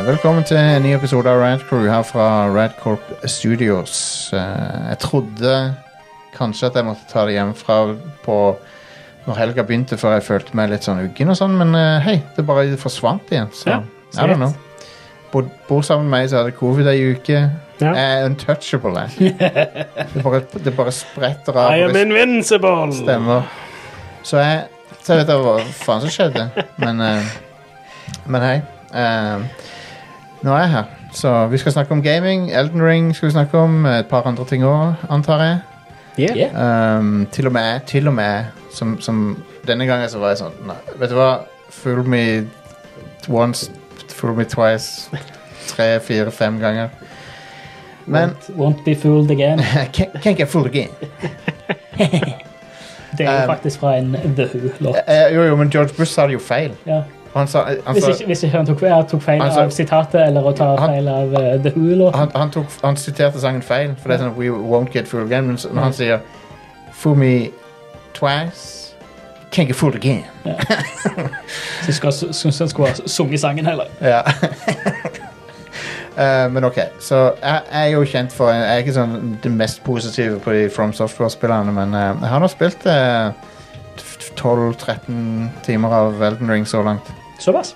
Velkommen til en ny episode av Rad Crew her fra Radcorp Studios. Eh, Jeg trodde kanskje at jeg måtte ta det hjemmefra på når helga begynte, før jeg følte meg litt sånn uggen og sånn, men eh, hei, det bare forsvant igjen. Så Ja, I don't know. Bor, bor sammen med meg, så hadde covid ei uke. Ja. Jeg er untouchable, jeg. Det bare, det bare spretter av. I og am det invincible! Stemmer. Så jeg Så jeg vet da hva faen som skjedde. Men, eh, men hei. eh, nå er jeg her. Så vi skal snakke om gaming. Elden Ring skal vi snakke om. Et par andre ting òg, antar jeg. Yeah. Yeah. Um, til og med, til og med som, som Denne gangen så var jeg sånn nei, Vet du hva? Fool me once, fool me twice. Tre, fire, fem ganger. Men Won't, won't be fooled again. can't, can't get fooled again. Det er jo Um, faktisk fra en The Who-låt. Eh, jo, jo, men George Bush sa det jo feil. Ja. Han sa, han Hvis, sa ikke, hvis ikke han tok, ja, tok feil Altså- av sitatet eller å ta Han- feil av eh, The Who-låten. han, han, tok, han siterte sangen feil, for det er sånn We won't get fooled again. Men så- når han sier Fool me twice, can't get fooled again. Så skal- Syns han skulle ha sunget sangen heller. Ja. Eh, men ok, så jeg, jeg er jo kjent for Jeg er ikke sånn det mest positive på de From Software-spillerne, men eh, jeg har nå spilt eh, 12-13 timer av Elden Ring så langt. Såpass.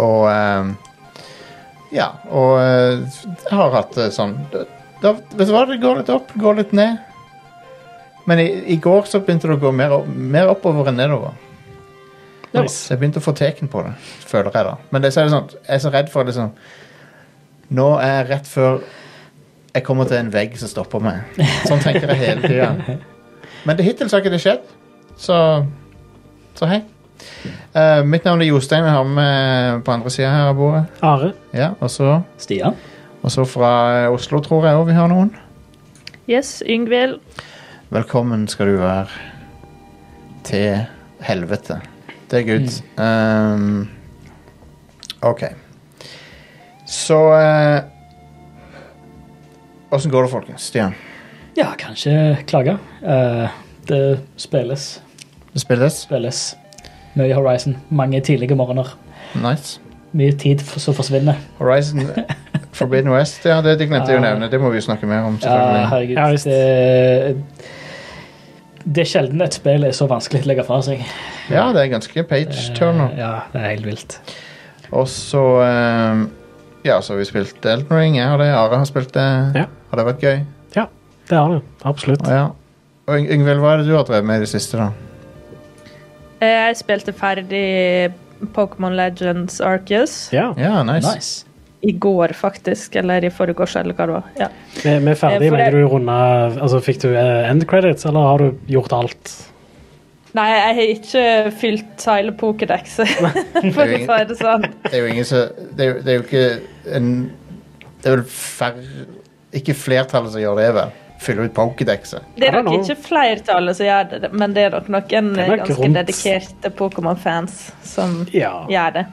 Og ehm, Ja, og eh, jeg har hatt det sånn da, da, Vet du hva, det går litt opp, går litt ned. Men i, i går så begynte det å gå mer, opp, mer oppover enn nedover. Så Nice. jeg begynte å få teken på det, føler jeg da. Men det, så er det sånn, jeg er så redd for det sånn Nå er jeg rett før jeg kommer til en vegg som stopper meg. Sånn tenker jeg hele tida. Men det hittil så har ikke det skjedd, så Så hei. Eh, mitt navn er Jostein. Jeg har med på andre sida her av bordet. Are. Ja, og så Stian. og så fra eh, Oslo, tror jeg òg vi har noen. Yes, Yngvild. Velkommen skal du være til helvete. Det er good. Um, ok. Så eh, Åssen går det, folkens? Stian? Ja, kan ikke klage. Eh, det spilles, Det spilles? spilles mye Horizon. Mange tidlige morgener. Nice. Mye tid f- som forsvinner. Horizon Forbidden West, ja, det, det glemte jeg å Ja. nevne. Det må vi jo snakke mer om. Ja, selvfølgelig. Eh, herregud. Ja, visst. det, det er sjelden et spill er så vanskelig til å legge fra seg. Ja, det er ganske page turner. Eh, Ja, det er helt vilt. Og så um, Ja, så har vi spilt Elden Ring. Jeg har det. Are har spilt det. Ja. Har det vært gøy? Ja, det har det. Absolutt. Ja. Og Yng- Yngvild, hva er det du har drevet med i det siste, da? Eh, Jeg spilte ferdig Pokémon Legends Arceus Ja, Ja, nice. Nice. i går, faktisk. Eller i forgårs, eller hva det var. Ja. Vi, vi er Eh, ferdig. for Legger det- du runda Altså, fikk du eh, end credits, eller har du gjort alt? Nei, jeg har ikke fylt hele Pokédexet, for å si det sånn. Det er jo ingen som det, er jo- det er jo ikke en Det er vel færre Ikke flertallet som gjør det, vel? Fyller ut Pokédexet. Det I er don't nok know. ikke flertallet som gjør det, men det er nok noen Det er nok ganske rundt- dedikerte Pokémon-fans som Ja. gjør det.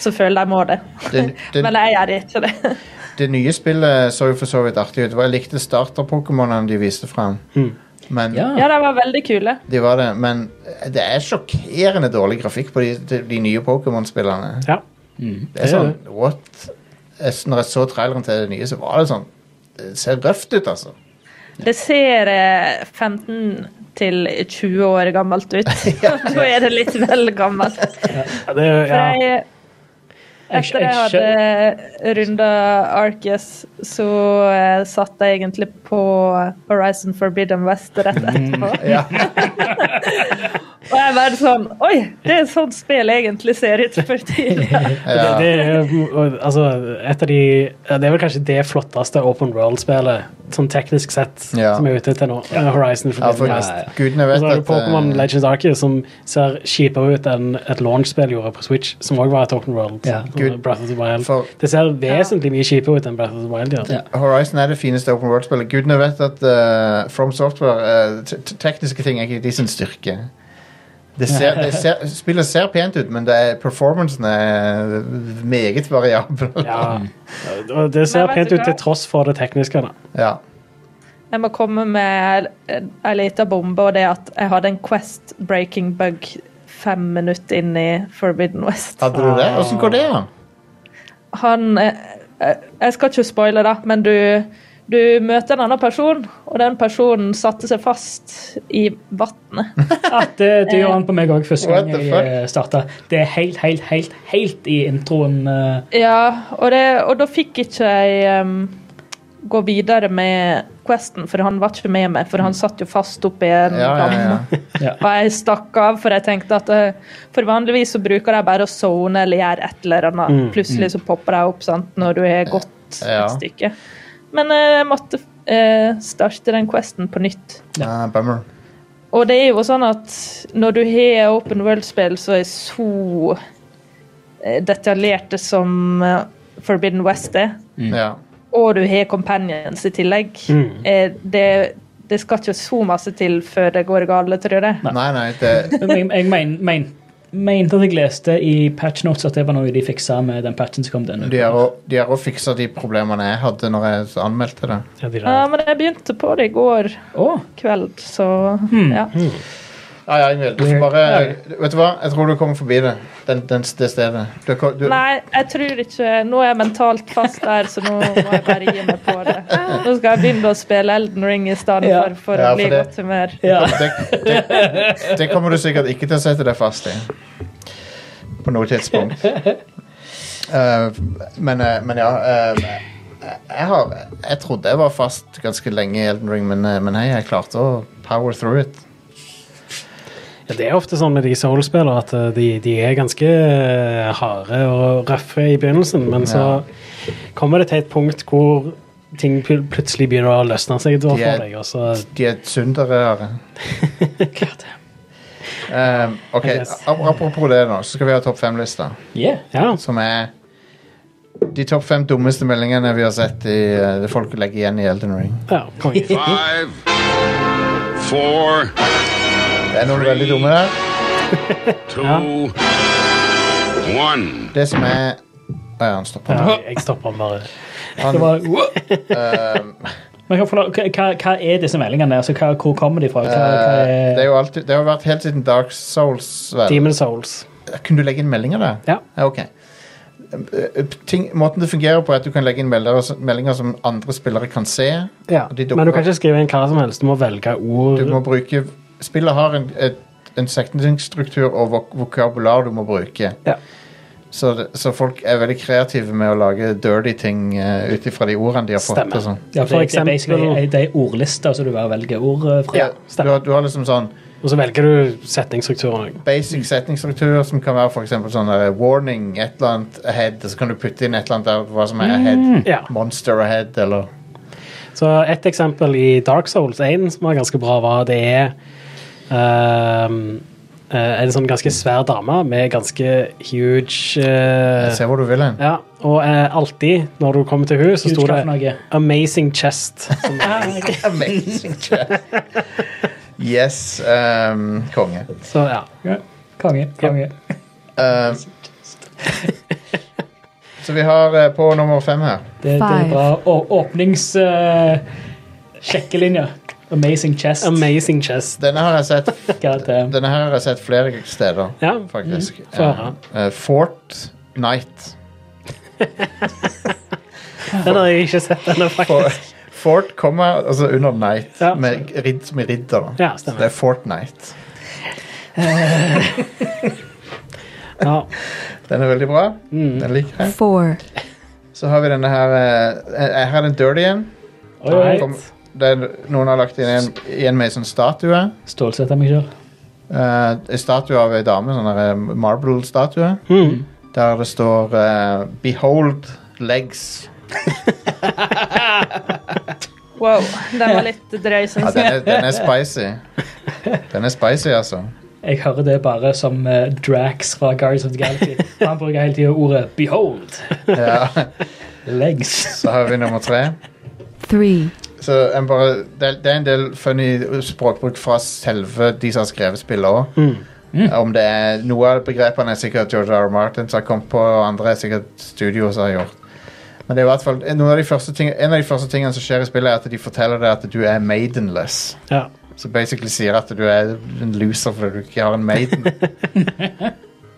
Som føler de må det. Det, det, Men jeg gjør ikke det. det nye spillet så jo for så vidt artig ut. Jeg likte starter-pokémonene de viste fram. Mm. Men Ja. Ja, de var veldig kule. de var det Men det er sjokkerende dårlig grafikk på de, de, de nye Pokémon-spillerne. Ja. Mm. Det er Det er sånn What? Jeg, når jeg så traileren til det nye, så var det sånn Det ser røft ut, altså. Det ser eh, 15 til 20 år gammelt ut. Da er det litt vel gammelt. Ja, Det, er- For ja. jeg, etter jeg jeg skjø- hadde runda Arceus, så eh, satt jeg egentlig på Horizon Forbidden West rett etterpå. Ja. Og jeg var sånn Oi, det er sånn spill egentlig ser ut for tiden. Det, ja. det er og, altså, et av de ja, Det er vel kanskje det flotteste open world-spillet, sånn teknisk sett, Ja. som er ute til nå. Horizon ja Forbidden for West. gudene Og vet så har du at Pokémon eh, Legends Arceus som ser kjipere ut enn et launch-spill gjorde på Switch, som også var et Open World. Ja. eh, Gud. Breath of the Wild. for Det ser vesentlig mye kjipere ut enn Breath of the Wild gjør. Ja. Horizon er det fineste open world-spillet. Gudene vet at eh, From Software eh, te- te- Tekniske ting er ikke de sin styrke. Det ser, det ser, spillet ser pent ut, men det er, performancen er meget variabel. Ja. Og det ser Men vet pent du ut til hva? tross for det tekniske. Da. Ja. Jeg må komme med ei lita bombe, og det er at jeg hadde en Quest breaking bug fem minutter inn i Forbidden West. Hadde du det? Åssen går det, da? han eh, eh, Jeg skal ikke spoile, da, men du, du møter en annen person, og den personen satte seg fast i vannet. At eh, det, det gjør han på meg òg første What gang the fuck? jeg starta. Det er helt, helt, helt, helt i introen. eh, Ja, og, det, og da fikk ikke jeg em, gå videre med questen, for han var ikke med meg, for han satt jo fast oppi en Mm. Ja, ja, ja. damme. Ja. Og jeg stakk av, for jeg tenkte at eh, For vanligvis så bruker de bare å zone eller gjøre et eller annet. Mm, Plutselig så popper de opp sant, når du har gått Ja. et stykke. Men eh, jeg måtte eh, starte den questen på nytt. Ah, bummer. Og det er jo sånn at når du har open world-spill, så er så eh, detaljerte som eh, Forbidden West er, Ja. og du har companions i tillegg, Mm. eh, det, det skal ikke så masse til før det går galt, tror jeg. Nei, nei, det Men jeg, jeg men, men, mente at jeg leste i patch notes at det var noe de fiksa med den patchen som kom denne. De har å- de har å fikse de problemene jeg hadde når jeg anmeldte det. Ja, de Ja, Um, der. men jeg begynte på det i går Å, kveld, så hmm. Mm. ja. Ja, ja, Ingvild. Du får bare Vet du hva? Jeg tror du kommer forbi det. Den, den, det stedet. Du, ko- du, Nei, jeg tror ikke Nå er jeg mentalt fast der, så nå må jeg bare gi meg på det. Nå skal jeg begynne å spille Elden Ring i stedet Ja. for, for Ja, å bli for i det- godt humør. ja. det, det, det kommer du sikkert ikke til å sette deg fast i. På noe tidspunkt. Eh, men, eh, men ja eh, jeg, har, jeg trodde jeg var fast ganske lenge i Elden Ring, men, eh, men hei, jeg klarte å power through it. Ja, Det er ofte sånn med de Soul-spillere at eh, de, de er ganske eh, harde og røffe i begynnelsen, men så kommer det til et punkt hvor ting pl plutselig begynner å løsne seg De da for er- deg, og så De er syndere. Um, ok, I guess. ap- Apropos det, nå, så skal vi ha topp fem-lista. Yeah. Ja. Som er de topp fem dummeste meldingene vi har sett i eh, det folk legger igjen i Elden Ring. ja konge. Five, four, Det er noen veldig dumme der. two, one. Det som er Å ja, han stopper. Ja, jeg stopper den bare. Han, Det var, Eh, Men hva, for- hva, hva er disse meldingene? Altså, hva, hvor kommer de fra? Hva, hva eh, det, er er, jo alltid, det har jo vært helt siden Dark Souls. Vel. Demon Souls. Kunne du legge inn meldinger der? Ja. ok. Eh, eh, Ting, måten det fungerer på, er at du kan legge inn meldinger, meldinger som andre spillere kan se. Ja. De dukker Men du kan opp. ikke skrive inn hva som helst, du må velge ord. Du må bruke Spillet har en, et, en setningsstruktur og vok vokabular du må bruke. Ja. Så, det- så folk er veldig kreative med å lage dirty ting uh, ut ifra de ordene de har fått. Stemmer. Og sånn. ja, for for det, det er basically det er ordlister som du bare velger ord eh, fra. Ja, du, stemmer. har, du har liksom sånn Og så velger du setningsstrukturen òg. basic setningsstruktur som kan være f.eks. sånn der, warning, et eller annet ahead, og så kan du putte inn et eller annet der hva som er ahead. Mm. Ja. Monster ahead, eller Så et eksempel i Dark Souls 1 som var ganske bra, var at det er ehm, eh, en sånn ganske svær dame med ganske huge eh, Jeg ser hvor du vil hen. Ja, og eh, alltid når du kommer til henne, så Huge sto hva for noe? det 'Amazing Chest'. Som Amazing chat. Yes. ehm, konge. så ja. Ja. Konge. konge. Ehm, så vi har eh, på nummer fem her. Det, det er Five. bra eh, åpningssjekkelinje. Amazing chest. Amazing Chest. Denne har jeg sett, God damn. denne her har jeg sett flere steder, Ja. Mm. faktisk. Få høre. Eh, eh, Fort Night. Den har jeg ikke sett ennå, For, faktisk. Fort kommer altså under Night, Ja. med, ridd, som i ridder. da. Ja, Så det stemmer. er Fortnite. Ja. Mm. Den er veldig bra. Den liker jeg. four, Så har vi denne her eh, Her er den dirty en. Oi, oi. Kom- det er- Noen har lagt inn en, igjen med en sånn statue. Stålsetter meg sjøl. Eh, en statue av ei dame, sånn der eh, marble-statue. Mm. Der det står eh, 'Behold legs'. Wow, den var litt drøy, Ja, syns den, jeg. er, den er spicy. Den er spicy, altså. Jeg hører det bare som eh, Drax fra Guardians of the Galaxy. Han bruker hele tida ordet 'behold'. Ja. Legs. Så har vi nummer tre. three, Så en bare, det, det er en del funny språkbruk fra selve de som har skrevet spillet òg. Om det er Noe av begrepene er sikkert George R. R. Martin som har kommet på, og andre er sikkert studio som har gjort. Men det er i hvert fall, noen av de første ting, en av de første tingene som skjer i spillet, er at de forteller deg at du er maidenless. ja. Så basically sier at du er en loser fordi du ikke har en maiden.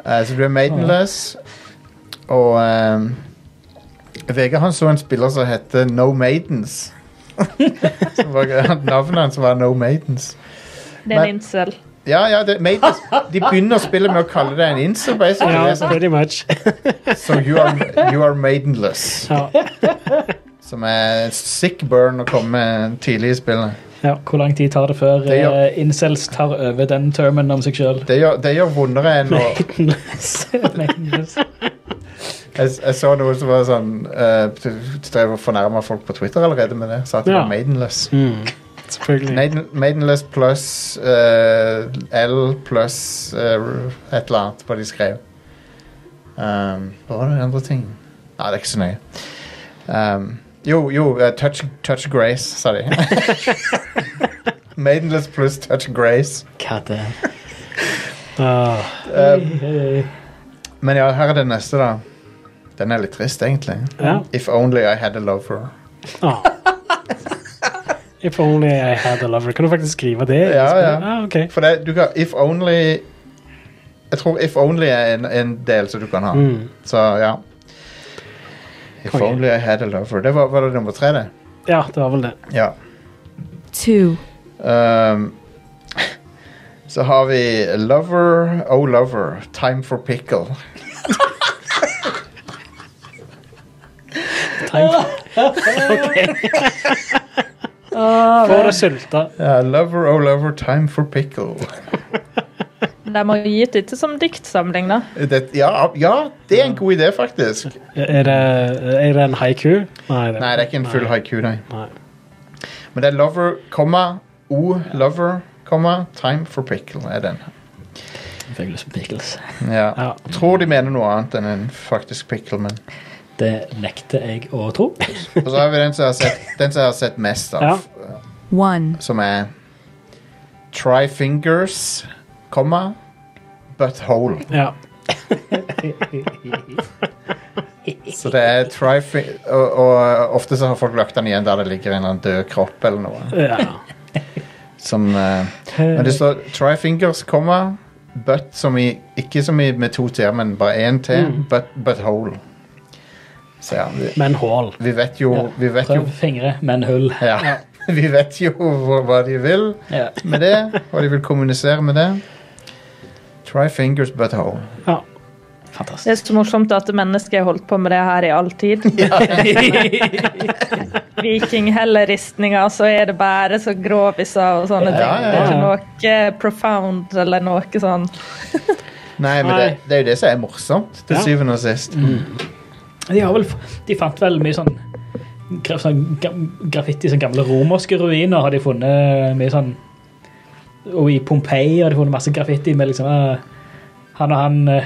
Eh, så du er maidenless, og eh, VG han så en spiller som heter No Maidens. Som var- Navnet hans var No Maidens. Det er Men- en incel. Ja, ja, det, Maidens De begynner å spille med å kalle det en incel, basically. Ja, Det er sånn, pretty much. So you are, you are maidenless. Ja, Som er en sick burn å komme tidlig i spillet. ja. Hvor lang tid tar det før Det gjør- eh, incels tar over den termen om seg sjøl? Det gjør, det gjør vondere enn å Jeg, jeg så noen som var sånn uh, Drev og fornærma folk på Twitter allerede med det. Sa at det Ja. var maidenless. Mm, selvfølgelig. Maiden, maidenless pluss eh, L pluss eh, et eller annet, hva de skrev. Um, hva var det andre ting? Nei, det er ikke så nøye. Um, jo, jo, eh, touch, touch grace, sa de. maidenless pluss touch grace. Hva det er. Ah, Eh, men ja, her er den neste, da. Den er litt trist, egentlig. ja. If only I had a love for her. Ah. If only I had a lover. Kan du faktisk skrive det? Ja, ja. Ah, ok. For det, du kan If only Jeg tror if only er en, en del som du kan ha. Mm. Så ja. If Konge. only I had a lover. Det var, var det nummer tre, det. ja, det var vel det. Ja. two, Ehm, så har vi Lover, Oh Lover, Time for Pickle. Få det sylta. Ja, lover, Oh Lover, Time for Pickle. De har gitt det til som diktsamling, da. Det, ja, ja, det er en god idé, faktisk. Er det, er det en haiku? Nei, Nei, det er ikke en full nei, haiku, nei. Nei. Men det er Lover, komma, O Lover, komma, Time for Pickle er den. Jeg fikk lyst på pickles. Ja. Ja. Tror de mener noe annet enn en faktisk pickle, men Det nekter jeg å tro. Og så har vi den som jeg har sett, den som jeg har sett mest av, one, som er Try fingers, komma, butthole. Ja. Så det er try fi og, og ofte så har folk lagt den igjen der det ligger en eller annen død kropp eller noe. ja. Som, eh, men det står try fingers, komma, butt som i Ikke som i med to t-er, men bare én t. But, butthole. Så ja, vi, Med en hål. vi vet jo Vi vet jo, Prøv fingre, men hull. ja, vi vet jo hva hva de vil. Ja. med det, og de vil kommunisere med det. Try fingers but hole. Ja. Det er så morsomt at mennesket har holdt på med det her i all tid. Vikinghelleristinger, så er det bare så groviser og sånne ting. Ja, ja, ja. Det er ikke noe profound eller noe sånn. Nei, men det, Nei. det er jo det som er morsomt, til Ja. Mm. syvende og sist. De, har vel, f- de fant vel mye sånn, graf, sånn ga- graffiti, sånn gamle romerske ruiner, har de funnet mye sånn Og i Pompeii har de funnet masse graffiti med liksom eh, Han og han eh,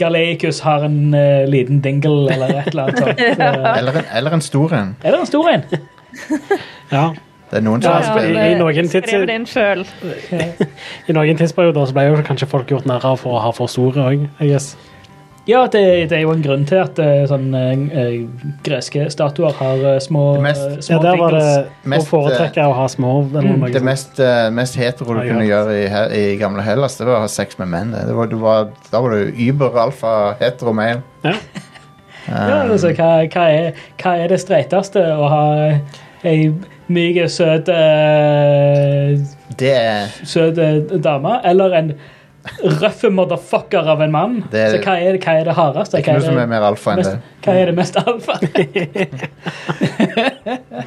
Galeicus har en eh, liten dingle eller et eller annet sånt. eh. Eller, en, eller en stor en. Eller en stor en. ja. Det er noen som Ja, har spilt i- i noen tids- Skriv eh, det inn sjøl. I noen tidsperioder så ble jo kanskje folk gjort narr av for å ha for store òg. Ja, det, det er jo en grunn til at eh, sånn, eh, greske statuer har eh, små, Det mest- eh, Ja, små der var det dingles. å Mest, eh, foretrekke å ha små. Eller noe det sånt. mest, eh, mest hetero du Ja, kunne ja. gjøre i, he- i gamle Hellas, det var å ha sex med menn. Det Det var, du var, da var du über-alfa-hetero-male. Ja. Eh, Ja, Um, altså, hva, hva, er, hva er det streiteste? Å ha ei myk, søt eh, Det er Søt eh, dame? Eller en røff motherfucker av en mann? Det er- så hva er, hva er det hardeste? ikke Hva noe som er er det, mer alfa enn det. mest, hva er det mest alfa?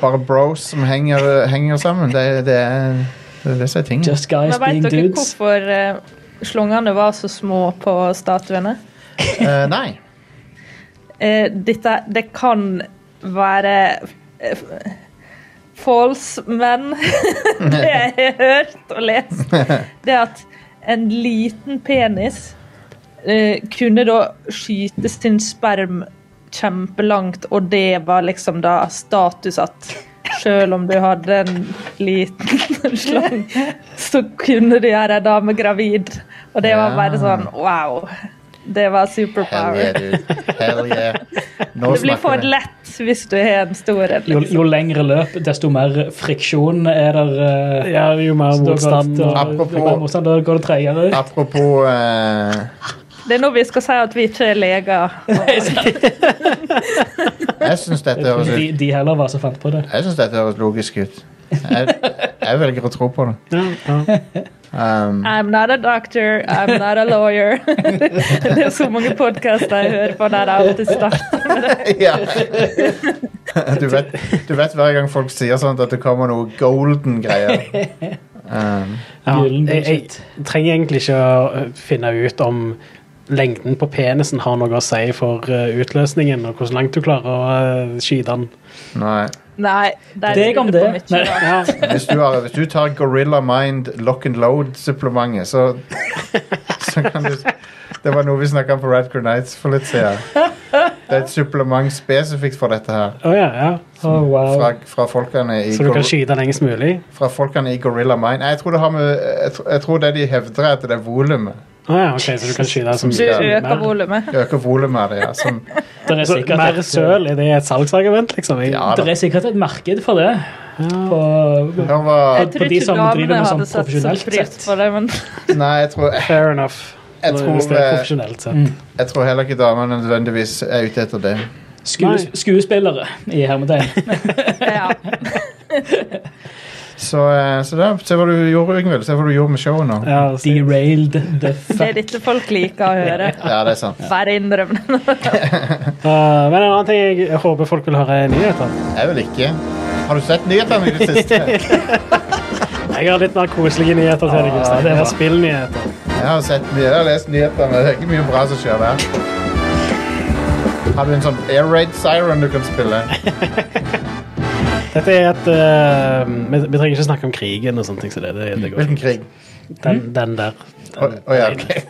Bare bros som henger, henger sammen. Det, det er det, er det som er tingen. Just guys Men being veit dere dudes. hvorfor eh, slungene var så små på statuene? Eh, nei. Eh, dette, det kan være eh, false menn. det jeg har hørt og lest, det at en liten penis eh, kunne da skyte sin sperm kjempelangt, og det var liksom da status at selv om du hadde en liten slang, så kunne du gjøre ei dame gravid. Og det var bare sånn wow. Det var Hell yeah, superpower. dude. Hell yeah. Nå Det blir snakker for vi. lett hvis du har en stor en. Jo, Liksom. jo lengre løp, desto mer friksjon er der. eh, Ja, jo mer så da går det- motstand da- og Apropos- da går det- Da går det tregere ut. Apropos eh, Det er nå vi skal si at vi ikke er leger. Jeg syns dette høres De, ut de heller var som fant på det. Jeg synes dette høres logisk ut. Jeg, jeg velger å tro på det. Ja, ja. Um, I'm not a doctor, I'm not a lawyer. det er så mange podkaster jeg hører på der det alltid starter. ja. du, vet, du vet hver gang folk sier sånt at det kommer noe golden greier. Um, Ja, Gyllen jeg, bullshit. jeg trenger egentlig ikke å eh, finne ut om lengden på penisen har noe å si for eh, utløsningen, og hvor langt du klarer å eh, skyte den. nei. Nei, der Deg lurer om du på det. mye. Ja, Hvis du, har, hvis du tar Gorilla Mind lock and load-supplementet, så, så kan du Det var noe vi snakka om på Radcrow Nights for litt siden. Det er et supplement spesifikt for dette her. Å ja, ja. Oh, wow. Fra, fra, folkene i Så du Gor- kan skyte lengst mulig? fra folkene i Gorilla Mind. Nei, Jeg tror, det har med, jeg, tr- jeg tror det de hevder, er at det er volumet. Å ja, ok, så du kan skyte som Du øker mer, volumet. Det øker volumet av det. Ja, som, Det er så, sikkert mer et- søl? Er det et salgsargument, liksom? Jeg, ja, Det da. er sikkert et marked for det. På, Hør hva Jeg tror på de ikke som driver damene med sånn hadde satt så profesjonelt pris sett. på det, men Nei, jeg tror, Fair enough. Jeg Nå, tror, hvis det er eh, profesjonelt sett. Mm. jeg tror heller ikke damene nødvendigvis er ute etter det. Skues, Nei. skuespillere i hermetegn. ja. Så, eh, så da, se hva du gjorde, Yngvild. Se hva du gjorde med showet nå. Ja, så- Derailed the Det er fuck. dette folk liker å høre. Ja, det er sant. Bare innrøm det. Eh, men en annen ting jeg håper folk vil høre, er nyheter. Jeg vil ikke. Har du sett nyhetene i det siste? Jeg har litt mer koselige nyheter til deg. Gustav. Det var spillnyheter. Jeg har sett mye, jeg har lest nyhetene. Det er ikke mye bra som skjer der. Har du en sånn air raid siren du kan spille? Dette er et eh, vi, vi trenger ikke snakke om krigen og sånne ting. Så det, det, det går. Hvilken krig? Den, den der. Å å ja, ok.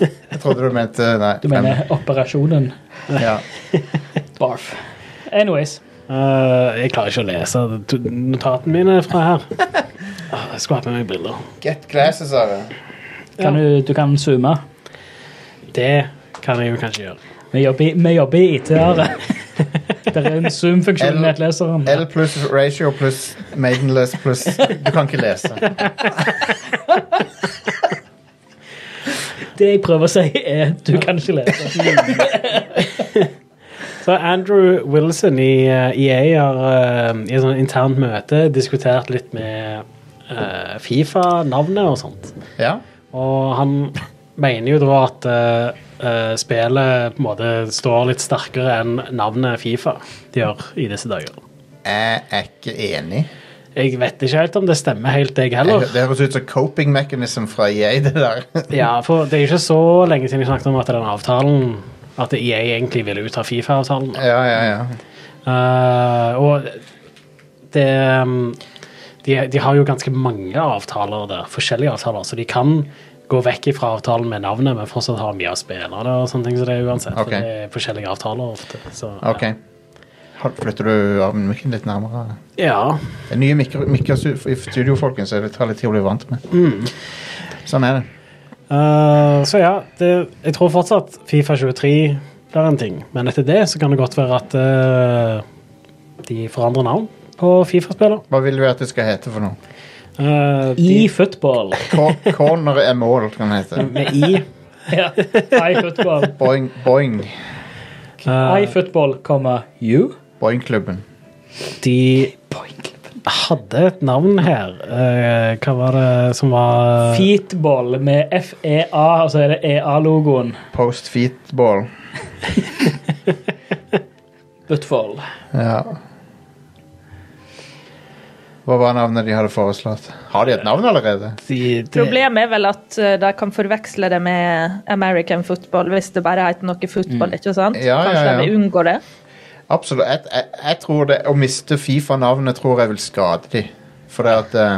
Jeg trodde du mente Nei. Du mener operasjonen Ja. Barf. Anyways. Eh, jeg klarer ikke å lese to- notatene mine fra her. Ah, Jeg skulle hatt med meg briller. Get glasses av det. Kan du, du kan zoome. Det kan jeg jo kanskje gjøre. Vi jobber, i- vi jobber i IT-ere. Det er en zoom-funksjon i nettleseren. L pluss ratio pluss maidenless pluss Du kan ikke lese. Det jeg prøver å si, er du kan ikke lese. Så Andrew Wilson i eh, EA har eh, i et sånt internt møte diskutert litt med eh, Fifa-navnet og sånt. Ja? Og han mener jo da at eh, eh, spillet på en måte står litt sterkere enn navnet Fifa de gjør i disse dager. Jeg er ikke enig. Jeg vet ikke helt om det stemmer helt, jeg Jeg, heller. hø- det høres ut som coping mechanism fra EA, det der. Ja, for det er jo ikke så lenge siden jeg snakket om at den avtalen at EA egentlig ville ut av Fifa-avtalen. Ja, ja, ja. Eh, og det um, de, de har jo ganske mange avtaler der, forskjellige avtaler, så de kan gå vekk fra avtalen med navnet, men fortsatt ha mye av spillerne og sånne ting som det er uansett. Ok. for Det er forskjellige avtaler ofte. Så, OK. Hold- Flytter du av mikken litt nærmere? Ja. Det er nye mikker, mikker stu- i studio, folkens, så det tar litt tid å bli vant med. Sånn er det. Eh, så ja, det, jeg tror fortsatt Fifa 23 blir en ting, men etter det så kan det godt være at eh, de forandrer navn på Fifa-spiller. Hva vil du at det skal hete for noe? Eh, de, I football. Cor- Corner er mål, kan det hete. med I. Ja. I football. Boing, boing. eh, I football, komma, you. Boing-klubben. de hadde et navn her. Eh, hva var det som var Feetball med FEA, og så er det E EA-logoen. Post feetball. Football. Ja. Hva var navnet de hadde foreslått? Har de et navn allerede? de, de, Problemet er vel at eh, de kan forveksle det med American football hvis det bare heter noe Mm. football, ikke sant? Ja, ja, Kanskje ja. de vil unngå det? Absolutt. Jeg, jeg, jeg tror det, Å miste Fifa-navnet tror jeg vil skade de. For det at eh,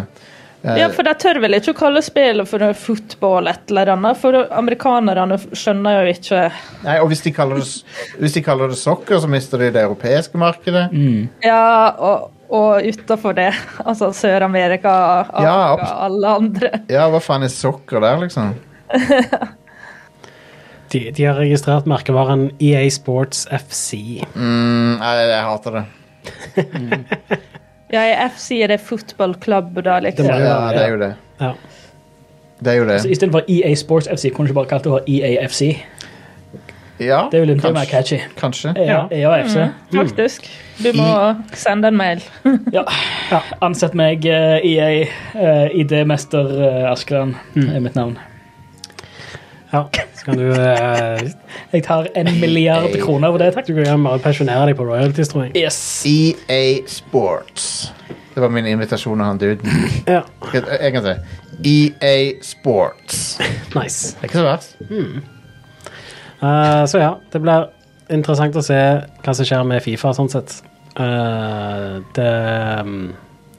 eh, Ja, for de tør vel ikke å kalle spillet for noe football et eller annet, for amerikanerne skjønner jo ikke Nei, Og hvis de, kaller det, s- hvis de kaller det sokker, så mister de det europeiske markedet. Mm. Ja, og, og utenfor det, altså Sør-Amerika, Ja, Afrika, abs- alle andre. Ja, hva faen er sokker der, liksom? de, de har registrert merkevaren EA Sports FC. Mm, nei, jeg hater det. Ja, i FC er det football club, da, Det liksom. må- Ja, det er jo det. Ja. Det er jo det. Så Istedenfor EA E Sports FC kunne du ikke bare kalt det for E EAFC. Ja, Det ville blitt kanskje- mer catchy. E Kanskje. EA, EA og FC. Faktisk. Du må sende en mail. Ja. Ansett meg eh, EA, eh, ID-mester eh, Askeland er mitt navn. Ja, så kan du, eh, Jeg tar en milliard kroner over det, takk. du kan gjerne bare pensjonere deg på royalties, tror jeg. Yes. EA E Sports. Det var min invitasjon av han duden. Ja, En gang til. EA E Sports. Det nice. er ikke så verst. Eh, så ja, det blir interessant å se hva som skjer med Fifa, sånn sett. Eh, det mm,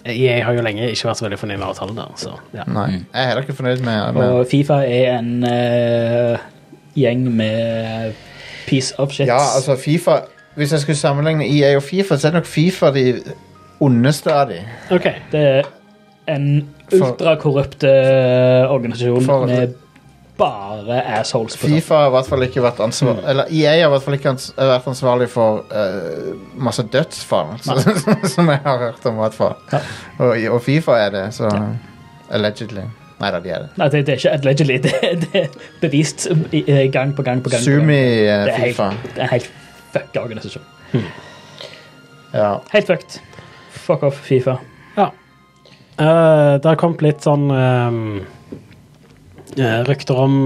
EA har jo lenge ikke vært så veldig fornøyd med avtalen der, så ja. Nei. Jeg er heller ikke fornøyd med, med. Og Fifa er en eh, gjeng med piece of shit. Ja, altså, Fifa Hvis jeg skulle sammenligne EA og Fifa, så er det nok Fifa de ondeste av de. OK. Det er en For- ultrakorrupt eh, organisasjon For- med bare assholes på topp. Fifa har i hvert fall ikke vært ansvarlig Eller EA har i hvert fall ikke ans vært ansvarlig for eh, masse dødsfall, så, som jeg har hørt om, i hvert fall. Ja. Og, og Fifa er det, så Allegedly. Nei da, de er det. Nei, det, det er ikke allegedly. Det, det er bevist i- eh, gang på gang på gang. på gang. Sumi eh, Det er helt, Fifa. det er en helt fucka organisasjon. Ja. Helt fucked. Fuck off, Fifa. Eh, det har kommet litt sånn ehm, eh, rykter om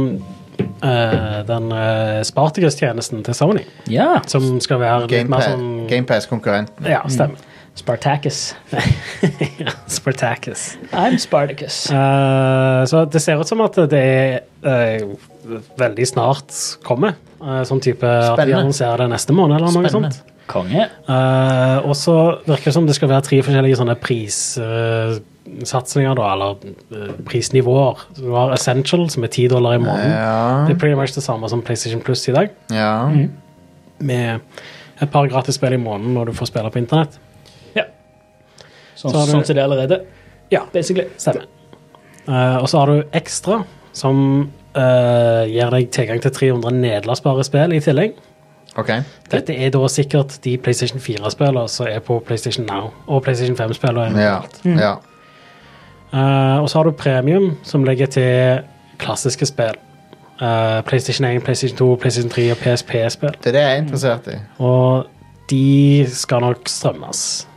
eh, den uh, Spartacus-tjenesten til Sony, Ja. som skal være litt mer GamePass sånn GamePass-konkurrenten. Ja, stemmer. Spartacus. Ja, Spartacus. I'm Spartacus. Eh, så det ser ut som at det er eh, veldig snart kommer. eh, sånn type at vi Spennende. annonserer det neste måned eller noe Spennende. sånt. Konge. Eh, og så virker det som det skal være tre forskjellige sånne prissatsinger, da, eller eh, prisnivåer. Du har Essential, som er 10 dollar i måneden. Det Ja. er pretty much det samme som PlayStation Plus i dag, ja. med et par gratis spill i måneden når du får spille på internett. Sånn så har du- sånn som det er allerede. Ja, Basically. Stemmer. Eh, og så har du ekstra, som eh, gir deg tilgang til 300 nedlastbare spill i tillegg. OK. Dette er da sikkert de PlayStation 4-spillene som er på PlayStation Now, og PlayStation 5-spillene. Ja. ja. Eh, og så har du premium, som legger til klassiske spill. Eh, PlayStation 1, PlayStation 2, PlayStation 3 og PSP-spill. Det er det jeg er interessert i. Og de skal nok strømmes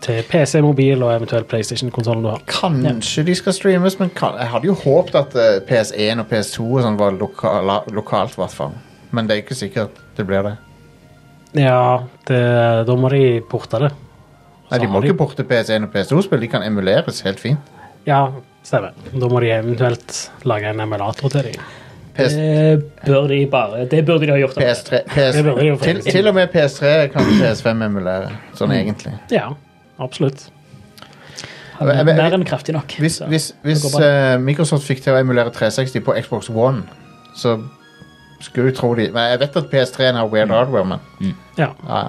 til PC, mobil og eventuelt PlayStation-konsollen du har. Kanskje de skal streames, men kan, jeg hadde jo håpet at eh, PS1 og PS2 og sånn var lokala, lokalt, i hvert fall. Men det er ikke sikkert det blir det. Ja, det, da må de porte det. Nei, De Så må har de- ikke porte PS1 og PS2-spill, de kan emuleres helt fint. Ja, stemmer. Da må de eventuelt lage en emulator til dem. PS, Det Eh, bør de bare Det burde de ha gjort. allerede. PS3 PS, Det burde de jo til, faktisk. til og med PS3 kan PS5 emulere, sånn Mm. egentlig. Ja, absolutt. Han er Jeg vet- mer enn kraftig nok. Hvis, så. hvis, hvis det går bra. eh, Microsoft fikk til å emulere 360 på Xbox One, så skulle du tro de Nei, Jeg vet at PS3-en har Mm. weird hardware, men Ja. ja,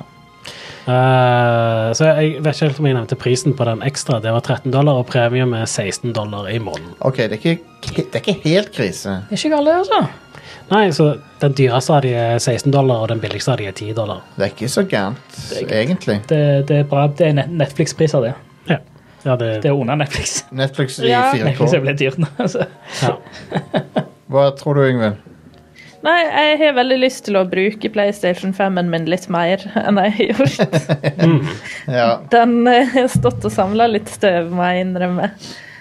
Eh, så jeg vet ikke helt om jeg nevnte prisen på den ekstra. Det var 13 dollar, og premium er 16 dollar i måneden. OK, det er, ikke, det er ikke helt krise. Det er ikke galt, det, altså. Nei, så den dyreste av de er 16 dollar, og den billigste av de er 10 dollar. Det er ikke så gærent, egentlig. Det, det er bra. Det er net- Netflix-priser, det. Ja, ja det, Det er under Netflix. Netflix i Ja. Netflix er 4K. blitt dyrt nå. Altså. ja. Hva tror du, Yngvild? Nei, jeg har veldig lyst til å bruke PlayStation 5-en min litt mer enn jeg har gjort. Ja, Den eh, har stått og samla litt støv, må jeg innrømme.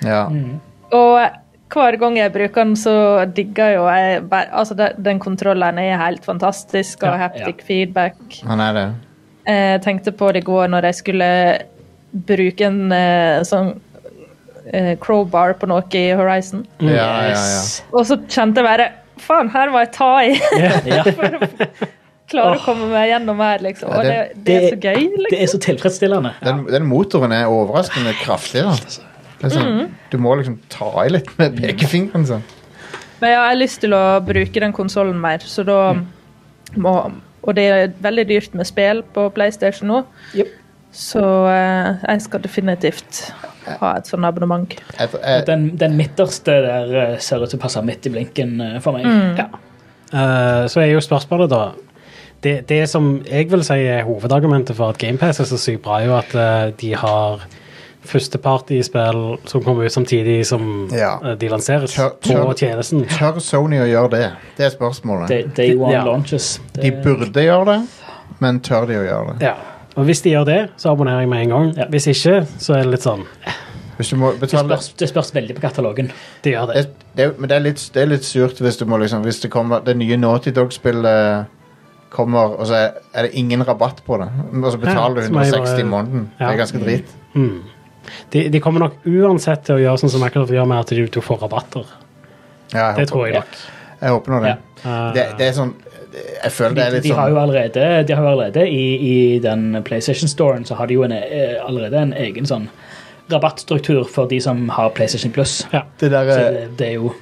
ja. Mm. Og hver gang jeg bruker den, så digger jo jeg bare Altså, de- den kontrolleren er helt fantastisk, og Ja, haptic feedback. han er det. Jeg tenkte på det i går når jeg skulle bruke en eh, sånn eh, crowbar på noe i Horizon. Ja, ja, ja. Yes. Og så kjente jeg bare Faen, her må jeg ta i! For å klare å komme meg gjennom her, liksom. Ja, Og det, det- det er så gøy, liksom. Det er så tilfredsstillende. Den, den motoren er overraskende kraftig, da. Det er sånn, du må liksom ta i litt med pekefingeren sånn. Men ja, jeg har lyst til å bruke den konsollen mer, så da Mm. må Og det er veldig dyrt med spill på PlayStation nå, Jep. så eh, jeg skal definitivt ha et sånn abonnement. Jeg, jeg, Den, den midterste der eh, ser ut til å passe midt i blinken eh, for meg. Ja. Eh, så er jo spørsmålet, da det, det som jeg vil si er hovedargumentet for at GamePass er så sykt bra, er jo at eh, de har første partyspill som kommer ut samtidig som Ja. eh, de lanseres Tør- på tør- tjenesten. Tør Sony å gjøre det? Det er spørsmålet. Day, day one Ja. launches. Det- De burde gjøre det, men tør de å gjøre det? Ja. Og hvis de gjør det, så abonnerer jeg med en gang. Ja. Hvis ikke, så er det litt sånn Hvis du må det, betale spørs, det spørs veldig på katalogen. De gjør det. det, det, Men det er, litt, det er litt surt hvis du må liksom Hvis det kommer Det nye Naughty Dog-spillet kommer, og så er, er det ingen rabatt på det. Og så betaler Ja, du så må jeg 160 i bare- måneden. Det Ja. er ganske drit. Mm. De, de kommer nok uansett til å gjøre sånn som Microsoft gjør med at de to får rabatter. Ja, jeg, håper, Det tror jeg nok. jeg håper nå det. Ja. Eh, det. Det er sånn Jeg føler det er De, litt de har jo sånn allerede, de har jo allerede i, i den PlayStation-storen så har de jo en, eh, allerede en egen sånn rabattstruktur for de som har PlayStation Plus. Det der, Så eh, det, det er jo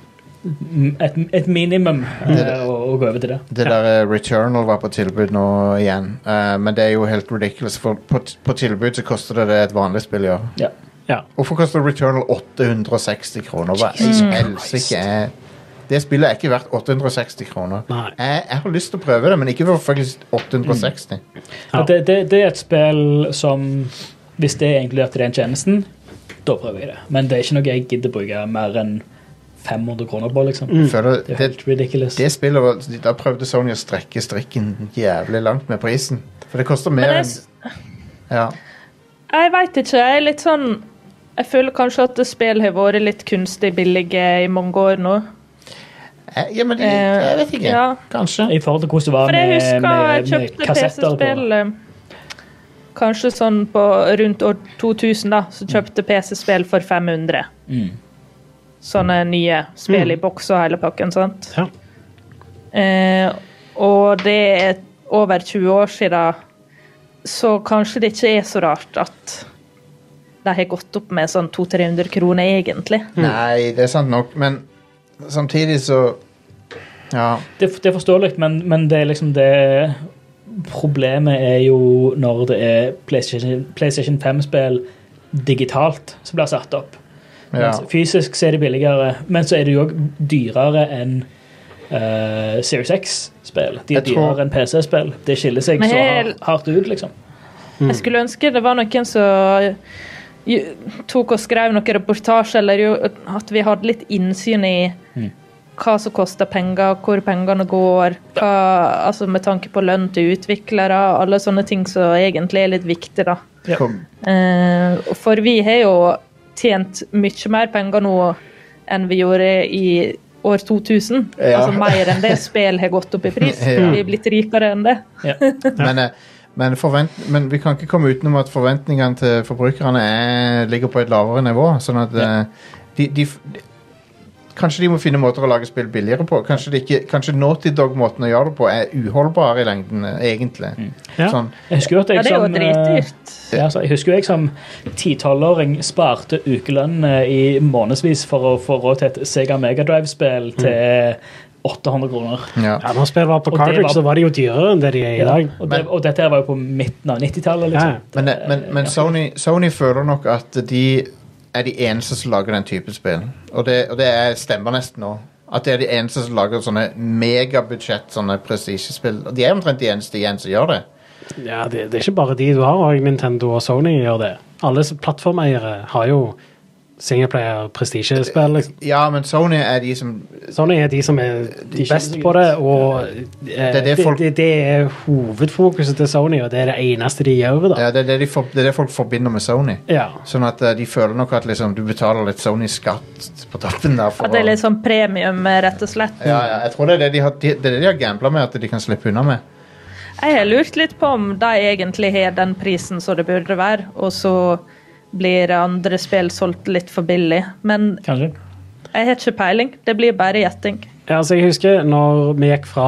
mm, et, et minimum Det- eh, å, å gå over til det. det der eh, Returnal var på tilbud nå igjen, Eh, men det er jo helt ridiculous. For på, på tilbud så koster det det et vanlig spill gjør. Ja. ja. Hvorfor koster Returnal 860 kroner? Hva i helsike er Det spillet er ikke verdt 860 kroner. Nei. Jeg, jeg har lyst til å prøve det, men ikke for faktisk 860. Ja. Og Det, det, det er et spill som Hvis det egentlig er til den tjenesten, da prøver jeg det. Men det er ikke noe jeg gidder bruke mer enn 500 kroner på, liksom. Jeg Føler, Det er Mm. det, helt ridiculous. det spillet var, Da prøvde Sony å strekke strikken jævlig langt med prisen. For det koster Men mer jeg, enn s- ja. jeg veit ikke. Jeg er litt sånn Jeg føler kanskje at spill har vært litt kunstig billige i mange år nå. Eh, ja, men de, Eh, jeg vet ikke. ja. Kanskje. I forhold til hvordan det var For jeg med, husker jeg med, med kjøpte kassetter på PC-spill eh, Kanskje sånn på rundt år 2000, da, så kjøpte PC-spill for 500. Mm. Sånne nye spill i boks og hele pakken, sant? Ja. Eh, og det er over 20 år siden, så kanskje det ikke er så rart at de har gått opp med sånn 200-300 kroner, egentlig. Nei, det er sant nok, men samtidig så Ja. Det, det er forståelig, men, men det er liksom det Problemet er jo når det er PlayStation, PlayStation 5-spill digitalt som blir satt opp. ja. Mens fysisk så er det billigere, men så er det jo òg dyrere enn eh, Series X-spill. De er Jeg tror- dyrere enn PC-spill. Det skiller seg Men så har- hel- hardt ut, liksom. Jeg skulle ønske det var noen som eh, ju- tok og skrev noen reportasje, eller jo, at vi hadde litt innsyn i hva som koster penger, hvor pengene går, hva, altså med tanke på lønn til utviklere, alle sånne ting som egentlig er litt viktig, da. Kom, Eh, for vi har jo tjent mye mer penger nå enn vi gjorde i år 2000. Ja. Altså mer enn det spill har gått opp i pris. Ja. Vi er blitt rikere enn det. Men, eh, men, forvent, men vi kan ikke komme utenom at forventningene til forbrukerne er, ligger på et lavere nivå. Sånn at eh, de, de, f- de Kanskje de må finne måter å lage spill billigere på. Kanskje, det ikke, kanskje Naughty Dog-måten å gjøre det på er uholdbar i lengden, eh, egentlig. Ja. Sånn, Jeg husker jo at jeg Ja, det er sånn, jo som, eh, dritdyrt. Ja, altså, jeg husker jo jeg som titolvåring sparte ukelønn eh, i månedsvis for å få råd til et Sega Megadrive-spill Mm. til 800 kroner. ja. ja, når spillet var på det Cartridge, var- så var de jo dyrere enn det de er i dag. Og, det, og dette her var jo på midten av 90-tallet. Ja. Liksom. Men, eh, men, men Sony, Sony føler nok at de er de eneste som lager den typen spill. Og det, og det er, stemmer nesten nå. At det er de eneste som lager sånne megabudsjett, sånne prestisjespill. Og de er omtrent de eneste igjen som gjør det. Ja, det, det er ikke bare de du har, og Nintendo og Sony gjør det. Alle s- plattformeiere har jo singleplayer prestisjespill. Liksom. Ja, men Sony er de som Sony er de som er De best skiller seg på ut. det, og eh, Det er det det, folk- det, det er hovedfokuset til Sony, og det er det eneste de gjør. da. ja, det, er det, de for, det er det folk forbinder med Sony. Ja. Sånn at eh, de føler nok at liksom, du betaler litt Sony-skatt på toppen der. For At det er å- litt sånn premium, rett og slett. ja, ja, jeg tror det er det de har, de, det er det de har gambla med at de kan slippe unna med. Jeg har lurt litt på om de egentlig har den prisen som det burde være, og så blir andre spill solgt litt for billig. Men Kanskje. jeg har ikke peiling. Det blir bare gjetting. Ja, altså Jeg husker når vi gikk fra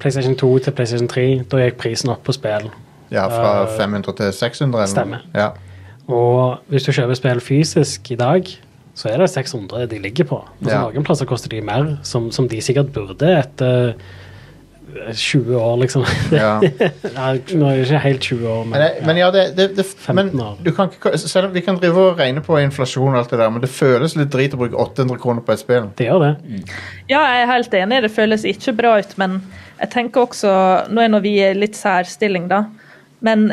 PlayStation 2 til PlayStation 3. Da gikk prisen opp på spill. Ja, Fra Eh, 500 til 600. Eller, stemmer. noe. Ja. Og hvis du kjøper spill fysisk i dag, så er det 600 de ligger på. Og så Ja. Noen plasser koster de mer, som, som de sikkert burde etter 20 år, liksom. Ja. Nei, nå er det ikke helt 20 år, Men, men jeg- men ja, det, det, det 15 men år. du kan ikke, Selv om vi kan drive og regne på inflasjon, og alt det der men det føles litt drit å bruke 800 kroner på et spill. det gjør det. Mm. Ja, jeg er helt enig. Det føles ikke bra ut, men jeg tenker også Nå er nå vi i litt særstilling, da. Men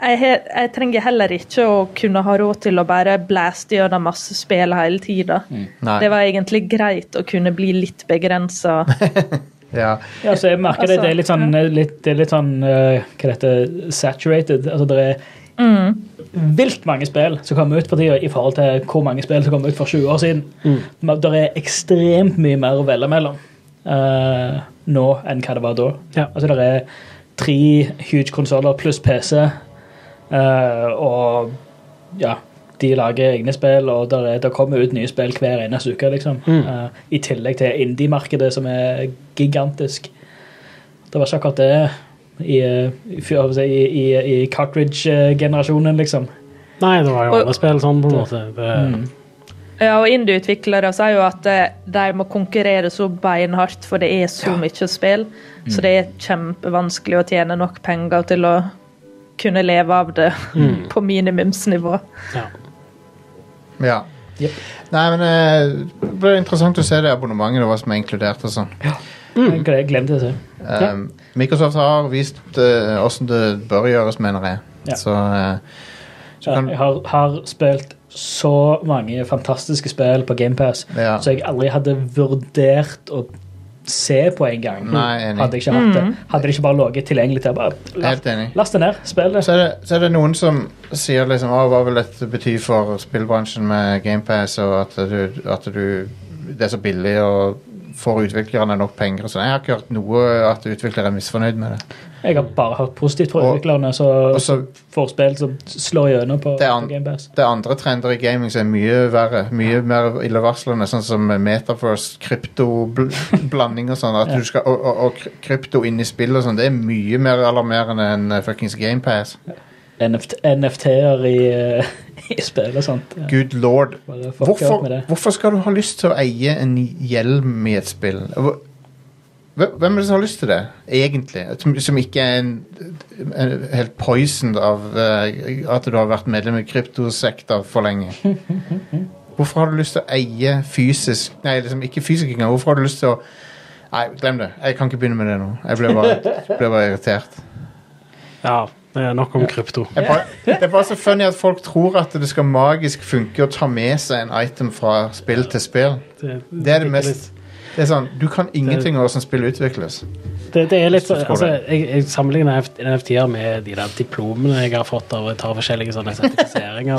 jeg, he- jeg trenger heller ikke å kunne ha råd til å bare blaste gjennom masse spill hele tida. Mm. Nei. Det var egentlig greit å kunne bli litt begrensa. Ja. Ja, så jeg merker det, Altså, det er litt sånn, litt, det er litt sånn eh, Hva det heter Saturated. Altså, det er vilt mange spill som kommer ut på tida i forhold til hvor mange spill som kom ut for 20 år siden. Men Det er ekstremt mye mer å velge mellom eh, nå enn hva det var da. Ja. Altså, det er tre huge konsoller pluss PC, eh, og ja de lager egne spill, og der, er, der kommer ut nye spill hver eneste uke. liksom. Eh, I tillegg til indie-markedet, som er gigantisk. Det var ikke akkurat det i, eh, i, før- i, i, i cartridge-generasjonen, liksom. Nei, det var jo Og- alle spill sånn, på en måte. Det, Mm. Ja, og Indie-utviklere sier jo at eh, de må konkurrere så beinhardt, for det er så mye spill. Mm. Så det er kjempevanskelig å tjene nok penger til å kunne leve av det Mm. på minimumsnivå. ja. ja. Jep. Nei, men eh, det ble interessant å se det abonnementet og hva som er inkludert og sånn. Jeg gle- glemte det. Um, Microsoft har vist eh, åssen det bør gjøres, mener jeg. Ja. Så, eh, så Ja, kan, jeg har, har spilt så mange fantastiske spill på GamePass Ja. så jeg aldri hadde vurdert å se på en gang. Nei, enig. Hadde jeg ikke hatt det. Hadde det ikke bare ligget tilgjengelig til bare Helt enig. Last det ned, spill det. så, er det, så er det noen som sier liksom Å, hva vil dette bety for spillbransjen med GamePass, og at du, at du Det er så billig og får utviklerne nok penger og sånn. Jeg har ikke hørt noe at utviklere er misfornøyd med det. Jeg har bare hørt positivt fra Og- utviklerne Og som så får spill som slår gjennom på, Det er på an- GamePass. det er andre trender i gaming som er mye verre. Mye mer illevarslende, sånn som Metaverse, kryptoblanding og sånn. At Ja. du skal, og, og, og krypto inn i spill og sånn, det er mye mer alarmerende enn eh, fuckings GamePass. NFT NFT-er i, eh, i spill og sånt. Ja. Good lord. Bare fuck opp Hvorfor, med det. hvorfor skal du ha lyst til å eie en hjelm i et spill? Hvor- Hvem hvem er det som har lyst til det, egentlig? Som, som ikke er en, en, helt poisoned av eh, at du har vært medlem i kryptosekta for lenge? Hvorfor har du lyst til å eie fysisk Nei, liksom ikke fysisk engang. Hvorfor har du lyst til å Nei, glem det. Jeg kan ikke begynne med det nå. Jeg ble bare, ble bare irritert. ja. Det er nok om krypto. Det er bare- det er bare så funny at folk tror at det skal magisk funke å ta med seg en item fra spill til spill. Det er det mest Det er sånn, Du kan ingenting om hvordan spill utvikles. Det, det er Hvis litt, du forstår altså, jeg, jeg sammenligner NF- NFT-er med de der diplomene jeg har fått av å ta forskjellige sånne sertifiseringer.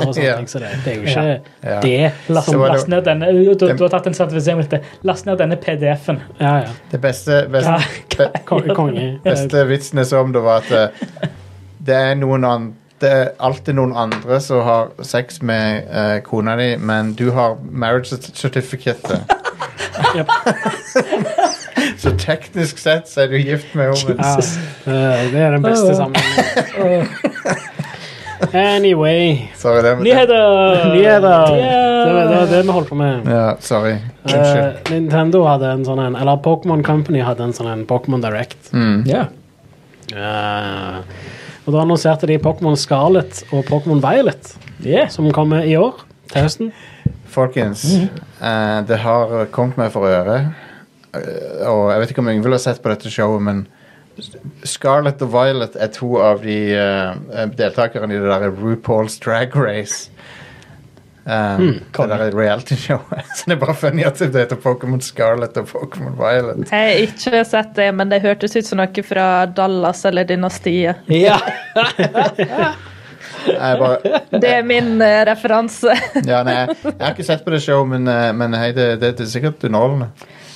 og sånne Ja. ting, så det, det er jo ikke Ja. det. Last, Så var det- last ned denne, du, du har tatt en sertifisering med dette. Last ned denne PDF-en. Ja, ja. Det beste, beste, Ja, be, Kon- Konge. beste vitsen jeg så om det, var at eh, det er noen an, det er alltid noen andre som har sex med eh, kona di, men du har marriage cert- certificate. Jep. så teknisk sett så er du gift med henne. Ja, eh, det er den beste sammenhengen. Anyway Sorry. Det, det, Nyheter! Nyheter! Yeah! Det var det, var det vi holdt på med. ja, sorry. Unnskyld. Eh, Nintendo hadde en sånn en, eller Pokémon Company hadde en sånn en Pokémon Direct. Mm. Ja. Eh, og da annonserte de Pokémon Scarlet og Pokémon Violet, Yeah. som kommer i år. Til høsten. Folkens, eh, det har kommet meg for øre. Eh, og jeg vet ikke om Yngvild har sett på dette showet, men Scarlett og Violet er to av de eh, deltakerne i det der RuPaul's Drag Race. Um, det der reality-showet. Så det er bare funny at det heter Pokémon Scarlett og Pokémon Violet. Jeg har ikke sett det, men det hørtes ut som noe fra Dallas eller Dynastiet. Ja. Jeg bare, Det er min eh, referanse. ja, nei, jeg, jeg har ikke sett på det showet, men, eh, men hei, det, det, det er sikkert underholdende.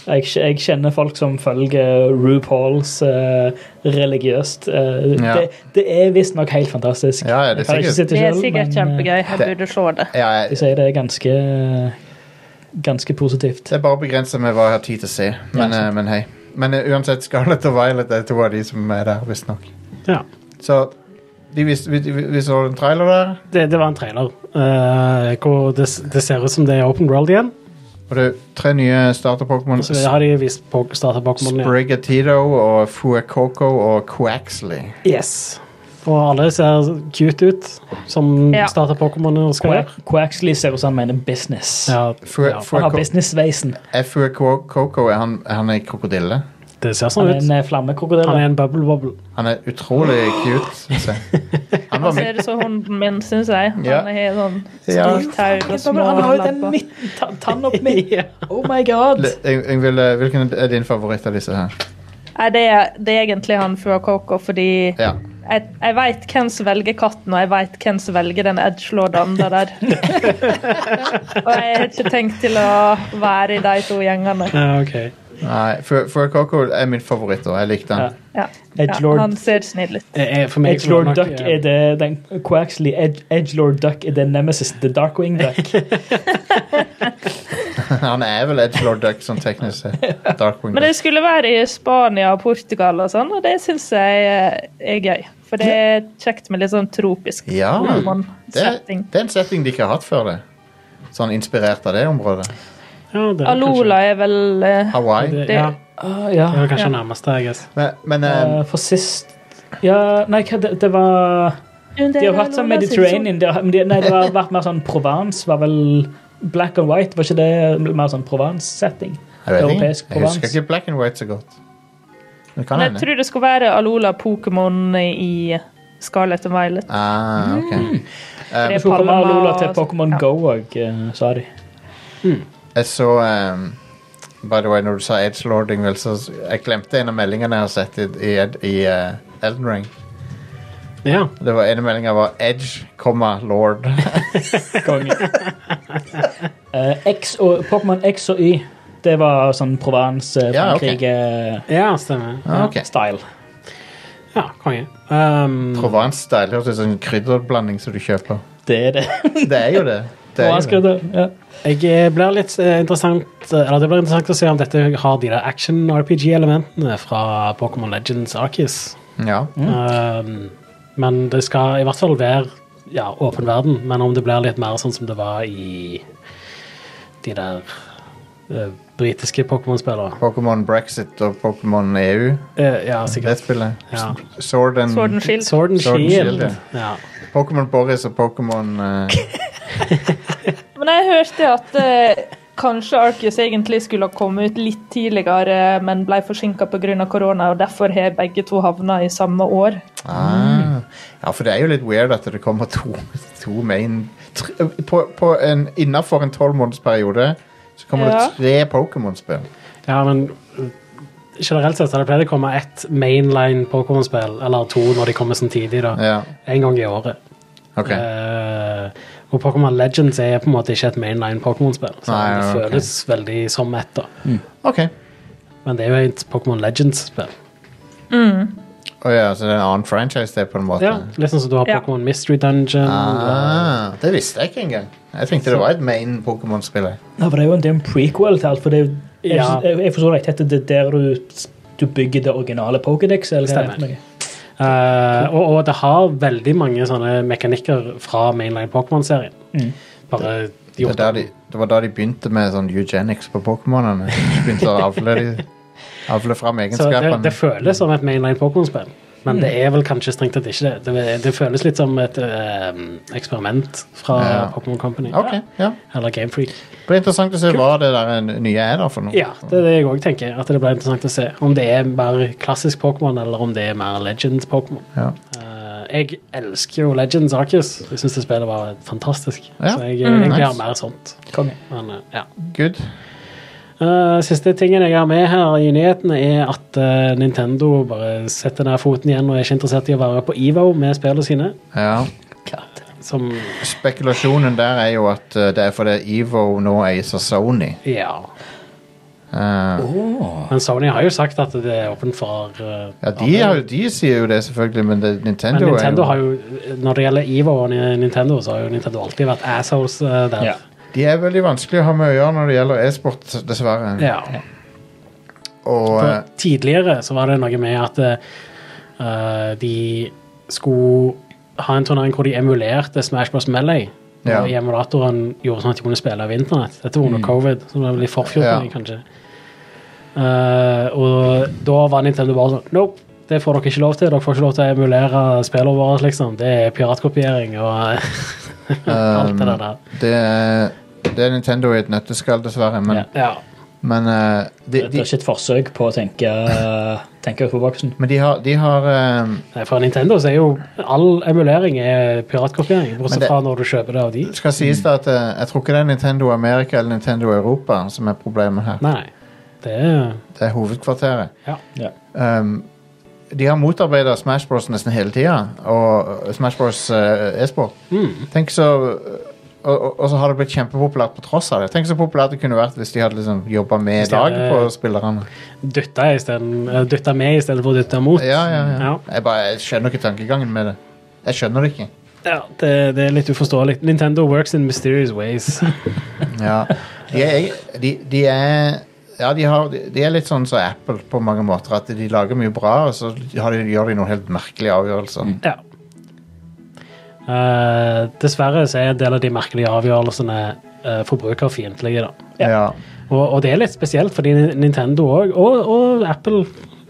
Jeg, jeg kjenner folk som følger RuPauls eh, religiøst. eh, Ja. det, det er visstnok helt fantastisk. Ja, ja, det er Jeg har ikke sikkert- sett Det er selv, sikkert men, eh, kjempegøy. Jeg det- burde se det. Ja, De jeg, sier det er ganske Ganske positivt. Det er bare begrenset med hva jeg har tid til å se. Men, Ja, sant. eh, men hei. Men eh, uansett, Scarlett og Violet er to av de som er der, visstnok. Ja. Så de vis, vi, vi, vi så en trailer der, Det, det var en trailer eh, hvor det, s- det ser ut som det er open world igjen. og det er tre nye starter-pokémon. Så har de vist på- startet Pokémon igjen. Sprigatito og Fuecoco og Quaxley. Yes. Og alle ser cute ut, som Ja. starter Pokémon og skal Quack- gjøre. Quaxley ser ut som han mener business. Ja, Fue- ja. Fue- Han har businessveisen. Er Fuecoco er han, er han ei krokodille? Det ser Han sånn er en ut. eh, flammekrokodille. Han er en bubble wobble. Han er utrolig cute, synes jeg. Han var Han ser ut som hunden min, syns jeg. Han Ja. er helt sånn Ja. stort tau og små Han har jo den labber. midten, ta- tann opp midten. Oh my god. L- Yng- Yngvild, eh, hvilken er din favoritt av disse her? Nei, det er, det er egentlig han fra Coco, fordi Ja. jeg, jeg veit hvem som velger katten, og jeg veit hvem som velger den edgelorderen der. der. og jeg har ikke tenkt til å være i de to gjengene. Ja, ok. Nei, Fur Fur Coco er min favoritt, og jeg likte den. Ja. Edgelord. Ja, han ser snill ut. Eh, eh, For meg så Edgelord var det nok, Duck eh, er det den Quaxley Edge, Edgelord Duck er det Nemesis, The Darkwing Duck. Han er vel Edgelord Duck, sånn teknisk sett. Darkwing Men det skulle være i Spania og Portugal og sånn, og det syns jeg eh, er gøy. For det er kjekt med litt sånn tropisk Duck. Ja, det, Pokémon-setting. det er en setting de ikke har hatt før det. Sånn inspirert av det området. Ja, det er Alola er vel eh, kanskje- Hawaii. det- Ja, Ah, det ja. var kanskje Ja. nærmeste, jeg guess. Men, men eh, Eh, for sist Ja, nei, hva det, det var De har hatt sånn Mediterranean de har, men de, Nei, det har vært mer sånn Provence var vel Black and white, var ikke det mer sånn Provence-setting? jeg vet ikke. europeisk Jeg husker provence. ikke Black and White så godt. Men det kan Men jeg hende. tror det skulle være Alola Pokémon i Scarlet and Violet. Ah, ok. For det er Palma Palma og Lola til og- Pokémon ja. Go òg, sa de. Jeg så um, By the way, nou, når du sa Edgelord, Ingvild, så s- jeg glemte en av meldingene jeg har sett i, i, Ed- i eh, Elden Ring. Ja. Det var ene meldinga var Edge, komma, lord. Konge. Eh, X og Pokémon X og Y, det var sånn Ja, ok. Provence-Frankrike-style. ja, stemmer. Ah, ok. Ja, konge. Um, Provence-style. Høres ut som en krydderblanding som du kjøper. Det er det. Det er jo det. det, er jo det. Provence-krydder, ja. Jeg eh, blir litt eh, interessant Eller det blir interessant å se om dette har de der action-RPG-elementene fra Pokémon Legends Arceus. Ja. Mm. Um, men det skal i hvert fall være ja, åpen verden. Men om det blir litt mer sånn som det var i de der eh, britiske Pokémon-spillene. Pokémon Brexit og Pokémon EU. Eh, ja, Det sikkert. spillet. Ja. Sword and Sword and Shield. Sword and Sword and Shield, Shield. Ja. Pokémon Boris og Pokémon eh, Men jeg hørte at eh, kanskje Arceus egentlig skulle ha kommet ut litt tidligere, men ble forsinka pga. korona, og derfor har begge to havna i samme år. ah. Ja, for det er jo litt weird at det kommer to, to main tre, på, på en, Innafor en tolvmånedersperiode så kommer Ja. det tre Pokémon-spill. ja, men eh, generelt sett så pleier det å komme ett mainline Pokémon-spill, eller to når de kommer samtidig, da. Ja, En gang i året. ok. Eh, og Pokémon Legends er på en måte ikke et mainline Pokémon-spill. Så Nei, ja, det ok. føles veldig som ett, da. Ok. Men det er jo et Pokémon Legends-spill. Å ja, så det er en annen franchise, det, på en måte. Ja, litt sånn som du har Ja. Pokémon Mystery Dungeon. Ah, det visste jeg ikke engang. Jeg tenkte det var et main Pokémon-spill. jeg. Ja, for det er jo en, det er en prequel til alt, for det er jo Jeg, Ja. jeg, jeg forstår deg, det er der du, du bygger det originale Pokédex, eller hva Stemmer. er det? Eh, og, og det har veldig mange sånne mekanikker fra mainline Pokémon-serien. Mm. Bare Det, er gjort der de, det var da de begynte med sånn eugenics på Pokémonene. De Begynte å avle, de, avle fram Så det, det egenskapene. føles som et mainline Pokémon-spill, men det er vel kanskje strengt tatt ikke det. Det, det føles litt som et eh, eksperiment fra Ja. Pokémon Company. Ok, ja. Eller Game Freak. Det blir interessant å se hva det der eh, nye er da for noe. Ja, det er det jeg òg tenker. At det blir interessant å se om det er mer klassisk Pokémon, eller om det er mer Legends-Pokémon. Ja. Eh, jeg elsker jo Legends Arceus. Jeg syns det spillet var fantastisk. Ja. Mm, Så jeg eh, egentlig har Nice. mer sånt. Konge. Men, eh, ja. Good. Eh, siste tingen jeg har med her i nyhetene, er at eh, Nintendo bare setter ned foten igjen og er ikke interessert i å være på EVO med spillene sine. Ja. Som Spekulasjonen der er jo at eh, det er fordi EVO nå eies av Sony. Ja. Eh, Oh, Men Sony har jo sagt at det er åpent for eh, ja, de, har jo- de sier jo det, selvfølgelig, men det, Nintendo, Men Nintendo er har jo, når det gjelder Ivo og Ni- Nintendo, så har jo Nintendo alltid vært assholes eh, der. Ja. jo De er veldig vanskelig å ha med å gjøre når det gjelder e-sport, dessverre. Ja. Og eh, For tidligere så var det noe med at eh, de skulle ha en turnering hvor de emulerte Smash Bros. Melee. Ja. Mm. Og i emulatoren gjorde sånn at de kunne spille over internett. Dette var under covid, så det var vel i forfjor, Ja. kanskje. Eh, og da var Nintendo bare sånn Nope, det får dere ikke lov til. Dere får ikke lov til å emulere spillene våre, liksom. Det er piratkopiering og eh, alt det der. Um, det, er- det er Nintendo i et nøtteskall, dessverre. Men, Ja. Men eh, de, Dette de, er ikke et forsøk på å tenke, tenke utenfor boksen. men de har, de har eh, Nei, Fra Nintendo så er jo all emulering er piratkopiering, Men bortsett det- fra når du kjøper det av de. Det skal sies da at eh, jeg tror ikke det er Nintendo Amerika eller Nintendo Europa som er problemet her. Nei, nei. Det er Det er hovedkvarteret. Ja. Ja. Um, de har motarbeida Smash Bros nesten hele tida, og eh, Smash Bros eh, e-sport. Tenk så og, og, og så har det blitt kjempepopulært på tross av det. Tenk så populært det kunne vært hvis de hadde liksom jobba med Hvis det dag er- på spillerne. dytta, i stedet- eh, dytta med istedenfor å dytte mot. Ja, ja, ja. Ja. Jeg, bare, jeg skjønner ikke tankegangen med det. Jeg skjønner det ikke. Ja, det, det er litt uforståelig. Nintendo works in mysterious ways. Ja, de er, de, de er ja, de, har, de er litt sånn som Apple på mange måter. At de lager mye bra, og så har de, gjør de noen helt merkelige avgjørelser. Ja. Eh, dessverre så er en del av de merkelige avgjørelsene uh, forbrukerfiendtlige. da. Ja. Og, og det er litt spesielt, fordi Ni- Nintendo òg, og, og Apple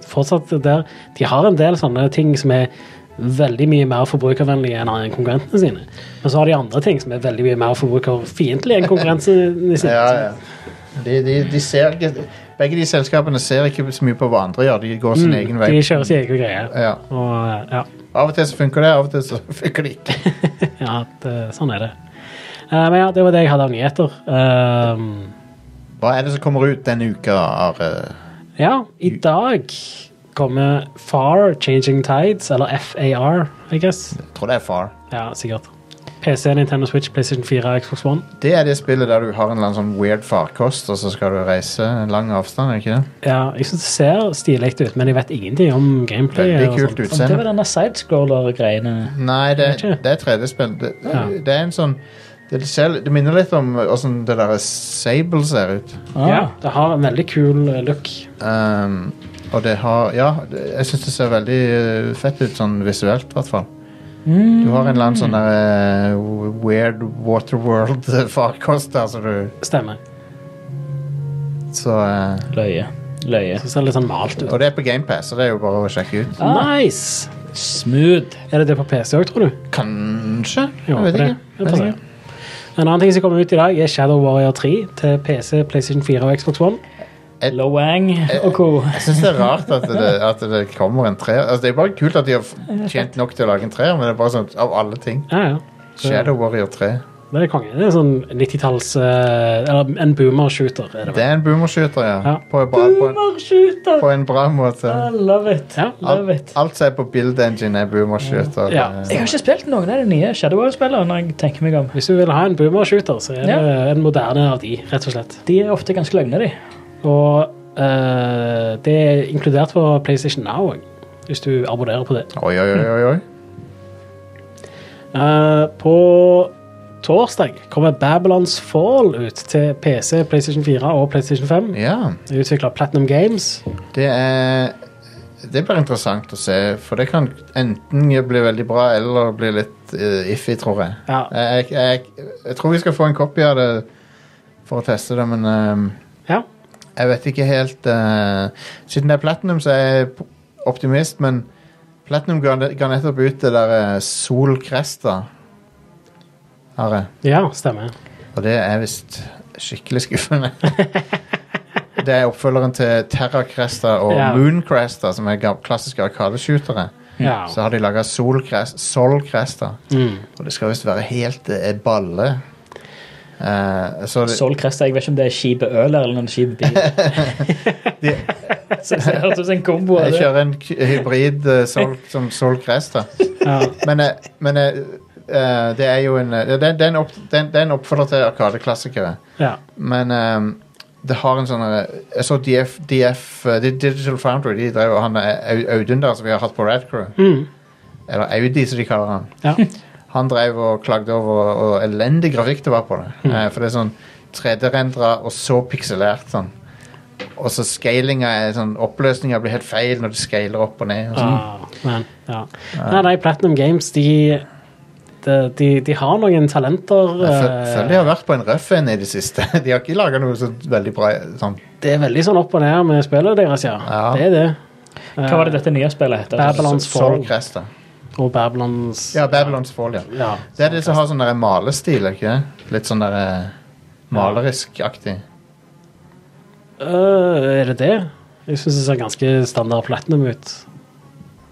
fortsatt der, de har en del sånne ting som er veldig mye mer forbrukervennlige enn konkurrentene sine. Men så har de andre ting som er veldig mye mer forbrukerfiendtlige enn konkurrentene sine. ja, ja. De, de, de ser ikke Begge de selskapene ser ikke så mye på hva andre gjør. De går sin egen vei. Mm, De kjører sin egen greie. Ja. Og eh, ja. Av og til så funker det, av og til så funker det ikke. Ja, det, sånn er det. Eh, men ja, det var det jeg hadde av nyheter. Ehm, Hva er det som kommer ut denne uka? eh, Are? ja, i dag kommer Far Changing Tides, eller FAR, I guess. Jeg tror det er Far. Ja, sikkert. PC, Nintendo Switch, PlayStation 4, Xbox One. Det er det spillet der du har en eller annen sånn weird farkost, og så skal du reise en lang avstand, er det ikke det? Ja, jeg synes det ser stilig ut, men jeg vet ingenting om gameplay. Veldig og kult sånt. Om det utseende. var denne sidescroller-greiene Nei, det, Vet ikke. det er 3D-spill. Det, Ja. det er en sånn det, ser, det minner litt om åssen det der Sable ser ut. ah, Ja, det har en veldig kul eh, look. Um, og det har Ja, det, jeg syns det ser veldig eh, fett ut sånn visuelt, i hvert fall. Du har en eller annen sånn Mm. der eh, weird Waterworld-farkost der, så du Stemmer. Så eh, Løye. Løye. Så ser det litt sånn malt ut. Og det er på GamePass, så det er jo bare å sjekke ut. Nice! Smooth. Er det det på PC òg, tror du? Kanskje? Jo, Jeg vet det- ikke. det Vet passer. ikke. En annen ting som kommer ut i dag, er Shadow Warrior 3 til PC, PlayStation 4 og Xbox One. Loang og co. Jeg syns det er rart at det, at det kommer en treer. Altså, det er bare kult at de har f- tjent nok til å lage en treer, men det er bare sånn av alle ting. Ja, ja. Shadow Warrior 3. Det er konge. Det er sånn 90-talls eh, Eller en boomer-shooter. er det vel. Det er en boomerskyter, ja. Ja. På, en bra- på, en, Shooter! på en bra måte. I love it. Ja. Love it. Alt, alt som er på Build Engine, er boomerskyter. Eh, Ja. Jeg har ikke spilt noen av de nye Shadow Warrior-spillene. når jeg tenker meg om. Hvis du vil ha en boomer-shooter, så er det en moderne av de, rett og slett. De er ofte ganske løgne, de. Og eh, det er inkludert på PlayStation Now òg, hvis du abonnerer på det. Oi, oi, oi, oi, oi. Eh, på torsdag kommer Babylons Fall ut til PC, PlayStation 4 og PlayStation 5. Ja. Det er utvikla Platinum Games. Det er Det blir interessant å se, for det kan enten bli veldig bra eller bli litt eh, iffy, tror jeg. Ja. Jeg, jeg, jeg, jeg tror vi skal få en copy av det for å teste det, men ehm, Ja. jeg vet ikke helt eh, Siden det er Platinum, så er jeg p- optimist, men Platinum ga, ga nettopp ut det der eh, Sol Cresta. Har jeg. ja, stemmer. Og det er visst skikkelig skuffende. det er oppfølgeren til Terra Cresta og Ja. Moon Cresta, som er gam- klassiske arkadeshootere. Ja. Mm. Så har de laga Sol Crest- Sol Cresta, Mm. og det skal visst være helt eh, balle. Eh, så det, Sol Cresta, jeg vet ikke om det er skipet øl eller noen skipet bil. Så det høres ut som en kombo. av jeg det. kjører en k- hybrid eh, Sol, som Sol Cresta. Ja. Men, eh, men eh, eh, det er jo en eh, Det, det er en opp, det er en- det er en oppfølger til Arkadeklassikere. ja. Men ehm, det har en sånn eh, Jeg så DF, DF eh, Di- Digital Foundry. De drev og han eh, Au- Audun der som vi har hatt på Radcrew. Mm. Eller Audi, som de kaller han. ja. Han drev og klagde over og elendig grafikk det var på det. Eh, for det er sånn 3D-rendra og så pikselert sånn. Og så scalinga er sånn Oppløsninga blir helt feil når du scaler opp og ned. Og sånn. Ah, men, ja. Nei, nei, Platinum Games, de de, de, de har noen talenter. Jeg føl- eh, føler de har vært på en røff en i det siste. De har ikke laga noe så veldig bra sånn. det er veldig sånn opp og ned med spillet deres, ja. Ja. Det er det. Hva var det dette nye spillet heter? Babylons Sol Fall Cresta. Eh, og Babylons Ja, Babylons Fall, ja. ja. Det er det som har sånn der malestil, er ikke det? Litt sånn der eh, malerisk-aktig. Øh, er det det? Jeg syns det ser ganske standard platinum ut.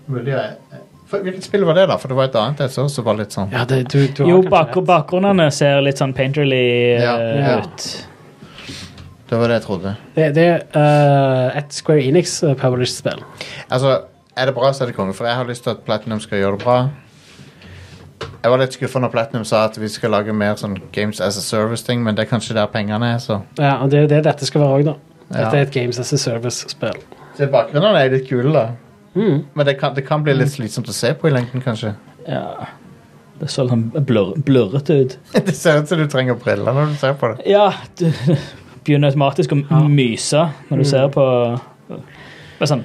Mulig jeg- for, Hvilket spill var det, da? For det var et annet jeg så som var litt sånn Ja, det, du, du har Jo, kanskje bak rett. bakgrunnene ser litt sånn painterly eh, Ja, ja. ut. Det var det jeg trodde. Det, det er øh, et Square Enix-published spill. Altså, er det bra, så er det konge, for jeg har lyst til at Platinum skal gjøre det bra. Jeg var litt skuffa når Platinum sa at vi skal lage mer sånn Games as a Service-ting, men det er kanskje der pengene er, så Ja, og det er jo det dette skal være òg, da. Dette Ja. er et Games as a Service-spill. Så bakgrunnen er litt kul, da. Mm. Men det kan, det kan bli litt slitsomt å se på i lengden, kanskje. Ja. Det så litt sånn blur, blurrete ut. Det ser ut som du trenger briller når du ser på det. Ja, du begynner automatisk å Ja. myse når Mm. du ser på Men sånn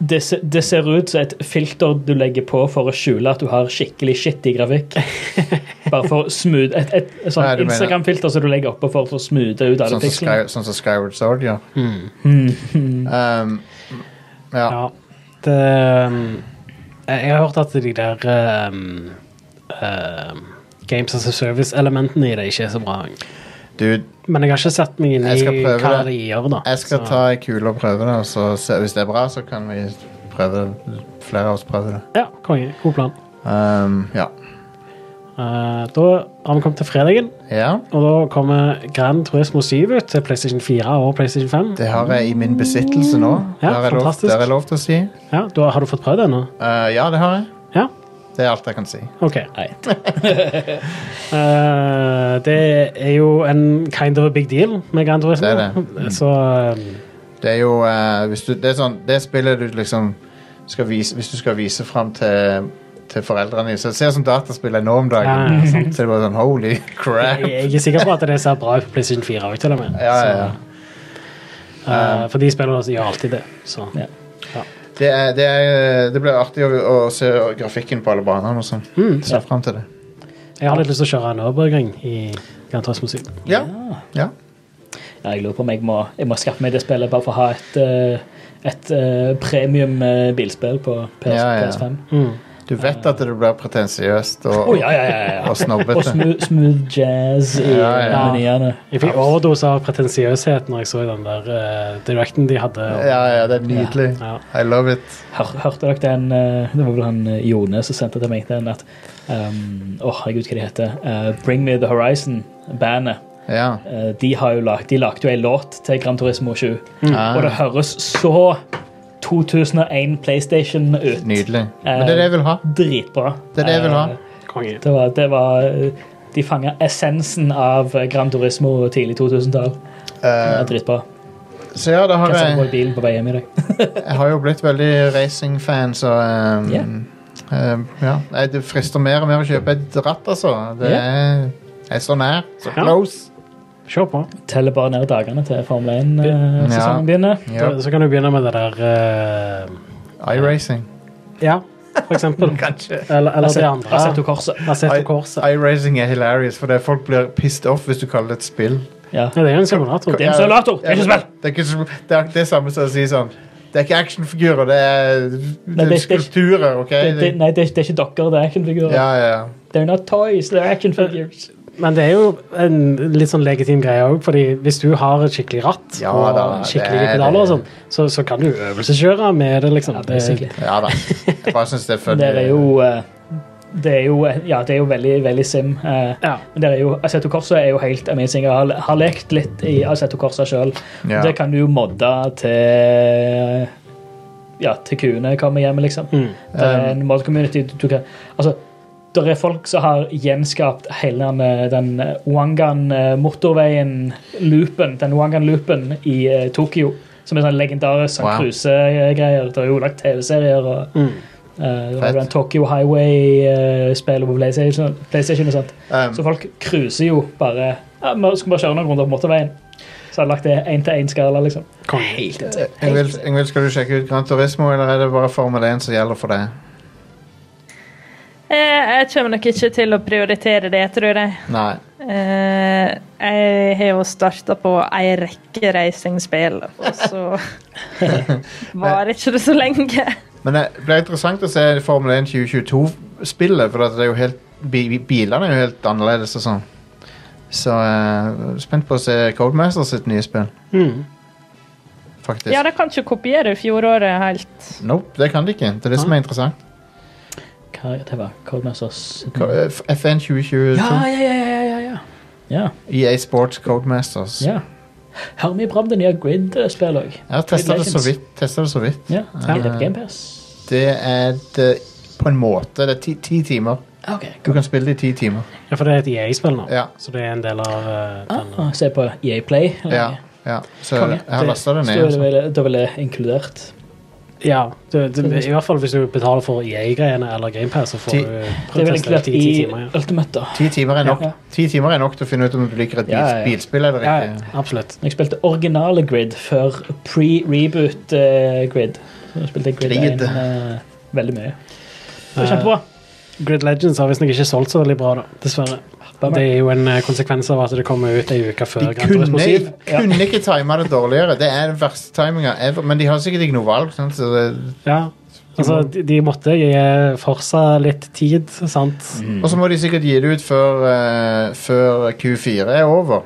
det, se- det ser ut som et filter du legger på for å skjule at du har skikkelig shitty grafikk. Bare for å smooth Et, et, et Nei, sånt du mener- Instagram-filter som du legger oppå for å smoothe ut alle Sånn som, pikslene. Sky, sånn som Skyward Sword gjør. Um, ja. Mm. Ja. Det, um, jeg jeg har hørt at de der um, um, Games as a Service-elementene i det ikke er så bra. Dude, Men jeg har ikke sett meg inn i Jeg skal prøve hva det. de gjør, da. jeg skal Så- ta ei kule og prøve det, og så se, hvis det er bra, så kan vi prøve det. Flere av oss prøve det. Ja, konge. God plan. Um, ja. Eh, da har vi kommet til fredagen, ja. og da kommer Gran Turismo 7 ut til PlayStation 4 og PlayStation 5. Det har jeg i min besittelse nå. Ja, det, har jeg lov, fantastisk. det har jeg lov til å si. Ja, da Har du fått prøvd det ennå? Eh, ja, det har jeg. Ja? Det er alt jeg kan si. OK. Eh, det er jo en kind of a big deal med Gran Turismo. Det er det. Så um, Det er jo eh, hvis du, det, er sånn, det spillet du liksom skal vise, Hvis du skal vise fram til, til foreldrene dine Så Se sånn dataspill er nå om Ja, dagen. ja, så det er bare sånn holy crap. Jeg jeg er sikker på at det ser bra ut på PlayStation 4 også, til og med. Ja, ja, ja. Så, eh, for de spillerne gjør alltid det. Så. Ja. Det, er, det, er, det blir artig å, å se grafikken på alle banene og sånn. Mm, Ser frem til det. Jeg har litt lyst til å kjøre en Nürburgring i Gran Turismo 7. Ja. ja. Ja, jeg lurer på om jeg må, jeg må skaffe meg det spillet bare for å ha et, eh, et eh, premium eh, bilspill på PS, Ja, ja. PS5. Mm. Du vet at det blir pretensiøst og, Å, ja, ja, ja, ja. og snobbete. Og smooth, smooth jazz i Ja, ja. menyene. Jeg fikk overdose av pretensiøsitet når jeg så den der eh, directen de hadde. Ja, ja, det er nydelig. Ja. I love it. Hør, hørte dere den eh, Det var vel han eh, Jone som sendte til meg den at um, Å, herregud, hva de heter eh, Bring Me The Horizon-bandet. Ja. Eh, de har jo lagt, de lagde jo en låt til Gran Turismo 7, Mm. og det Ah, høres så 2001 PlayStation ut. nydelig. Men Eh, det er det jeg vil ha. Dritbra. Det er det jeg vil ha. Eh, Konge. Det var, det var De fanga essensen av eh, Gran Turismo tidlig 2000-tall. Det Eh, er Dritbra. så ja, da har Kan sette på jeg i bilen på vei hjem i dag. Jeg har jo blitt veldig racing-fan, så um, Ja. um, ja. Nei, Det frister mer og mer å kjøpe et ratt, altså. Det Ja. er, jeg er så nær. Så Ja. close. Se på. Teller bare ned dagene til Formel 1-sesongen Ja. begynner. Ja. Så kan du begynne med det der eh, iRacing. Ja, for eksempel. Kanskje. Eller, eller det Assetto andre. Corsa. Assetto Corsa. iRacing er hilarious, for det er folk blir pissed off hvis du kaller det et spill. Ja. Ja, det er jo en simulator. Det er en simulator, det er ikke spill. Det er ikke spill. Det er det samme som å si sånn Det er ikke actionfigurer, det er, det Nei, er det er ikke- skulpturer, OK? Det, det, nei, det er, det er ikke dokker, det er actionfigurer. ja, ja, ja. They're not toys, they're Eh, action figures. Men det er jo en litt sånn legitim greie òg, fordi hvis du har et skikkelig ratt Ja og da, det skikkelige er pedaler og det. sånn, så, så kan du øvelseskjøre med det, liksom. Ja, basically. Ja da. Jeg bare syns det er Men funny. det er jo eh, det er jo, ja, det er jo veldig, veldig sim. eh, ja. Men det er jo, Assetto Corsa er jo helt amazing. Jeg har, har lekt litt i Assetto Corsa sjøl. Ja. Det kan du jo modde til ja, til kuene kommer hjem, liksom. Mm. Det er en mod community. Du, du kan, altså, det er folk som har gjenskapt hele den, eh, den eh, Wangan-motorveien-loopen, den Wangan-loopen i eh, Tokyo, som er sånn legendarisk sånn Wow. cruisegreier. Det er jo lagt TV-serier og Mm. eh, det Fett. var den Tokyo Highway-spillet på PlayStation, PlayStation og sånt. Um, Så folk cruiser jo bare ja, Vi skulle bare kjøre noen runder på motorveien. Så hadde jeg lagt det én til én-skala, liksom. Konge. Ingvild, Ingvild, skal du sjekke ut Gran Turismo, eller er det bare Formel 1 som gjelder for deg? Eh, jeg kommer nok ikke til å prioritere det, tror jeg. Nei. Eh, jeg har jo starta på ei rekke racingspill, og så varer ikke det så lenge. Men det blir interessant å se Formel 1 2022-spillet, for at det er jo helt, bi- bi- bilene er jo helt annerledes og sånn. Så eh, spent på å se Codemaster sitt nye spill, Mm. faktisk. Ja, de kan ikke kopiere fjoråret helt. Nope, det kan de ikke. Det er det som er interessant. Mm. Hva det var Codemasters Ko- eh, F- FN 2022, Ja, ja, ja, ja, ja, ja. Ja, EA E Sports Codemasters. ja. Hør mye bra om det nye Grid-spillet òg. Jeg har testa det så vidt. testet det så vidt. Ja. Ja. GamePass. Det er det, på en måte Det er ti, ti timer. OK. Du kan spille det i ti timer. Ja, for det er et EA-spill nå, Ja. så det er en del av eh, den. Ah, se på EA Play. eller? Ja. ja. Så Konge. jeg har lasta det ned. Så da er det altså. vel- Da er vel det inkludert. Ja, det, det, I hvert fall hvis du betaler for EA-greiene eller GamePass, så får eh, Ti- du Det er vel prøveteste inkludert i ti i timer. Ja. Ultimate, da. Ti timer er nok Ja. Ti timer er nok til å finne ut om du liker et bil, Ja, ja, ja. bilspill eller Ja, ja, ikke. absolutt. Når jeg spilte originale Grid før pre-reboot eh, Grid. Så spilte jeg Grid, Grid. 1 eh, veldig mye. Det var Eh, kjempebra. Grid Legends har visstnok ikke solgt så veldig bra, da, dessverre. Det er jo en eh, konsekvens av at det kommer ut ei uke før De Gran Turismo kunne, 7. kunne ikke time det dårligere. Det er den verste timinga ever. Men de har sikkert ikke noe valg. Sant? Så det, Ja. Altså, de, de måtte gi eh, Forsa litt tid, sant? Mm. Og så må de sikkert gi det ut før, eh, før Q4 er over.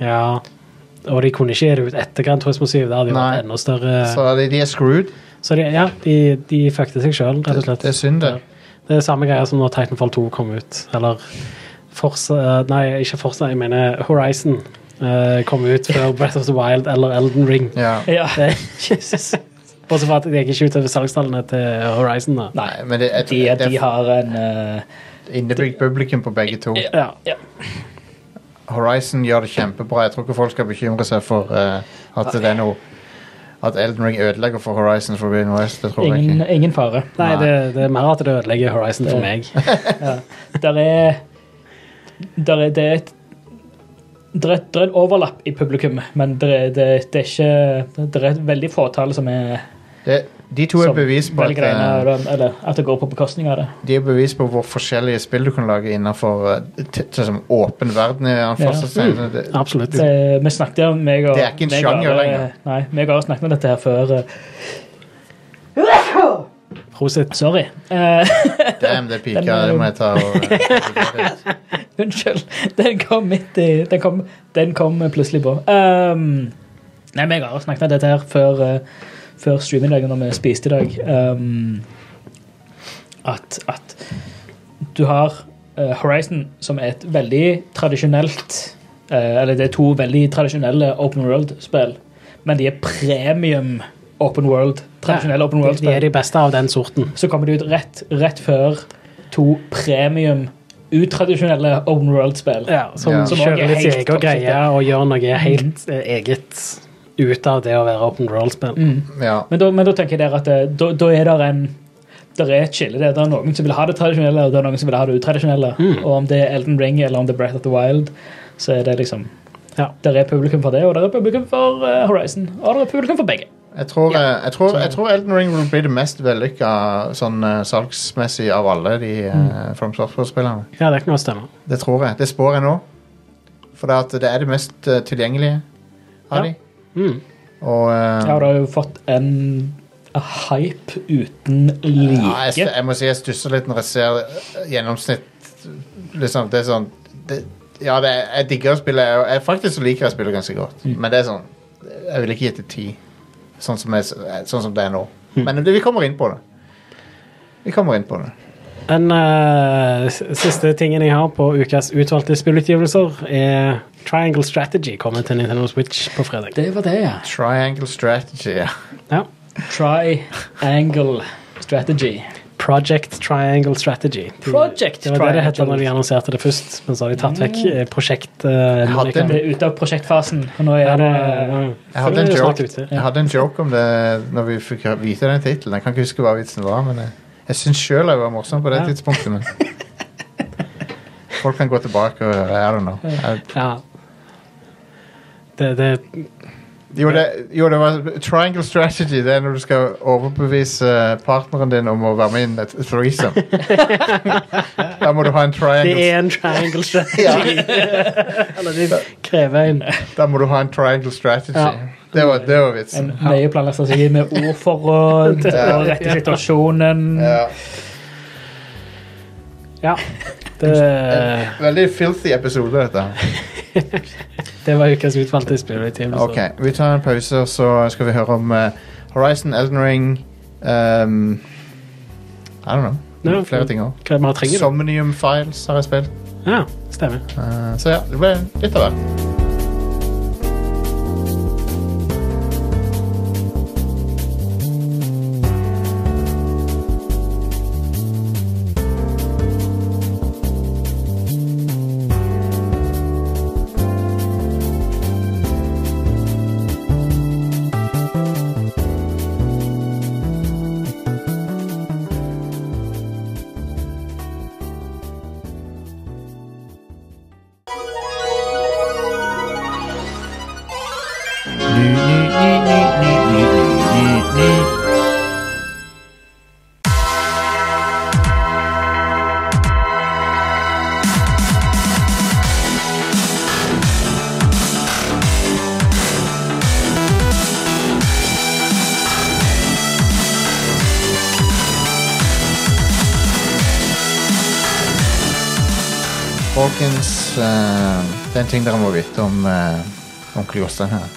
Ja. Og de kunne ikke gi det ut etter Gran Turismo 7. Da hadde de Nei. vært enda større. Så, Så de, de er screwed. de, ja, de, de fucket seg sjøl, rett Det, og slett. det er synd, det. Det er samme greia som når Titanfall 2 kom ut. Eller Forza Nei, ikke Forza, jeg mener Horizon eh, kom ut før Breath of the Wild eller Elden Ring. Ja. Ja. Jesus. Bortsett fra at jeg ikke er ute over salgstallene til Horizon, da. Nei, men det, jeg, De, tror- de det er har en eh, innebygd publikum på begge to. Ja. Horizon gjør det kjempebra. Jeg tror ikke folk skal bekymre seg for eh, at det er noe At Elden Ring ødelegger for Horizon Forbidden West. Det tror jeg ingen, ikke. ingen fare. Nei, det, det er mer at det ødelegger Horizon for meg. Der er Der er det er et der er, der er en overlapp i publikum, men der er, det, det er ikke Der er et veldig fåtall som er Det, de to er som bevis på at, velger en av eh, dem, eller at det går på bekostning av det. De er bevis på hvor forskjellige spill du kan lage innenfor eh, t- t- som åpen verden. i anførselstegn. sånn, Mm. Det, Absolutt. Eh, Vi snakket om meg og Det er ikke en meg sjanger og Are- lenger. Nei, meg og Are snakket om dette her før. eh, Prosit. Sorry. Eh, damn, det piker. Den er- Det må jeg ta og eh, unnskyld. Den kom midt i Den kom, den kom plutselig på. Um, nei, meg og Are snakket om dette her før, uh, før streamingdagen når vi spiste i dag. Um, at, at du har eh, Horizon, som er et veldig tradisjonelt eh, Eller det er to veldig tradisjonelle open world-spill, men de er premium open world. Tradisjonelle open De, de world-spill. er de beste av den sorten. så kommer det ut rett, rett før to premium utradisjonelle open world-spill. Ja, som Ja. Som også er kjører litt sin helt egen Mhm. greie og gjør noe helt eh, eget ut av det å være open world-spill. Ja. Mm. Men, da- men da tenker jeg der at eh, da, da er det en der er et skille der. Det er noen som vil ha det tradisjonelle, og det er noen som vil ha det utradisjonelle. Mm. Og om det er Elden Ring eller om det er Breath of the Wild, så er det liksom Ja. Der er publikum for det, og der er publikum for eh, Horizon. Og der er publikum for begge. Jeg tror, eh, jeg, tror, jeg tror Elden Ring vil bli det mest vellykka sånn, eh, salgsmessig av alle de eh, Mm. From Software-spillerne. Ja, det kan godt stemme. Det tror jeg. Det spår jeg nå. For det, at det er det mest eh, tilgjengelige av Ja. de. Mm. Og eh, Ja, og det har jo fått en hype uten ja, jeg, like. st- jeg må si jeg stusser litt når jeg ser eh, gjennomsnitt liksom, Det er sånn det, Ja, det, er- jeg digger å spille. Jeg, jeg faktisk så liker jeg å spille ganske godt. Mm. Men det er sånn Jeg ville ikke gitt det ti, sånn som, jeg, s- sånn som det er nå. Mm. Men det, vi kommer inn på det. Vi kommer inn på det. Den eh, s- siste tingen jeg har på ukas utvalgte spillutgivelser, er Triangle Strategy kommer til Nintendo Switch på fredag. Det var det, ja. Triangle strategy, ja. Ja. Triangle strategy. Project Triangle Strategy. De, Project det var det det het da Triangle. Mm. de annonserte det først, men så har de tatt vekk eh, prosjekt... eh, Jeg hadde en- Det er ute av prosjektfasen, og nå Ja, er det, det Jeg hadde, en det er snart joke, ute. jeg hadde en joke om det når vi fikk vite den tittelen. Jeg kan ikke huske hva vitsen var, men jeg, jeg syns sjøl jeg var morsom på det Ja. tidspunktet. Men folk kan gå tilbake og høre. I don't know. Jeg, Ja. Det, det, jo, det, jo, det var triangle strategy. Det er når du skal overbevise eh, partneren din om å være med inn i et threesome. da må du ha en det triangle, er en triangle strategy. Eller de krever en. da må du ha en triangle strategy. Ja. Det, var, det var en vitsen. nøye planlagt strategi med ordforråd og rette situasjonen. Ja. Ja. Det, Veldig filthy episode, dette. det var ukas utvalgte Spirit Team. så- Ok, vi tar en pause, og så skal vi høre om eh, Horizon, Elden Ring ehm, I don't know. Ja, Flere ting òg. Hva vi har trenger. da. Somnium Files har jeg spilt. Ja, stemmer. Eh, så ja, det ble litt av hvert. Folkens, eh, det er en ting dere må vite om, eh, om Kljostein her.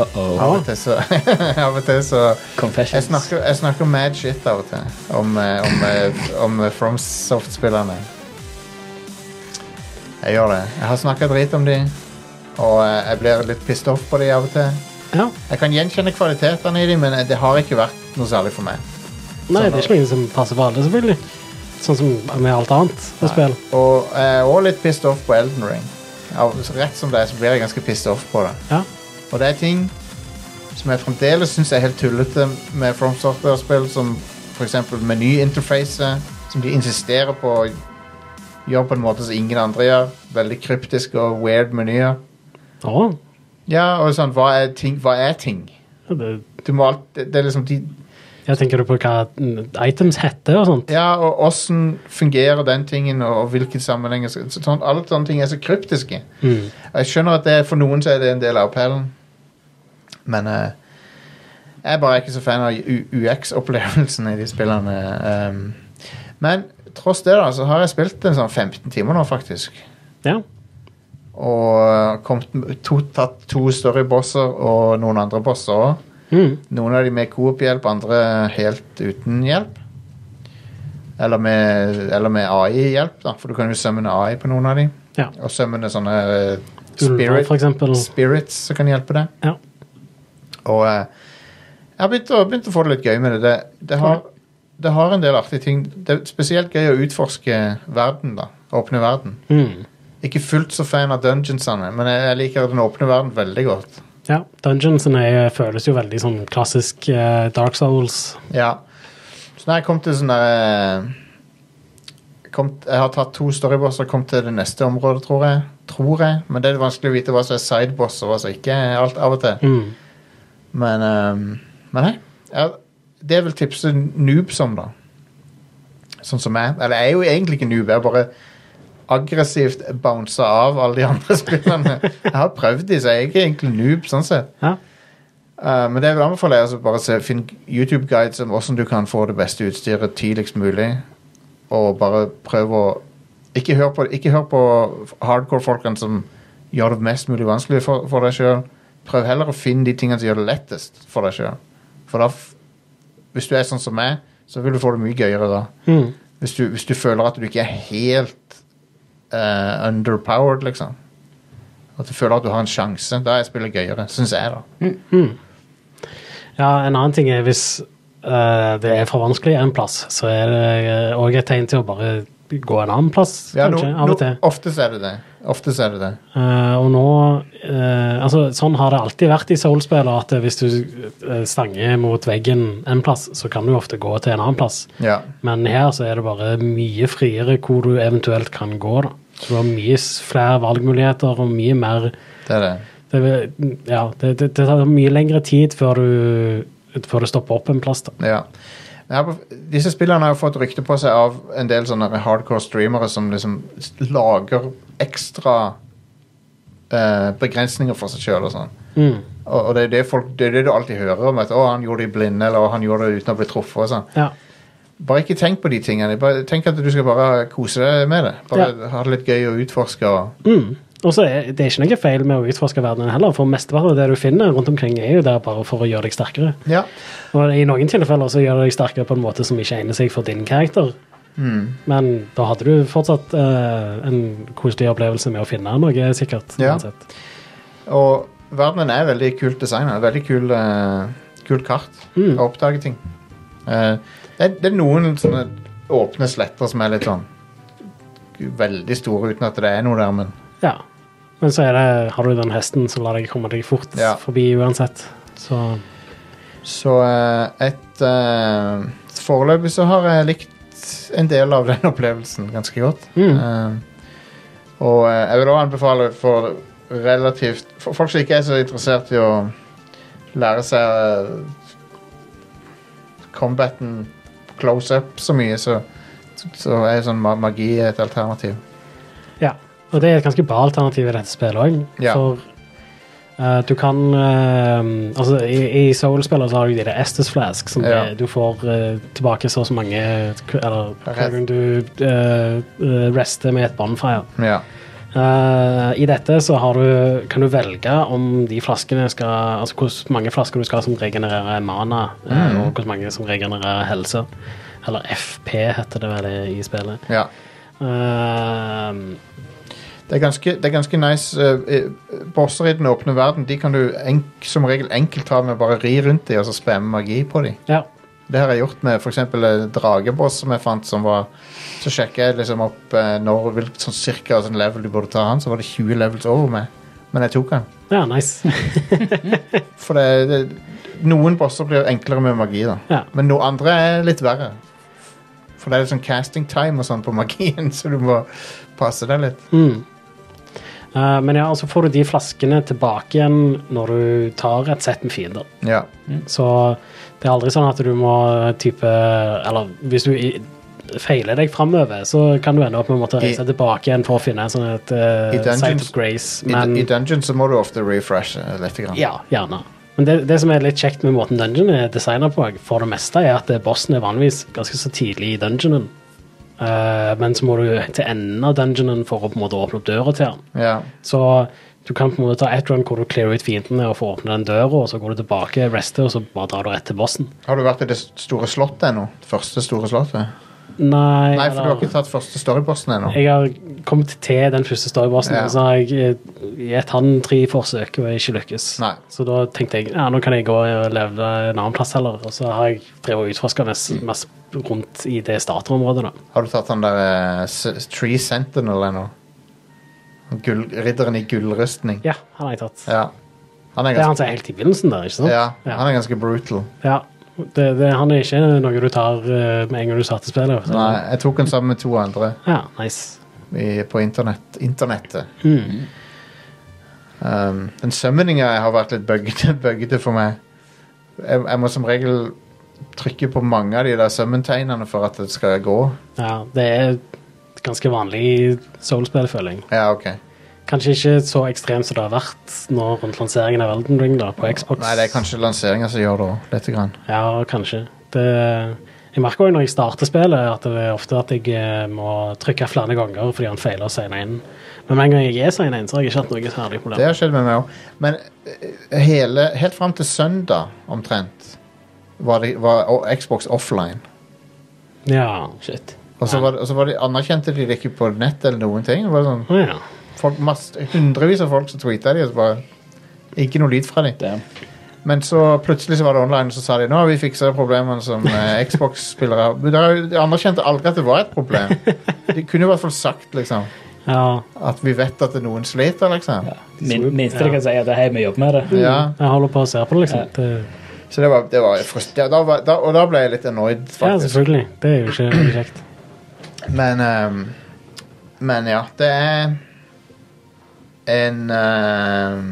Av og til så, av og til så jeg, Confessions. snakker, jeg snakker mad shit av og til om, eh, om, eh, om eh, FromSoft-spillerne. Jeg gjør det. Jeg har snakka drit om de, og eh, jeg blir litt pissed off på de av og til. Ja. Jeg kan gjenkjenne kvalitetene i de, men eh, det har ikke vært noe særlig for meg. Nei, det er ikke noe som passer for alle, selvfølgelig. Sånn som med alt annet på spill. Og jeg er også litt pissed off på Elden Ring. Av- så Rett som det er, så blir jeg ganske pissed off på det. Ja. Og det er ting som jeg fremdeles syns er helt tullete med From Software-spill, som f.eks. menyinterfacet, som de insisterer på å gjøre på en måte som ingen andre gjør. Veldig kryptiske og weird menyer. Å, Ja, og sånn, hva er ting? Hva er ting? det, Du må alt, det det er liksom de, jeg tenker du på hva mm, items heter og sånt. Ja, og åssen fungerer den tingen, og, og hvilken sammenheng så, sånn, Alle sånne ting er så kryptiske. Mm. Og Jeg skjønner at det, for noen så er det en del av appellen, men eh, jeg er bare ikke så fan av UX-opplevelsen i de spillene. ehm. men tross det, da, så har jeg spilt en sånn 15 timer nå, faktisk. Ja. Og eh, kommet, med to, tatt to storybosser og noen andre bosser òg. Mm. Noen av de med Coop-hjelp, andre helt uten hjelp. Eller med, eller med AI-hjelp, da, for du kan jo summone AI på noen av de. Ja. Og summone sånne eh, Ulver, spirit, for eksempel. spirits som kan hjelpe deg. Ja. Og eh, jeg har begynt å, begynt å få det litt gøy med det. Det, det, har, det har en del artige ting. Det er spesielt gøy å utforske verden, da. Åpne verden. Mm. Ikke fullt så fan av dungeonsene, men jeg, jeg liker den åpne verden veldig godt. Ja, Dungeonsene er, føles jo veldig sånn klassisk eh, Dark Souls. Ja. Så når jeg kom til sånn der eh, kom, Jeg har tatt to storybosser og kom til det neste området, tror jeg. Tror jeg. Men det er vanskelig å vite hva som er sideboss og hva som ikke er alt av og til. Mm. Men, ehm, men nei. Ja, det vil tipse noobs om, da. Sånn som jeg. Eller jeg er jo egentlig ikke noob. Jeg bare aggressivt bouncer av alle de andre spillerne. Jeg har prøvd de, så jeg er ikke egentlig noob, sånn sett. Ja. Eh, men det jeg vil anbefale er altså bare å se, finn YouTube-guides om hvordan du kan få det beste utstyret tidligst mulig, og bare prøv å Ikke hør på, ikke hør på hardcore-folkene som gjør det mest mulig vanskelig for, for deg sjøl. Prøv heller å finne de tingene som gjør det lettest for deg sjøl. For da f- Hvis du er sånn som meg, så vil du få det mye gøyere da. Mm. Hvis du, hvis du føler at du ikke er helt eh, underpowered, liksom. At du føler at du har en sjanse. Da er spillet gøyere, syns jeg, da. ja, en annen ting er hvis eh, det er for vanskelig en plass, så er det òg et tegn til å bare gå en annen plass, Ja, no, kanskje, av no, og til. ofte så er det det. Ofte så er det det. Eh, og nå eh, altså Sånn har det alltid vært i Soul-spill, at hvis du eh, stanger mot veggen en plass, så kan du ofte gå til en annen plass. Ja. Men her så er det bare mye friere hvor du eventuelt kan gå. da. Så du har mye s- flere valgmuligheter og mye mer Det er det. Det, vil- ja, det, det, det tar mye lengre tid før du, før du stopper opp en plass. da. Ja. Men her på- Disse spillerne har jo fått rykte på seg av en del sånne hardcore streamere som liksom s- lager ekstra eh, begrensninger for seg sjøl og sånn. Mm, Og, og det, er det, folk, det er det du alltid hører om. At 'Å, han gjorde det i blinde', eller 'Å, han gjorde det uten å bli truffet'. og sånn. ja. Bare ikke tenk på de tingene. Bare, tenk at du skal bare kose deg med det. Bare ha det litt gøy å utforske. Og, Mm. Og så er det er ikke noe feil med å utforske verdenen heller, for mesteparten av det du finner rundt omkring, er jo der bare for å gjøre deg sterkere. ja. Og i noen tilfeller så gjør det deg sterkere på en måte som ikke egner seg for din karakter. Hmm. Men da hadde du fortsatt eh, en koselig opplevelse med å finne noe, sikkert. Ja. uansett. og verdenen er veldig kult designa. Veldig kul, eh, kult kart. Mm. Å oppdage ting. Eh, det, er, det er noen sånne åpne sletter som er litt sånn Veldig store uten at det er noe der, men ja. Men så er det, har du den hesten som lar deg komme deg fort Ja. forbi uansett. Så Så eh, et eh, Foreløpig så har jeg likt en del av den opplevelsen ganske godt. Mm. Eh, og eh, jeg vil også anbefale for relativt For folk som ikke er så interessert i å lære seg eh, combaten close up så mye, så, så er sånn ma- magi et alternativ. Ja, og det er et ganske bra alternativ i dette spillet òg. Ja. For eh, du kan eh, Altså, i, i Soul-spillet så har du de der Estes Flask, som Ja. det, du får eh, tilbake så og så mange eh, Eller hver Rest. gang du eh, eh, rester med et bonfire. Ja. Eh, I dette så har du, kan du velge om de flaskene skal Altså hvor mange flasker du skal ha som regenererer mana, eh, og hvor mange som regenererer helse. Eller FP heter det vel i- i spillet. ja. Eh, Det er ganske, det er ganske nice. eh, eh, Bosser i den åpne verden de kan du enk, som regel enkelt ta med å bare ri rundt dem og så spamme magi på dem. ja. Det har jeg gjort med f.eks. en drageboss som jeg fant. som var, Så sjekka jeg liksom opp eh, når, hvilket sånn cirka sånn level du burde ta han, så var det 20 levels over meg. Men jeg tok han. Ja, nice. For det, det, noen bosser blir enklere med magi, da. Ja. Men noen andre er litt verre. For det er litt sånn casting time og sånn på magien, så du må passe deg litt. Mm. Eh, men ja, og så får du de flaskene tilbake igjen når du tar et sett med fiender. Ja. Så det er aldri sånn at du må type Eller hvis du i, feiler deg framover, så kan du ende opp med å måtte reise I- tilbake igjen for å finne en sånn et eh, I Dungeons- Site of Grace. I, Men I dungeon så må du ofte refreshe litt. Grann. ja, gjerne. Men det, det som er litt kjekt med måten dungeon er designet på, for det meste, er at eh, bossen er vanligvis ganske så tidlig i dungeonen. Eh, men så må du til enden av dungeonen for å på en måte åpne opp døra til han. Ja. Så du kan på en måte ta ett run hvor du clearer ut fiendene og får åpne den døra, og så går du tilbake, rester, og så bare drar du rett til bossen. Har du vært i det store slottet ennå? Det Første store slottet? Nei, Nei, for du har eller- ikke tatt første storybossen ennå. jeg har kommet til den første storybossen, Ja. og så har jeg eh, gitt han tre forsøk og ikke lykkes. Nei. Så da tenkte jeg ja, nå kan jeg gå og leve en annen plass heller, og så har jeg drevet og utforska masse, Mm. masse rundt i det starterområdet, da. Har du tatt han der eh, S- Tree Sentinel ennå? Han Gull, ridderen i gullrustning. Ja, han har jeg tatt. Ja. Han er Det er han ganske, som er helt i begynnelsen der, ikke sant? ja, han er ganske brutal. Ja. Det, det, han er ikke noe du tar eh, med en gang du starter spillet. så- Nei, jeg tok han sammen med to andre Ja, nice. Mm. i, på internett, internettet. Um, den summoninga har vært litt bøggete bøggete for meg. Jeg, jeg må som regel trykke på mange av de der summon-tegnene for at det skal gå. Ja, det er et ganske vanlig soulspill-føling. Ja, ok. Kanskje ikke så ekstremt som det har vært nå rundt lanseringen av Elden Ring da, på Xbox. Nei, det er kanskje lanseringa som gjør det òg, lite grann. Ja, kanskje. Det, jeg merker også når jeg starter spillet, at det er ofte at jeg eh, må trykke flere ganger fordi han feiler å signe inn. Men med en gang jeg er signa inn, så har jeg ikke hatt noe særlig problem. Det har skjedd med meg òg. Men eh, hele, helt fram til søndag omtrent var, det, var og Xbox offline. Ja. Shit. Og så, var det, og så var det, anerkjente de det ikke på nett eller noen ting. Det var sånn, Å ja. folk, masse, hundrevis av folk som tweeta de, og så bare Ikke noe lyd fra de. Damn. Men så plutselig så var det online, og så sa de nå har vi fiksa problemene som eh, Xbox-spillere har. Men det har jo- De anerkjente aldri at det var et problem. De kunne i hvert fall sagt liksom ja. at vi vet at noen sliter, liksom. Min, minste de kan si, er at hei, vi jobber med det. Ja. Jeg holder på å se på det, liksom. Det, Mm. Så det var, det var frustrerende. Da var, da, og da ble jeg litt annoyed, ja, altså. faktisk. selvfølgelig. Det er jo ikke veldig kjekt. men, ehm, men ja, det er en ehm,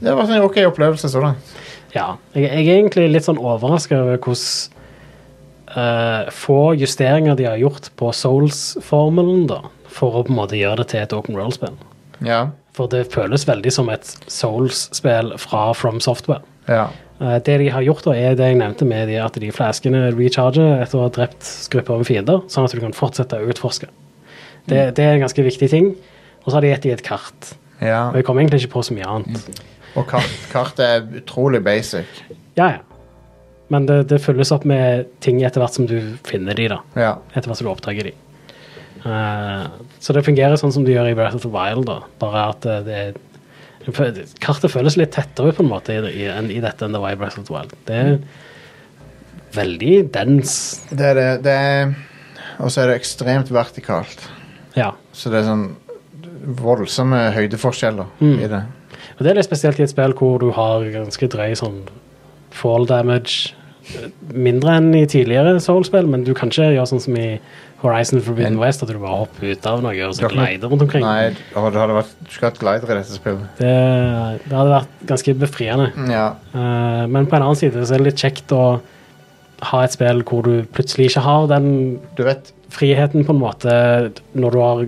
Det var en ok opplevelse så langt. Ja. Jeg, jeg er egentlig litt sånn overraska over hvordan eh, få justeringer de har gjort på Souls-formelen, da, for å på en måte gjøre det til et open world-spill. Ja. For det føles veldig som et Souls-spill fra From Software. ja. Eh, Det de har gjort, da, er det jeg nevnte med de, at de flaskene recharger etter å ha drept grupper med fiender, sånn at du kan fortsette å utforske. Det, det er en ganske viktig ting. Og så har de gitt dem et kart. Ja. Og jeg kom egentlig ikke på så mye annet. Og kart, kartet er utrolig basic. Ja, ja. Men det, det fylles opp med ting etter hvert som du finner de, da. Ja. Etter hvert som du oppdager de. Eh, så det fungerer sånn som de gjør i Breath of the Wild, da. Bare at eh, det er det fø- Kartet føles litt tettere på en måte i, i, enn i dette enn det var i Breath of the Wild. Det er veldig dens. Det er det. det er, og så er det ekstremt vertikalt. Ja. Så det er sånn voldsomme høydeforskjeller Mm. i det. Og det er litt spesielt i et spill hvor du har ganske drøy sånn fall damage. eh, Mindre enn i tidligere Soul-spill, men du kan ikke gjøre sånn som i Horizon Forbidden En- West, at du bare hopper ut av noe og så Dere- glider rundt omkring. Nei, å, det hadde vært, du skulle hatt glider i dette spillet. Det, det hadde vært ganske befriende. Ja. Eh, men på en annen side så er det litt kjekt å ha et spill hvor du plutselig ikke har den Du vet, friheten, på en måte, når du, har,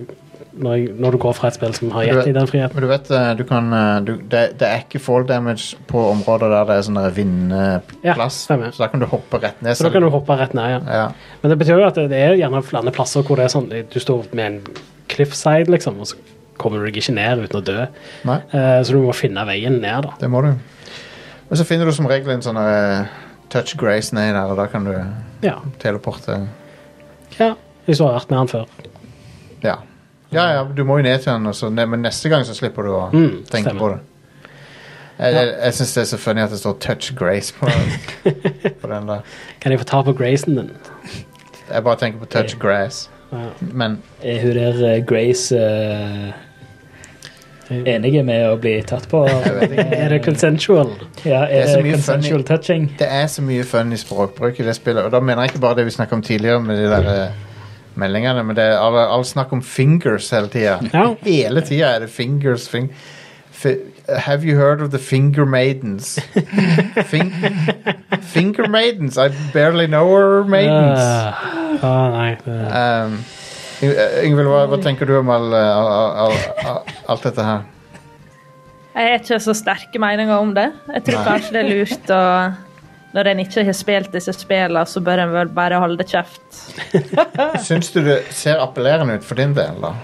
når, jeg- når du går fra et spill som har gitt deg den friheten. men du vet eh, du kan, eh, du, det, det er ikke fall damage på områder der det er sånn der Ja, vindplass. stemmer. så da kan du hoppe rett ned. Så da kan du hoppe rett ned, ja. Ja. Men det betyr jo at det det er gjerne flere plasser hvor det er sånn du står med en cliffside, liksom, og så kommer du deg ikke ned uten å dø. Nei, Eh, så du må finne veien ned, da. det må du. Og så finner du som regel en sånn eh, touch grace ned der, og da kan du Ja. teleporte. ja. Hvis du har vært med han før. Ja. ja, ja, du må jo ned til den, og så, ne- men neste gang så slipper du å Mm, tenke stemmer. på det. Jeg, jeg, jeg syns det er så funny at det står 'touch grace' på, på den der. Kan jeg få ta på Grayson din? Jeg bare tenker på 'touch grass'. Ja. Men Er hun der eh, Grace eh, enig med å bli tatt på? jeg vet ikke. Eh, Er det consensual? Ja, Det er er så det mye consensual touching? Det er så mye fun i språkbruk i det spillet, og da mener jeg ikke bare det vi snakket om tidligere med de der eh, meldingene, men det er all, all snakk om fingers hele tida. Ja. Hele tida er det fingers fing, fi, Have you heard of the finger maidens? Fing, finger maidens? I barely know her maidens. Ja. Eh, Ah, nei. Det, Um, Yng- eh, Yngvild, hva, hva tenker du om all, eh, all, all, all, alt dette her? Jeg har ikke så sterke meninger om det. Jeg tror Nei. kanskje det er lurt å Når en ikke har spilt disse spillene, så bør en vel bare holde kjeft. Syns du det ser appellerende ut for din del, da?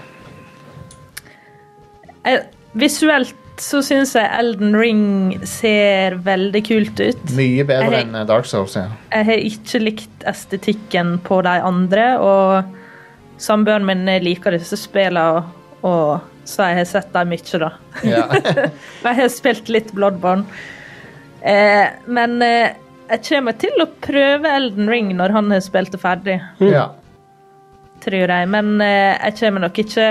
Jeg, visuelt så syns jeg Elden Ring ser veldig kult ut. Mye bedre Jeg- enn eh, Dark Souls, ja. Jeg har ikke likt estetikken på de andre, og samboeren min liker disse spillene, og, og så jeg har sett dem mye, da. ja. Men Jeg har spilt litt Bloodborne. Eh, men eh, jeg kommer til å prøve Elden Ring når han har spilt det ferdig, ja. tror jeg. Men eh, jeg kommer nok ikke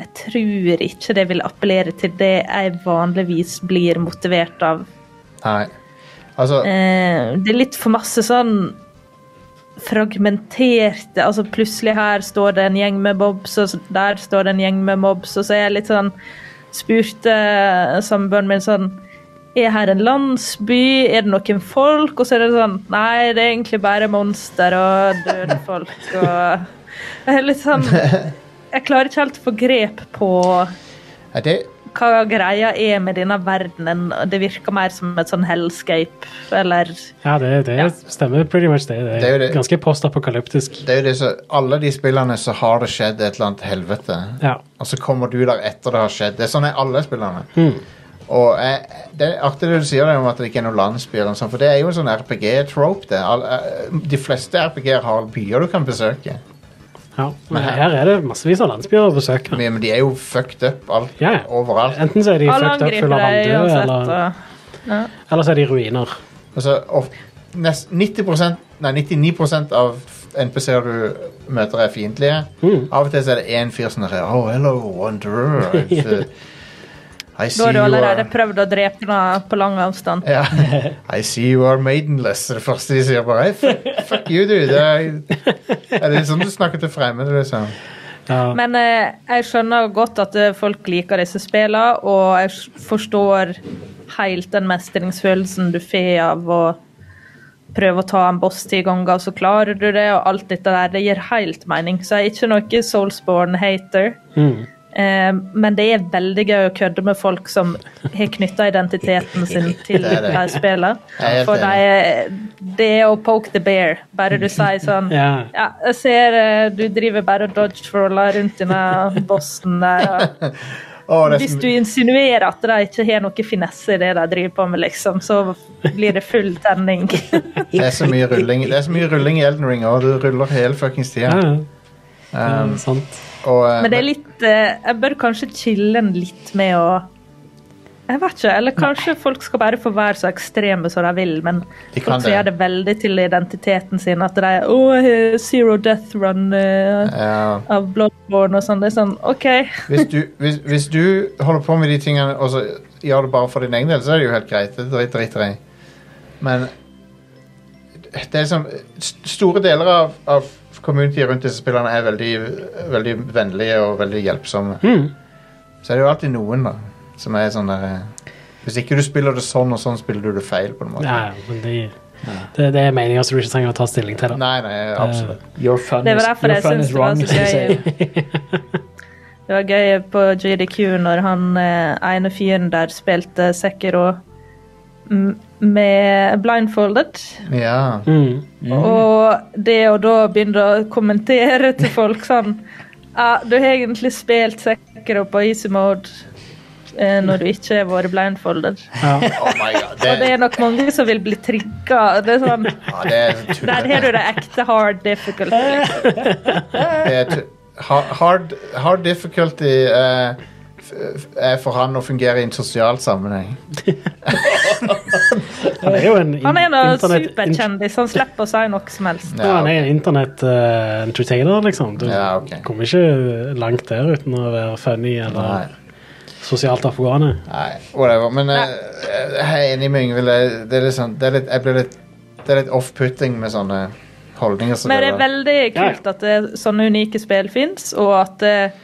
Jeg tror ikke det vil appellere til det jeg vanligvis blir motivert av. Nei. Altså Eh, det er litt for masse sånn fragmenterte Altså plutselig her står det en gjeng med mobs, og så- der står det en gjeng med mobs, og så er jeg litt sånn Spurte samboeren min sånn Er her en landsby? Er det noen folk? Og så er det sånn Nei, det er egentlig bare monster og døde folk og Jeg er litt sånn Jeg klarer ikke helt å få grep på Er det hva greia er med denne verdenen. og Det virker mer som et sånn hellscape, eller ja, det, det stemmer pretty much det. Det er, Det er jo det. ganske postapokalyptisk. det er jo det som Alle de spillene så har det skjedd et eller annet helvete. Ja. Og så kommer du der etter det har skjedd. Det er sånn er alle spillerne. Hmm. Og jeg, det er artig det du sier der om at det ikke er noen landsbyer, og sånn, for det er jo en sånn RPG-trope. det. All- eh, De fleste RPG-er har byer du kan besøke, Ja. Men her er det massevis av landsbyer å besøke. men men de er jo fucked up alt, Ja, ja. overalt. Enten så er de Alle fucked up full angriper av deg vanndød, uansett. eller, Og, eller så er de ruiner. Altså, of- nest, 90 nei, 99 av NPC-er du møter, er fiendtlige. Av og til så er det én fyr som er Oh, hello, wanderer. I've, uh, I see da har du you allerede are- prøvd å drepe noen på lang avstand. Ja. I see you are maidenless, er det første de sier. bare, hey, fuck, fuck you, du. Det er, er det sånn du snakker til fremmede, liksom? Ja. Men eh, jeg skjønner godt at eh, folk liker disse spillene, og jeg s- forstår helt den mestringsfølelsen du får av å prøve å ta en boss ti ganger, og så klarer du det, og alt dette der. Det gir helt mening. Så jeg er ikke noe Soulsborne-hater. Mm. Eh, men det er veldig gøy å kødde med folk som har knytta identiteten sin til Det er det. hva de spiller. Jeg er helt For enig. de, er- det er å poke the bear. Bare du sier sånn Ja. ja, jeg ser eh, du driver bare og dodge-roller rundt denne bossen der. og Å, det er Hvis så- du insinuerer at de ikke har noe finesse i det de driver på med, liksom, så blir det full tenning. Det er så mye rulling Det er så mye rulling i Elden Ring, og du ruller hele fuckings tida. Ja, ja. Mm, Um, sant. og, eh, Men det er litt eh, Jeg bør kanskje chille en litt med å Jeg vet ikke. Eller kanskje folk skal bare få være så ekstreme som de vil, men De kan folk som det. gjør det veldig til identiteten sin, at de Å, jeg har zero death run eh, ja. av Bloodborne og sånn. Det er sånn, OK. hvis, du, hvis, hvis du holder på med de tingene og så gjør det bare for din egen del, så er det jo helt greit. Det driter driter jeg i. Men det er som st- Store deler av, av communityet rundt disse spillerne er veldig, veldig vennlige og veldig hjelpsomme. Så er det jo alltid noen, da, som er sånn der eh, Hvis ikke du spiller det sånn og sånn, spiller du det feil, på en måte. Ja, ja, men de, det, det er meninger som du ikke trenger å ta stilling til. Da. Nei, nei, absolutt. Your fun Det is, var derfor your jeg fun syntes is det var wrong, så som de sier. gøy. Det var gøy på GDQ når han eh, ene fyren der spilte Sekiro m- med blindfolded. Ja. Mm. Og det å da begynne å kommentere til folk sånn Ja, du har egentlig spilt Sekiro på easy mode eh, når du ikke har vært blindfolded. Oh my god. Det, Og det er nok mange som vil bli trigga. Det er sånn ja, det er tull. Der har du det ekte hard difficulty. liksom. Det er tu- Eh, Ha- hard, hard difficulty eh, f- f- er for han å fungere i en sosial sammenheng. Han er jo en in- Han er en internett- superkjendis. Han slipper å si noe som helst. Ja, han er en internett-entertainer, liksom. Du Ja, ok. kommer ikke langt der uten å være funny eller Nei, sosialt oppegående. nei, whatever. Men eh, jeg er enig med Yngvild. Det, det er litt sånn, det er litt, jeg blir litt, det er litt off-putting med sånne holdninger. som Men det det er der. veldig kult at det, sånne unike spill fins, og at eh,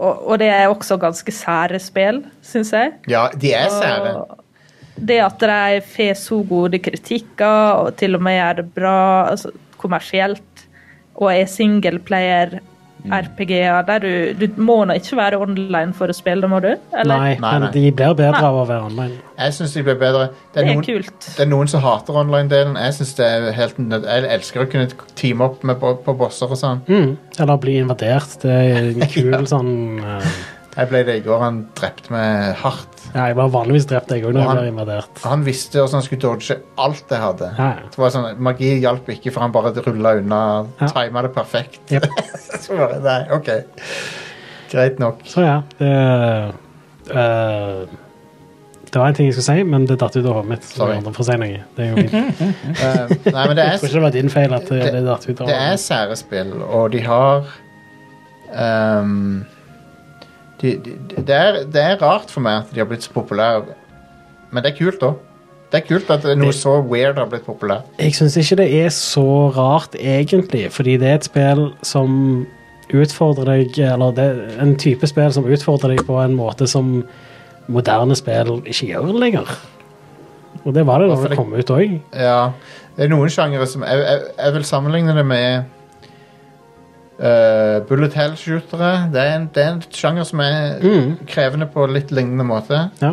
og, og det er også ganske sære spill, syns jeg. Ja, de er sære. Det at de får så gode kritikker, og til og med gjør det bra altså, kommersielt, og er Mm. singleplayer-RPG-er der du, du må nå ikke være online for å spille, må du? Eller? Nei, Nei, nei. men de blir bedre Nei. av å være online. Jeg syns de blir bedre. Det Det er, er noen, kult. det er noen som hater online-delen. Jeg synes det er helt nød... Jeg elsker å kunne teame opp med, på, på bosser og sånn. Mm. Eller bli invadert. Det er en kul sånn eh, Jeg ble det i går. Han drepte meg hardt. Ja, jeg var vanligvis drept, jeg òg, når jeg Han- blir invadert. Han visste hvordan han skulle dodge alt jeg hadde. Ja, ja. Det var sånn, Magi hjalp ikke, for han bare rulla unna. Ja. Tima det perfekt. Jep. så bare, nei, ok. Greit nok. Så ja, det eh, Det var en ting jeg skulle si, men det datt ut av hodet mitt. Så Sorry. jeg får si noe. Det er jo fint. Eh, nei, men det Jeg er, tror ikke det var din feil at det, Det- det datt ut av det er hodet. sære spill, og de har ehm, de, de, de, det, er, det er rart for meg at de har blitt så populære, men det er kult òg. Det er kult at noe så weird har blitt populært. Jeg syns ikke det er så rart, egentlig, fordi det er et spill som utfordrer deg Eller det er en type spill som utfordrer deg på en måte som moderne spill ikke gjør lenger. Og det var det da Hvorfor det det- kom ut òg. Ja, det er noen sjangere som Jeg, jeg, jeg vil sammenligne det med eh, bullet hell-shootere. Det, er en- det er en sjanger som er krevende på litt lignende måte. Mm. Ja.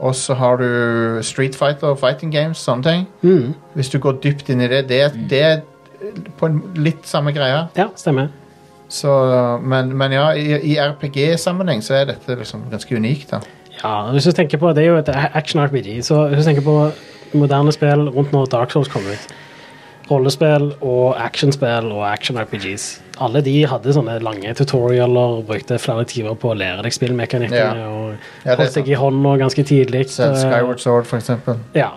Og så har du Street Fighter, fighting games, sånne ting. Mm. Hvis du går dypt inn i det. Det, er- det er på en litt samme greia. ja, stemmer. Så, men, men ja, i, i RPG-sammenheng så er dette liksom ganske unikt, da. Ja, hvis du tenker på, Det er jo et action-RPG. så Hvis du tenker på moderne spill rundt når Dark Souls kom ut Rollespill og actionspill og action-RPGs. Alle de hadde sånne lange tutorialer og brukte flere timer på å lære deg spillmekanikkene. Ja. og Ja, det er Holdt deg i hånda ganske tidlig. Så Skyward Sword, for eksempel. Eh, Ja.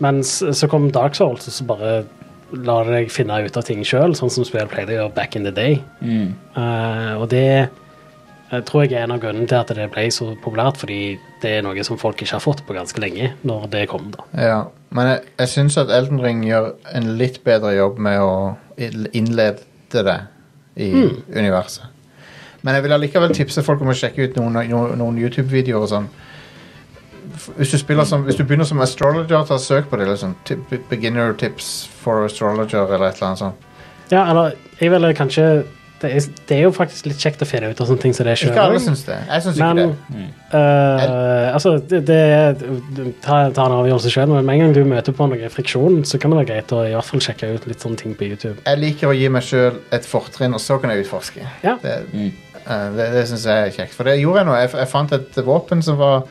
Mens eh, så kom Dark Souls, og så bare la det deg finne ut av ting sjøl, sånn som spill pleide å gjøre back in the day. Eh, og det eh, tror jeg er en av grunnene til at det ble så populært, fordi det er noe som folk ikke har fått på ganske lenge, når det kom, da. Ja. Men jeg, jeg syns at Elden Ring gjør en litt bedre jobb med å il- innlede det i universet. Men jeg vil allikevel tipse folk om å sjekke ut noen, noen, noen YouTube-videoer og sånn. F- Hvis du, spiller som, hvis du begynner som astrologer, ta søk på det. liksom Tip- Beginner tips for astrologer eller et eller annet sånt. Ja, eller jeg ville kanskje det er, det er jo faktisk litt kjekt å finne ut av sånne ting som det Ikke alle sjøl. syns det. Jeg syns ikke Men det. eh, altså, det, det er- du- ta, ta en avgjørelse sjøl, men med en gang du møter på noe friksjon, så kan det være greit å i hvert fall sjekke ut litt sånne ting på YouTube. Jeg liker å gi meg sjøl et fortrinn, og så kan jeg utforske. Ja. Det, eh, det, det syns jeg er kjekt. For det gjorde jeg nå. Jeg, f- jeg fant et våpen som var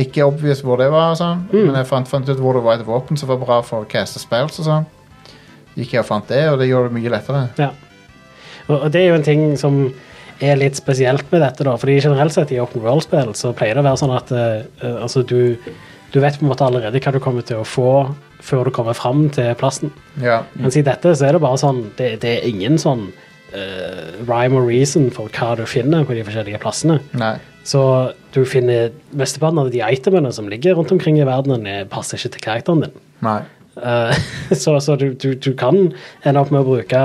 ikke obvious hvor det var, og sånn, Mm. men jeg fant, fant ut hvor det var et våpen som var bra for å caste spells og sånn. Gikk jeg og fant det, og det gjorde det mye lettere. Ja. Og, og det er jo en ting som er litt spesielt med dette, da. Fordi generelt sett i open world-spill så pleier det å være sånn at eh, eh, altså du, du vet på en måte allerede hva du kommer til å få før du kommer fram til plassen. Ja. Mens i dette så er det bare sånn Det, det er ingen sånn eh, rhyme or reason for hva du finner på de forskjellige plassene. Nei. Så du finner mesteparten av de itemene som ligger rundt omkring i verdenen, eh, passer ikke til karakteren din. Nei. Eh, så så du, du, du kan ende opp med å bruke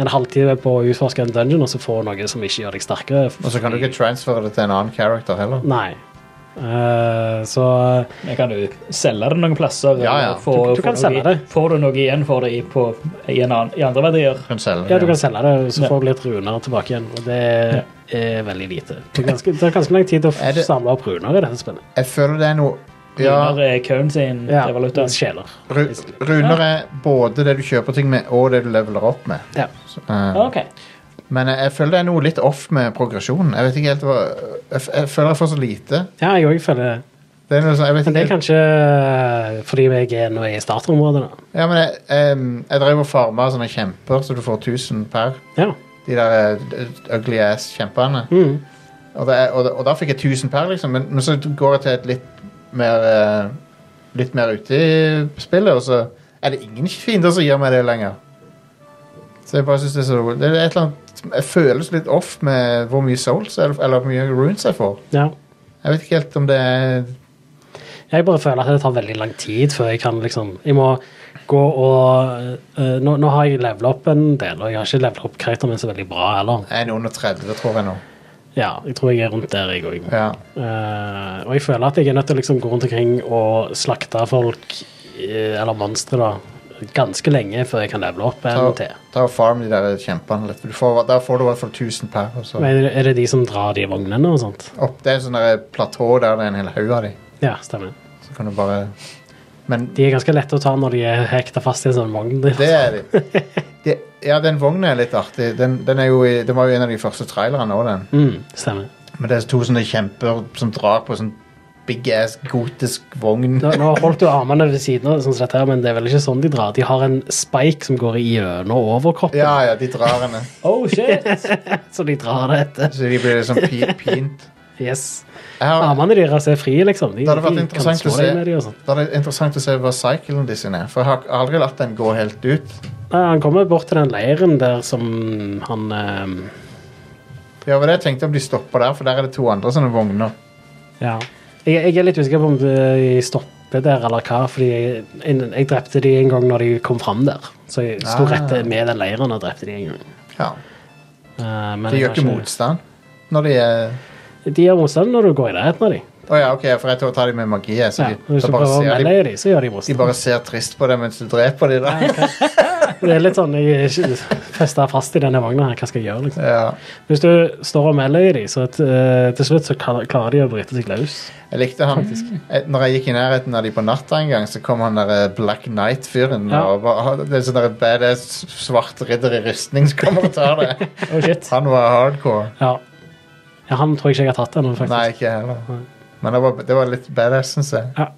en halvtime på å utforske en dungeon, og så få noe som ikke gjør deg sterkere. Og så kan du ikke transfere det til en annen character heller. Nei. Eh, så Men kan du selge det noen plasser? Ja, ja. eller få- Du- du kan få noe selge det. i- Får du noe igjen for det i, på, i, en annen, i andre verdier? Du kan selge det. ja, du kan selge det, og så Ja. får du litt runer tilbake igjen. Og det er veldig lite. Det er ganske, det er ganske lang tid å Er det- samle opp runer i dette spillet. Jeg føler det er noe ja, Ja. Under currencyen Ja, til valuta? Sjeler. ru- Runer er både det du kjøper ting med, og det du leveler opp med. Ja. Så, eh, Ok. Men jeg, jeg føler det er noe litt off med progresjonen. Jeg vet ikke helt hva Jeg, f- jeg føler jeg får så lite. ja, jeg òg føler det. Det er noe sånn, jeg vet Men det er ikke, kanskje eh, fordi jeg er nå i starterområdet, da. ja, men jeg, em, jeg drev og farma sånne kjemper, så du får 1000 per. Ja. De der eh, ugly ass-kjempene. Mm. Og, det er- og, da- og da fikk jeg 1000 per, liksom. Men, men så går jeg til et litt mer eh, Litt mer ute i spillet, og så er det ingen fiender som gir meg det lenger. Så jeg bare synes det er så Det er et eller annet Jeg føles litt off med hvor mye souls eller, eller hvor mye runes jeg får. ja. Jeg vet ikke helt om det er Jeg bare føler at det tar veldig lang tid før jeg kan liksom Jeg må gå og øh, nå, nå har jeg levela opp en del, og jeg har ikke levela opp karakteren min så veldig bra heller. Jeg er under 30, tror jeg nå. Ja, jeg tror jeg er rundt der, jeg òg. Ja. og jeg føler at jeg er nødt til å liksom gå rundt omkring og slakte folk, eh, eller monstre, da, ganske lenge før jeg kan levele opp en Ta, til. ta og farm de der kjempene litt. Du får, da får du i hvert fall 1000 per. Og så. Men Er det- er det de som drar de vognene og sånt? Opp, det er en sånn der platå der det er en hel haug av de. Ja, stemmer. Så kan du bare Men De er ganske lette å ta når de er hekta fast i en sånn vogn. det er de. de ja, den vognen er litt artig. Den, den, er jo i, den var jo en av de første trailerne òg, den. Mm, stemmer. Men det er to sånne kjemper som drar på sånn big ass gotisk vogn. Nå, nå holdt du armene ved siden av, sånn som dette her, men det er vel ikke sånn de drar. De har en spike som går gjennom overkroppen, Ja, ja, de drar henne. Oh shit! så de drar det etter. Så de blir liksom pi- pint. Yes. Jeg har, Armene deres er frie, liksom. De, Det hadde vært de kan interessant slå å se. deg med de og sånn. da er det interessant å se hva cyclen de sin er. For jeg har aldri latt den gå helt ut. Nei, han kommer bort til den leiren der som han ehm, Ja, men jeg tenkte om de stopper der, for der er det to andre sånne vogner. Ja. Jeg, jeg er litt usikker på om eh, de stopper der eller hva, fordi jeg, jeg, jeg drepte de en gang når de kom fram der. Så jeg Ah. sto rett med den leiren og drepte de en gang. Ja. Eh, men De jeg gjør har ikke motstand når de er De gjør motstand når du går i nærheten av dem. Å ja, OK, for jeg tror jeg tar dem med magi. jeg, Så Ja, de, hvis da du bare prøver ser å de, melde dem, så gjør de de motstand. bare ser trist på deg mens du dreper dem, da. Det er litt sånn Jeg er festa fast i denne vogna her. Hva skal jeg gjøre? liksom? Ja. Hvis du står og melder i dem, så t- eh, til slutt så kla- klarer de å bryte seg løs. Jeg likte han eh, Når jeg gikk i nærheten av dem på natta en gang, så kom han der eh, Black Knight-fyren. Ja. og bare- han- Det er sånn der badass svart ridder i rustning som kommer og tar det. Oh shit. Han var hardcore. Ja. ja han tror jeg ikke jeg har tatt ennå, faktisk. Nei, ikke jeg heller. Men det var, det var litt badass, syns jeg. Ja.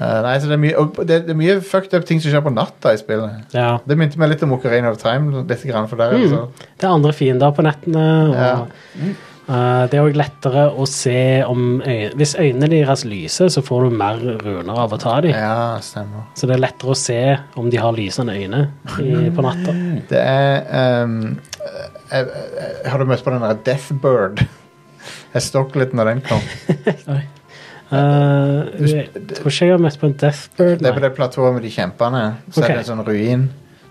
Eh, nei, så det er, mye, og det, det er mye fucked up ting som skjer på natta i spillet. Ja. Det minte meg litt om Ocarina of Time. Litt grann, for der, er Mm. det sånn- så- Det er andre fiender på nettene. Og, Ja. eh, det er òg lettere å se om øy Hvis øynene deres lyser, så får du mer runer av å ta dem. Ja, stemmer. Så det er lettere å se om de har lysende øyne i, på natta. Det er ehm, jeg, jeg, jeg- Har du møtt på den der Deathbird? Jeg stokk litt når den kom. Eh, jeg tror ikke jeg har møtt på en Deathbird. Det er på Nei. det platået med de kjempene. Så er det Ok. en sånn ruin.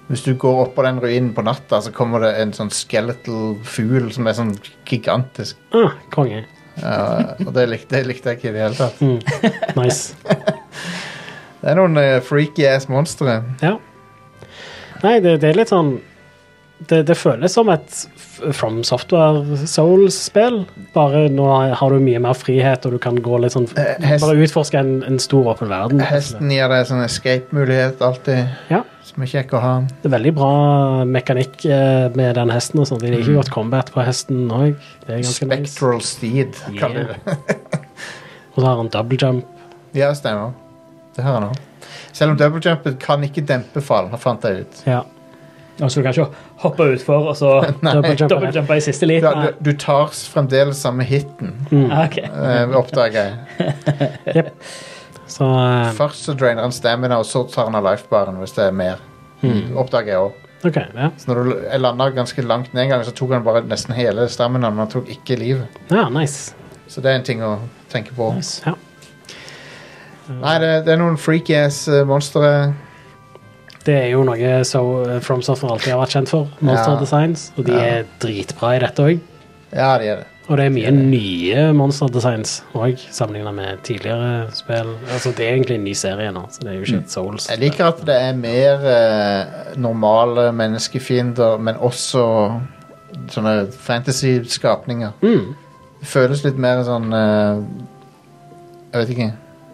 Hvis du går oppå den ruinen på natta, så kommer det en sånn skeletal fugl som er sånn gigantisk. Ah, konge. Mm. Ja, og det likte, det likte jeg ikke i det hele tatt. Nice. Det er noen eh, freaky ass monstre. Ja. Nei, det, det er litt sånn det, det føles som et f- From Software Souls-spill. Bare nå har du mye mer frihet, og du kan gå litt sånn Eh, hest- Bare utforske en, en stor, åpen verden. Hesten gir deg sånn escape-mulighet alltid, Ja. som er kjekk å ha. Det er veldig bra mekanikk eh, med den hesten. og sånt. De Mm. liker godt combat på hesten òg. Det er ganske nice. Spectral steed, kaller de det. Og så har han double jump. Ja, stemmer. Det har han òg. Selv om double jumpet kan ikke dempe fall, fant jeg ut. Ja. Og så du kan ikke hoppe utfor og så Double jump. er det. dobbeltjumpe i Du, siste liten. du, du tar fremdeles samme hiten, Ah, ok. eh, oppdager jeg. Så eh, Først så drainer han stamina, og så tar han av lifebaren hvis det er mer. Oppdager jeg også. OK. Ja, Så når du jeg landet ganske langt ned en gang, så tok han bare nesten hele staminaen, men han tok ikke livet. ja nice. Så det er en ting å tenke på. Ja. Nei, det, det er noen freaky ass eh, monstre. Det er jo noe so, From Software alltid har vært kjent for. Monster Ja. Designs. Og de er dritbra i dette òg. Ja, det er det. Og det er mye nye Monster Designs òg, sammenligna med tidligere spill. Altså, det er egentlig en ny serie nå, så det er jo ikke et Souls. Mm. Jeg liker at det er mer eh, normale menneskefiender, men også sånne fantasy-skapninger. Mm. Det føles litt mer sånn eh, Jeg vet ikke.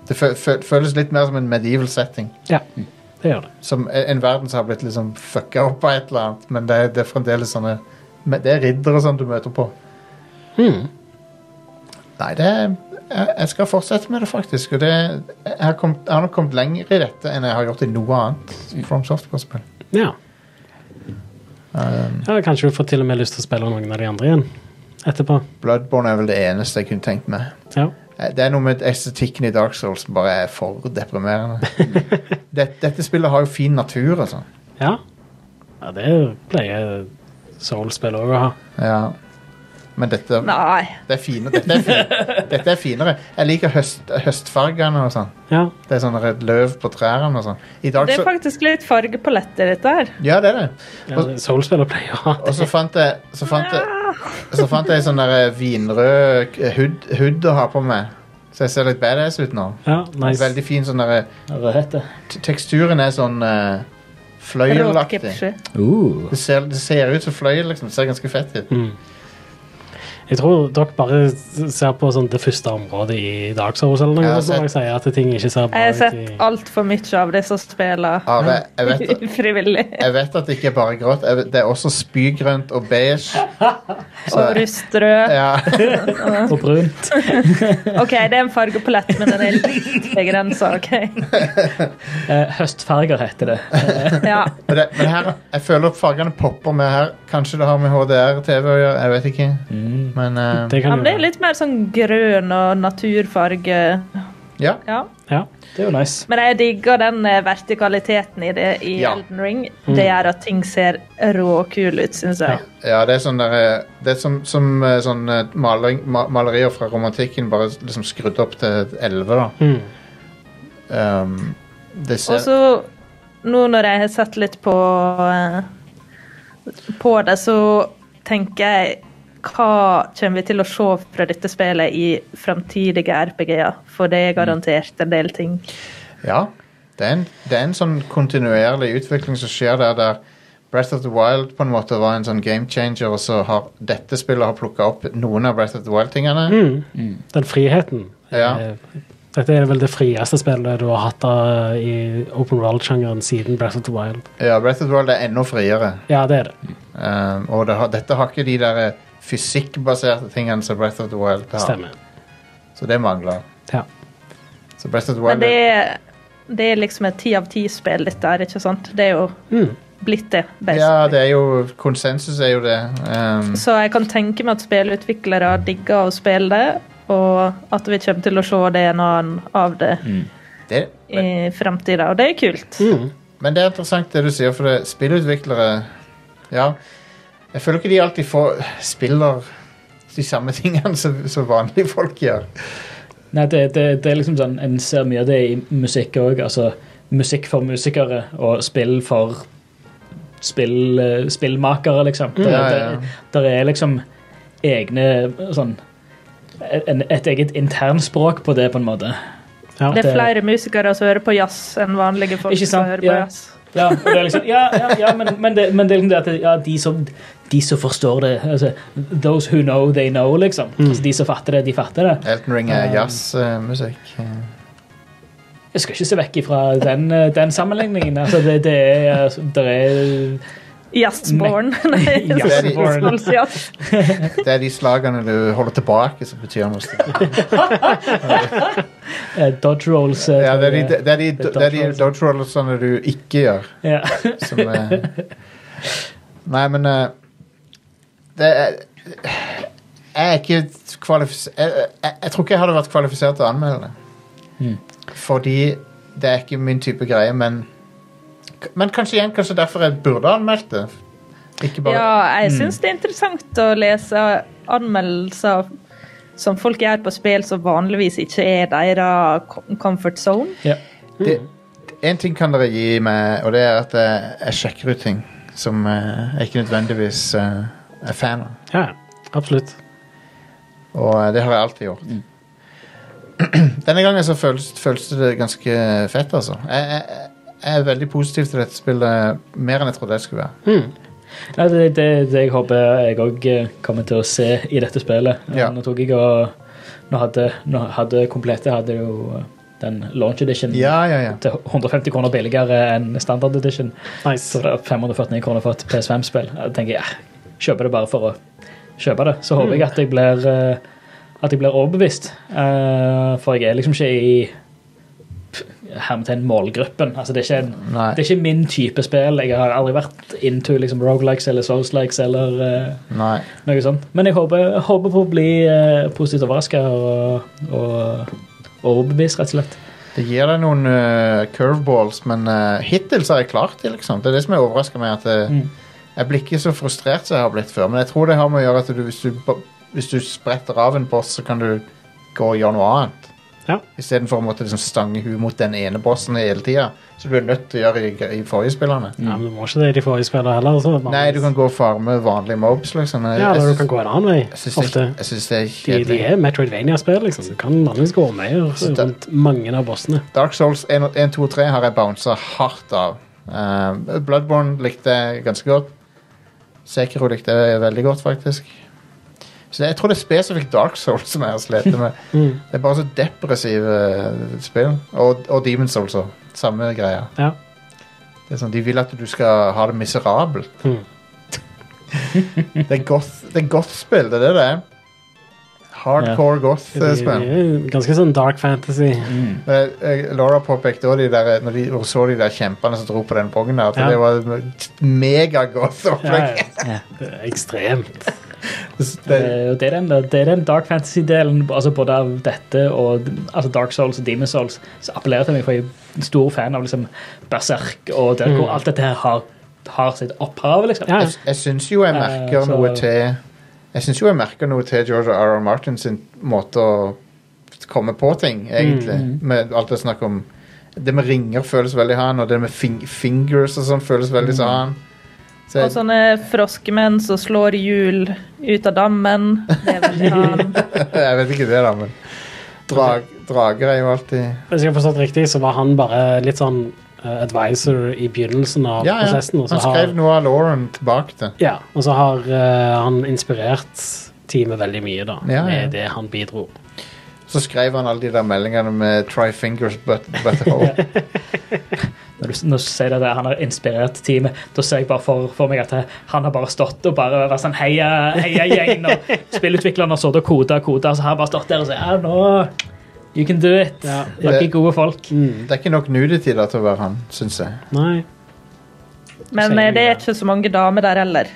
Det fø fø føles litt mer som en medieval setting. Ja, Mm. det gjør det. Som e-, en en verden som har blitt liksom fucka opp av et eller annet, men det, er- det er fremdeles sånne men Det er riddere og sånn du møter på. Mm. Nei, det er jeg, jeg skal fortsette med det, faktisk. Og det, jeg, har kommet, jeg har nok kommet lenger i dette enn jeg har gjort i noe annet From Software-spill. Ja. Um, ja, kanskje du får til og med lyst til å spille noen av de andre igjen etterpå. Bloodborne er vel det eneste jeg kunne tenkt meg. Ja. Eh, Det er noe med estetikken i Dark Souls som bare er for deprimerende. Dette, dette spillet har jo fin natur og sånn. ja. ja det pleier Soul-spill òg å ha. Ja. Men dette, Nei. det er fine, dette, er fin- dette er finere. Jeg liker høst, høstfargene og sånn. Ja. Det er sånn rød løv på trærne og sånn. I Dark Det er Souls faktisk litt fargepalett i dette her. Ja, det er det. ja Soul-spiller pleier å ha Og det. så fant jeg Så fant jeg, Ah, så fant jeg sånn der vinrød k- hood, hood å ha på meg. Så jeg ser litt badass ut nå. Ja, nice. Veldig fin sånn derre Rødhette. t- Teksturen er sånn eh, fløyelaktig. Råtkipsje. Uh, Det ser, det ser ut som fløyel, liksom. Det ser ganske fett ut. Mm. Jeg tror dere bare ser på sånn det første området i Dark Souls eller noe Jeg har sånt, når jeg sier at ting ikke ser Jeg bra har ut sett i altfor mye av disse spillene Are, jeg, vet, frivillig. jeg vet at det ikke er bare grått. Jeg vet, det er også spygrønt og beige. Og rustrød. Ja, Og brunt. OK, det er en fargepalett, men den er litt begrensa, OK? Eh, høstfarger heter det. Ja. men, det, men her, jeg føler at fargene popper med her. Kanskje det har med HDR-TV å gjøre, jeg vet ikke. Mm, Men eh, Det ja, kan men jo det er litt mer sånn grønn og naturfarge. ja. Ja. Ja. Det er jo nice. Men jeg digger den eh, vertikaliteten i det i Ja. Mm. Elden Ring. Det gjør at ting ser råkule ut, syns jeg. ja, det er sånn der, eh, Det er som, som eh, sånn eh, maling, ma, malerier fra romantikken, bare liksom skrudd opp til 11, da. Mm. Um, det Og ser så, nå når jeg har sett litt på eh, på det, så tenker jeg hva kommer vi til å se fra dette spillet i framtidige RPG-er? For det er garantert en del ting. Ja. Det er, en, det er en sånn kontinuerlig utvikling som skjer der, der Breath of the Wild på en måte var en sånn game changer, og så har dette spillet har plukka opp noen av Breath of the Wild-tingene. Mm. Den friheten. Ja. Eh, Dette er vel det frieste spillet du har hatt eh, i open world-sjangeren siden Breath of the Wild. Ja, Breath of the Wild er enda friere, Ja, det er det. um, og det har, dette har ikke de der eh, fysikkbaserte tingene som Breath of the Wild har. Stemmer. Så det mangler. Ja. Så Breath of the Men Wild det er, det er liksom et ti av ti-spill, dette her, ikke sant? Det er jo Mm. blitt det, Ja, basically. det er jo Konsensus er jo det. Um, Så jeg kan tenke meg at spillutviklere digger å spille det, og at vi kommer til å se det en annen av det det, i framtida, og det er kult. Mm. Men det er interessant det du sier, for det, spillutviklere Ja. Jeg føler ikke de alltid får spiller de samme tingene som, som vanlige folk gjør. Nei, det, det, det er liksom sånn, En ser mye av det i musikk òg. Altså musikk for musikere og spill for spill, eh, spillmakere, liksom. Det, Mm. Ja, ja, ja. det, der er liksom egne sånn en, Et eget internspråk på det, på en måte. Ja. Det det- er flere musikere som hører på jazz enn vanlige folk Ikke sant? som hører på Ja. jazz. Ja, og det er liksom, ja, ja, ja men, men, det, men det er liksom det at det- ja, de, som, de som forstår det altså, Those who know, they know, liksom. Mm. Altså, de som fatter det, de fatter det. Elton Ring er jazzmusikk. Jeg skal ikke se vekk ifra den, eh, den sammenligningen. Altså, det, det er, altså, det er Jazzborn. Nei, Jazzborn. Solsjazz. Det er de slagene du holder tilbake, som betyr noe. eh, dodge rolls. eh, Ja, det er de, det er de, Det er det er de dodge rollersene du ikke gjør. Ja. Som er Nei, men eh, Det er Jeg er ikke kvalifisert jeg, jeg, jeg tror ikke jeg hadde vært kvalifisert til å anmelde det. Mm. Fordi det er ikke min type greie, men Men kanskje igjen, kanskje derfor jeg burde anmeldt det. Ikke bare Ja, jeg syns det er interessant å lese anmeldelser som folk gjør på spill som vanligvis ikke er deres com- comfort zone. det, En ting kan dere gi meg, og det er at jeg, jeg sjekker ut ting som eh, jeg ikke nødvendigvis eh, er fan av. Ja, absolutt. Og eh, det har jeg alltid gjort. Denne gangen så føles, føles det ganske fett, altså. Jeg, jeg, jeg er veldig positiv til dette spillet, mer enn jeg trodde jeg skulle være. Nei, altså, det, det, det jeg håper jeg òg kommer til å se i dette spillet. Eh, Ja. Nå tok jeg og Nå hadde, nå hadde komplette hadde jo den launch edition Ja, ja, ja. til 150 kroner billigere enn standard edition. Så Nice. det er 549 kroner for et PS5-spill. Jeg tenker jeg ja, kjøper det bare for å kjøpe det. Så håper jeg at jeg blir eh, at jeg blir overbevist. Eh, for jeg er liksom ikke i pff, hermetegn målgruppen. Altså det er ikke en Nei. det er ikke min type spill. Jeg har aldri vært into liksom, roguelikes eller soulslikes eller eh, Nei. noe sånt. Men jeg håper, jeg håper på å bli eh, positivt overraska og, og overbevist, rett og slett. Det gir deg noen eh, curveballs, men eh, hittil så har jeg klart det, liksom. Det er det som jeg overrasker meg, at eh, Mm. jeg blir ikke så frustrert som jeg har blitt før. Men jeg tror det har med å gjøre at du, hvis, du, ba- hvis du spretter av en boss, så kan du gå og gjøre noe annet. Ja. Istedenfor å måtte liksom stange huet mot den ene bossen hele tida, som du er nødt til å gjøre i, i forrige spillerne. Ja, men du må ikke det i de forrige spillene heller. Så Nei, du kan gå og farme vanlige mobs, liksom. Jeg, Ja, jeg eller du syns- kan gå en annen vei. jeg syns det, Ofte. jeg syns det er De, de kjedelig. er Metroidvania-spill, liksom. Du kan vanligvis gå mer det- rundt mange av bossene. Dark Souls 1, og- 1, 2 og 3 har jeg bounsa hardt av. Um, Bloodborne likte jeg ganske godt. Sekiro likte jeg veldig godt, faktisk. Så jeg tror det er spesifikt Dark Souls som jeg har slitt med. Mm. Det er bare så depressive eh, spill. Og, og Demon's Souls òg. Samme greia. Ja. Det er sånn, de vil at du skal ha det miserabelt. Mm. det er goth- det er goth-spill, det er det det er. Hardcore De, de goth-spill. er ganske sånn dark fantasy. Men, eh, Laura påpekte også de der, når de, hun så de der kjempene som dro på den pongen der, at Ja. det var megagoth Ja, opplegg. ja. Det er Ekstremt. Det, Eh, og Det er den, det er den dark fantasy-delen altså både av dette og altså Dark Souls og Demon Souls som appellerer til meg, for jeg er en stor fan av liksom Berserk og der, hvor alt dette her har, har sitt opphav. liksom. Mm. Ja. jeg, jeg syns jo jeg Eh, merker så- noe til Jeg syns jo jeg merker noe til George R. R. Martin sin måte å komme på ting, egentlig. Mm, Med alt det snakk om Det med ringer føles veldig han, og det med fing fingers og sånn føles veldig Mm. sånn han. Så Og sånn- jeg- sånne froskemenn som slår hjul ut av dammen. Det er veldig han. jeg vet ikke det, da, men drag, Drager er jo alltid Hvis jeg har forstått riktig, så var han bare litt sånn eh, advisor i begynnelsen av Ja, ja. prosessen. Og så Han skrev har, noe av Lauren tilbake til. ja, og så har eh, han inspirert teamet veldig mye, da, Ja, ja. med det han bidro. Så skrev han alle de der meldingene med 'try fingers but, but hole'. Når du når du sier det der, han har inspirert teamet, da ser jeg bare for, for meg at han har bare stått og bare vært sånn heia, heia gjeng, og spillutvikleren har stått og kodet og kodet, og så har han bare stått der og sagt ja, nå, you can do it. Ja. Dere er gode folk. Det er ikke nok nudity da til å være han, syns jeg. Mm, Nei. Men eh, det er ikke så mange damer der heller.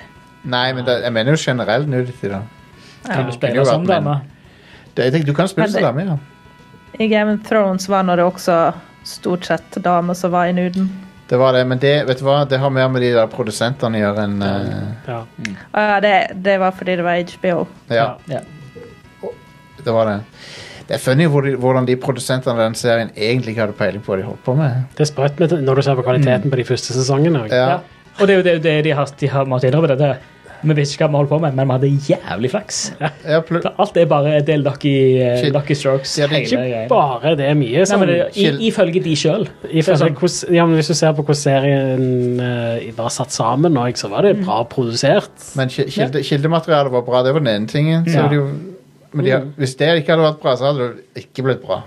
Nei, men det, jeg mener jo generell nudity, da. Kan du kunne jo spille vært sånn, menn. dame? Det, jeg tenker, du kan spille Men som det- dame, ja. I Game of Thrones var når det også stort sett damer som var i nuden. Det var det, men det, vet du hva? det har mer med de der produsentene å gjøre enn eh, Ja. Å ja, Ah, det, det var fordi det var HBO. Ja, Ja. det var det. Det er funny hvor de, hvordan de produsentene av den serien egentlig ikke hadde peiling på hva de holdt på med. Det er sprøtt Mm. med- når du ser på kvaliteten på de første sesongene. også. Ja, Ja. Og det er jo det, det de har, de har måttet innrømme det. det. Vi visste ikke hva vi holdt på med, men vi hadde jævlig flaks. Ja, plu- For Alt er bare det er lucky, eh, Shit. lucky strokes. Ja, det er hele ikke greia. Bare det er mye. Nei, Sånn, men det, i, Chill. ifølge de sjøl. I forhold til sånn- hvordan- ja, men hvis du ser på hvordan serien eh, var satt sammen, og, så var det bra produsert. Men ki- kilde, kildematerialet var bra, det var den ene tingen. Så Ja. det jo, men de, har- hvis det ikke hadde vært bra, så hadde det ikke blitt bra.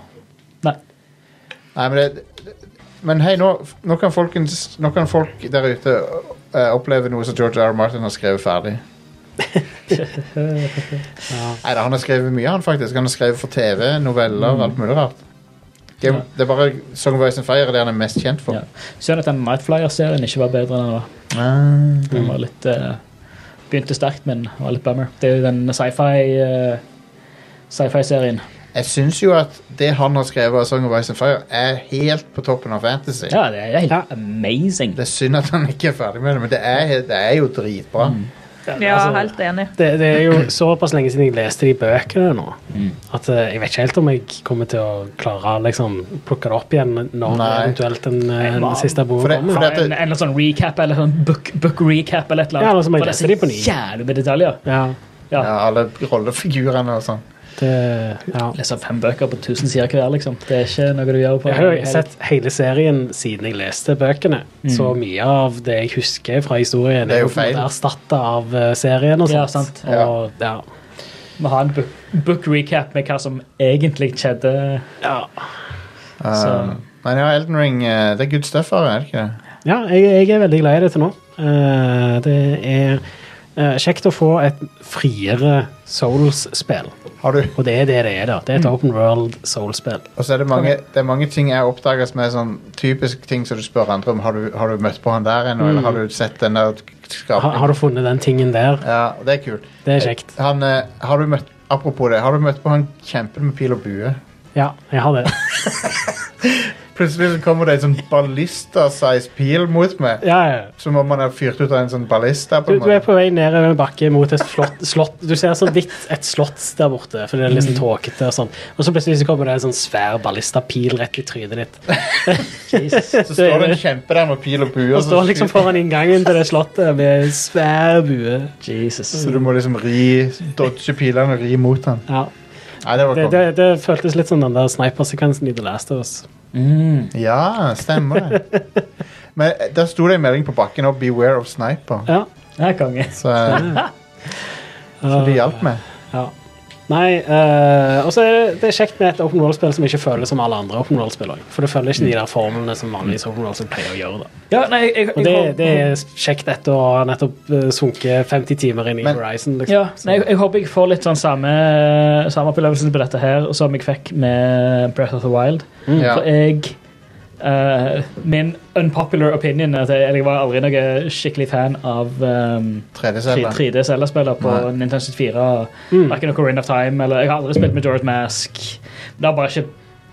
Nei. Nei, men det, men hei, nå, nå, kan folkens, nå kan folk der ute eh, oppleve noe som George R. R. Martin har skrevet ferdig. Nei, da, Han har skrevet mye, han faktisk. Han har skrevet for TV, Mm. noveller, alt mulig rart. Game, Det er bare Song of Ice and Fire det han er mest kjent for. Ja. Synd at den Nightflyer-serien ikke var bedre enn den var. Ah, Den var litt eh, Begynte sterkt, men var litt bummer. Det er jo den sci-fi eh, sci-fi-serien. jeg syns jo at det han har skrevet av Song of Ice and Fire, er helt på toppen av fantasy. Ja, det er helt amazing. Det er synd at han ikke er ferdig med det, men det er, helt- det er jo dritbra. Mm. Ja, Altså, helt enig. Det, det er jo såpass lenge siden jeg leste de bøkene nå, Mm. at eh, jeg vet ikke helt om jeg kommer til å klare å liksom, plukke det opp igjen når Nei. eventuelt den, eh, Nei, man. den siste For boka det- for kommer. det- Ja, en, en eller sånn recap eller sånn book, book recap eller et eller Ja, annet. eller så må jeg For lese de på ny. så jævlig med detaljer. Ja, Ja, alle rollefigurene og sånn. det, ja. Lese fem bøker på tusen sider hver, liksom. Det er ikke noe du gjør på Jeg har jo sett hele serien siden jeg leste bøkene, så mye av det jeg husker fra historien, Mm. Det er jo feil. erstatta av eh, serien og sånt. Ja, sant. Og, ja. Vi har en book, book recap med hva som egentlig skjedde. Ja. Uh, Så- men ja, Elden Ring eh, Det er good stuff, her, er det ikke det? Ja, jeg, jeg er veldig glad i det til nå. Eh, det er eh, kjekt å få et friere Souls-spill. Har du, Og det er det det er, da. Det er Mm. et open world Souls-spill. og så er det mange, det er mange ting jeg oppdager som er sånn typisk ting som du spør andre om. Har du, har du møtt på han der ennå, eller har du sett den der Har, skapningen? Mm. har du funnet den tingen der? Ja, og det er kult. Det er kjekt. Han, eh, har du møtt, apropos det, har du møtt på han kjempen med pil og bue? Ja, jeg har det. Plutselig så kommer det en sånn ballista-size pil mot meg. Ja, ja. Som om man har fyrt ut av en sånn ballista. Du, på en du er måte. på vei nedover en bakke mot et slott, slott. Du ser så vidt et slott der borte, for det er liksom Mm. tåkete og sånn. Og så plutselig så kommer det en sånn svær ballistapil rett i trynet ditt. Så står det en kjempe der med pil og bue. Og så står liksom skyter- foran inngangen til det slottet med en svær bue. Mm. Så du må liksom ri, dodge pilene og ri mot han. Ja. Nei, det var Det, konge. det, det føltes litt som den der snipersekvensen i The Last of Us. Ja, stemmer det. Men eh, der sto det en melding på bakken om 'Beware of Sniper', Ja. Ja, konge. så, eh, så de hjalp meg. Ja. Nei, eh, og så er det, det er kjekt med et open world-spill som ikke føles som alle andre open world-spill også. For det følger ikke de der formlene som vanligvis open world-spill pleier å gjøre. da. Ja, nei, jeg, jeg, Og det, det er kjekt etter å ha nettopp eh, sunket 50 timer inn i Men- Horizon. ja, liksom. nei, jeg, jeg håper jeg får litt sånn samme, samme opplevelse på dette her som jeg fikk med Breath of the Wild. Ja. Mm. For jeg eh, Min unpopular opinion er at jeg, jeg var aldri noe skikkelig fan av um, 3D-celle. 3D-cellespill på Nei. Nintendo 64. Verken mm. Ocarina of Time eller Jeg har aldri spilt Majora's Mask. Det har bare ikke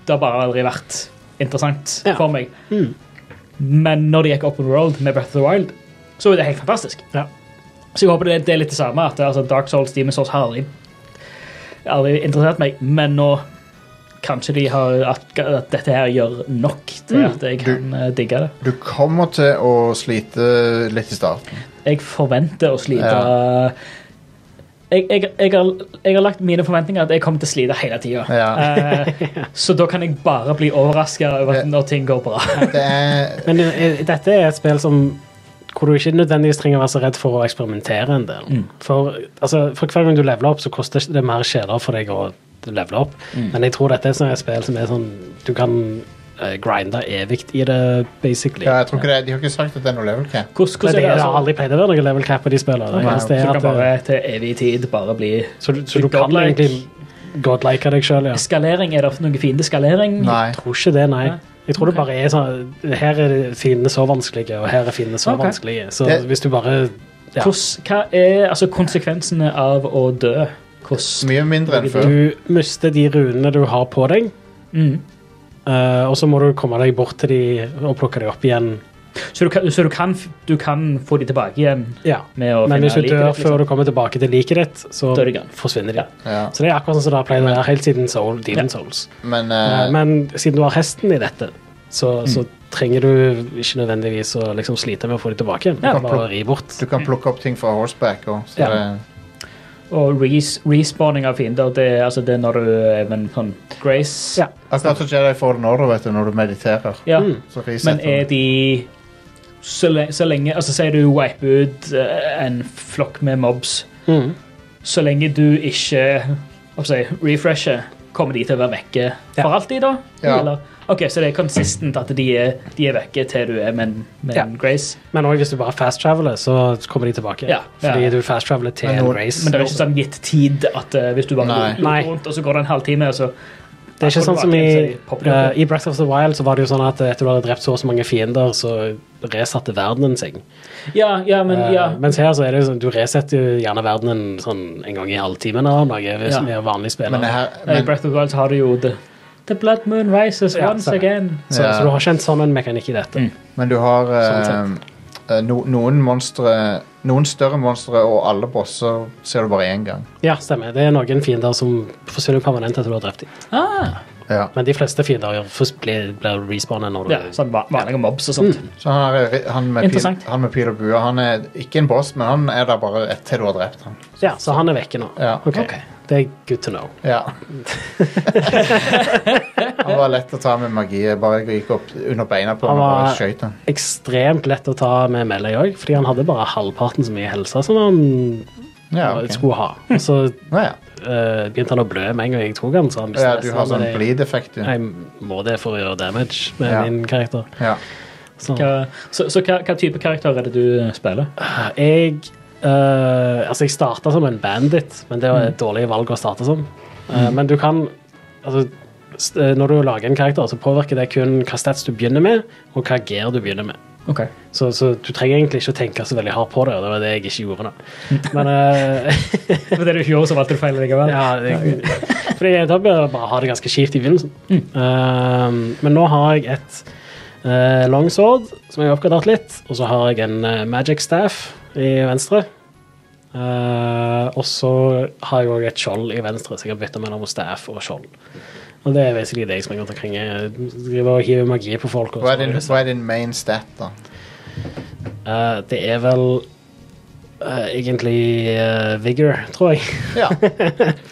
Det har bare aldri vært interessant Ja. for meg. Mm. Men når det gikk Open World med Breath of the Wild, så er det helt fantastisk. Ja. Så jeg håper det, det er litt det samme. At altså, Dark Souls, Demon's Souls har aldri, aldri interessert meg, men nå Kanskje de har at, at dette her gjør nok Mm. til at jeg Du- kan eh, digge det. Du kommer til å slite litt i starten. jeg forventer å slite Ja. jeg, jeg, jeg, har, jeg har lagt mine forventninger at jeg kommer til å slite hele tida. Ja. så da kan jeg bare bli overraska over at når ting går bra. Det er, Men eh, dette er et spill som hvor du ikke nødvendigvis trenger å være så redd for å eksperimentere en del. For, altså, for hver gang du leveler opp, så koster det mer kjeler for deg å levele opp. Men jeg tror dette er sånn et spill som er sånn Du kan eh, grinde evig i det, basically. ja, jeg tror ikke det, de har ikke sagt at det er noe level cap. Men Hvordan, hvordan det er det, har altså? aldri pleid å være noe level cap på de spillene. Altså, Det Ok. eneste er Så at, du kan eh, bare til evig tid bare bli så, du- så du kan godlike. egentlig godlike deg sjøl, ja. Skalering, er det noen fiende skalering? Nei. Jeg tror ikke det, nei. Jeg tror det bare er sånn Her er fiendene så vanskelige, og her er fiendene så Ok. vanskelige. Så Det- hvis du bare ja. Hvordan, hva er altså, konsekvensene av å dø? Hvordan Mye mindre enn før. Du mister de runene du har på deg, mm. eh, og så må du komme deg bort til de og plukke de opp igjen. Så, du kan, så du, kan, du kan få de tilbake igjen Ja. med å Men hvis du finne dør liket ditt, liksom. før du kommer tilbake til liket ditt, så Da er de gone. forsvinner de. Ja. Så det er akkurat sånn som det har pleid å være helt siden Soul, Demon Ja. Souls. Men Eh, eh, Men siden du har hesten i dette, så, så trenger du ikke nødvendigvis å liksom slite med å få dem tilbake igjen. Ja. Du kan bare ri bort. Du kan plukke opp ting fra horseback og så Ja. det- Og res respawning av fiender, det, er- altså, det er når du er med en sånn grace. Ja. Akkurat som Jedi Fallen Order, vet du, når du mediterer. Ja. Mm. Så Men resetter er du. de så, le så lenge Altså, sier du wipe ut eh, en flokk med mobs. Mm. Så lenge du ikke hva skal jeg si, refresher, kommer de til å være vekke Ja. for alltid, da? Ja. Eller, ok, Så det er consistent at de er, de er vekke til du er med en- med en grace? Men også hvis du bare fast-traveler, så kommer de tilbake. Ja. Fordi Ja. du fast-traveler til Men en nå- race. Men det er ikke sånn gitt tid at eh, hvis du bare Nei. går Nei. rundt, og så går det en halvtime, og så Det er ikke sånn som i, Popper de opp. eh, i Breath of the Wild, så var det jo sånn at etter du hadde drept så og så mange fiender, så resatte verdenen seg. Ja, ja, men ja. Eh, mens her så er det jo sånn, du resetter jo gjerne verdenen sånn en gang i halvtimen eller noe, hvis Ja. vi er vanlige spillere. Men, det her, I men Breath of the Wild så har du jo The, the Blood Moon Rises Ja, once stemmer. again. så, Ja. så du har ikke en sånn en mekanikk i dette. Men du har eh, Sånn eh, no, noen monstre Noen større monstre og alle bosser ser du bare én gang. Ja, stemmer. Det er noen fiender som forsvinner permanent etter du har drept dem. Ja. Men de fleste fiender gjør- først blir, blir respawnet når du Ja, sånn va- vanlige mobs og sånt. Mm. Så han, er, han, med pil, Interessant. han med pil og bue Han er ikke en boss, men han er der bare etter du har drept han. Ja, så han er vekke nå. Ja. Ok. Det er good to know. Ja. han var lett å ta med magi. Jeg bare gikk opp under beina på Han han og var- bare skjøt han. Ekstremt lett å ta med melee òg, fordi han hadde bare halvparten så mye helse som han Ja, eh, ok. skulle ha. Og så Nå ja. eh, begynte han å blø med en gang jeg tok han, så han mistet ja, du nesten har alle sånn de- bleed-effekt, du. Jeg må det for å gjøre damage med Ja. min karakter. Ja. Så. Hva, så så hva, hva type karakter er det du eh, spiller? Jeg eh, Altså, jeg starta som en bandit, men det var et dårlig valg å starte som. Eh, Men du kan Altså, s- eh, når du lager en karakter, så påvirker det kun hva stats du begynner med, og hva gear du begynner med. Ok. Så, så du trenger egentlig ikke å tenke så veldig hardt på det, og det var det jeg ikke gjorde nå. Men eh, For det du ikke gjorde, så valgte du feil likevel. Ja, Mm. det, fordi da bør jeg bare ha det ganske kjipt i begynnelsen. Um, men nå har jeg et uh, longsword som jeg har oppgradert litt, og så har jeg en uh, magic staff i venstre. Uh, og så har jeg òg et skjold i venstre, så jeg kan bytte mellom staff og skjold. Og det er basically det jeg springer rundt omkring. Jeg driver og hiver magi på folk. Og sånn. Hva så- er, din, hva er din main stat, da? Uh, det er vel uh, egentlig uh, vigor, tror jeg. Ja.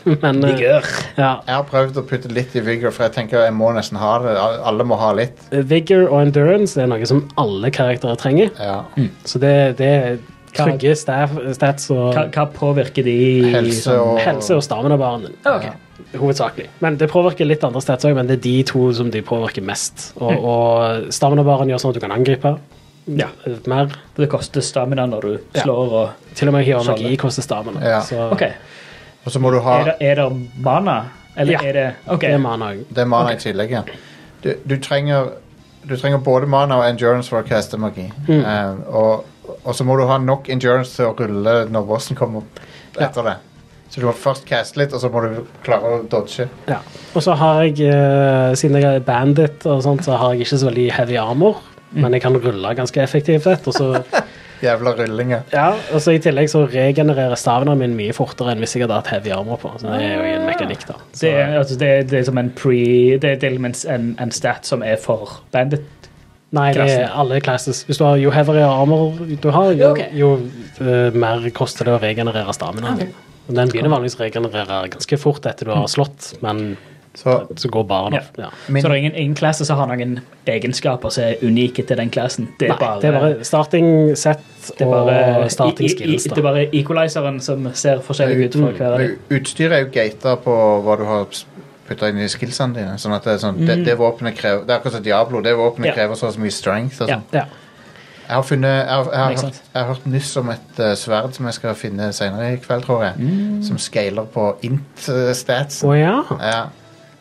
Men, uh, vigor. Ja, Jeg har prøvd å putte litt i vigor, for jeg tenker jeg må nesten ha det. Al- Alle må ha litt. Vigor og endurance er noe som alle karakterer trenger. Ja. Mm. Så det, det er Hva- trygge staff, stats og Hva, hva påvirker de Helse og helse og stamina-baren din. Hovedsakelig. Men det påvirker litt andre stats òg, men det er de to som de påvirker mest. Og, og stamina-baren gjør sånn at du kan angripe Mm. Ja. mer. For det koster stamina når du Ja. slår og Til og med hiver magi Skjønner. koster stamina. Ja. Så OK. Og så må du ha Er det, er det mana? Eller Ja. er det OK. det er mana òg. Det er mana i tillegg, ja. Du, du, trenger, du trenger både mana og endurance for å kaste magi. Mm. Eh, og, og så må du ha nok endurance til å rulle når bossen kommer opp etter det. Så du må først caste litt, og så må du klare å dodge. Ja. Og så har jeg, eh, siden jeg er bandit og sånt, så har jeg ikke så veldig heavy armor. Mm. Men jeg kan rulle ganske effektivt, og så Jævla rullinger. Ja, og så I tillegg så regenererer stavene min mye fortere enn hvis jeg hadde hatt heavy armor på. Så det er jo en mekanikk da. Det er, altså, det, er, det er som en pre Det er elements, en, en stat som er for bandit. Nei, det er Klassen. alle classes. Hvis du har Jo heavyere armor du har, jo, Ja, ok. jo eh, mer koster det å regenerere stamina. din. Og Den begynner vanligvis å regenerere ganske fort etter du har slått, men Så så går baren opp. Mm. Ja. Ja. min, Så det er ingen, ingen klasse som har noen egenskaper som er unike til den klassen. Det er Nei, bare, det er bare starting set det er bare- og starting skills. i- i- Det Da. er bare equalizeren som ser forskjellig ut Mm, fra hver av de. utstyret er jo gata på hva du har putta inn i skillsene dine. Sånn at Det er sånn, det, det våpenet krever Det er akkurat som Diablo. Det våpenet Mm. Ja. krever så og så mye strength. Og Ja. sånn. Ja. Jeg har funnet jeg har, jeg, har hørt, Ikke sant? jeg har hørt nyss om et eh, sverd som jeg skal finne senere i kveld, tror jeg. Mm. Som scaler på int-stats. Å ja. ja.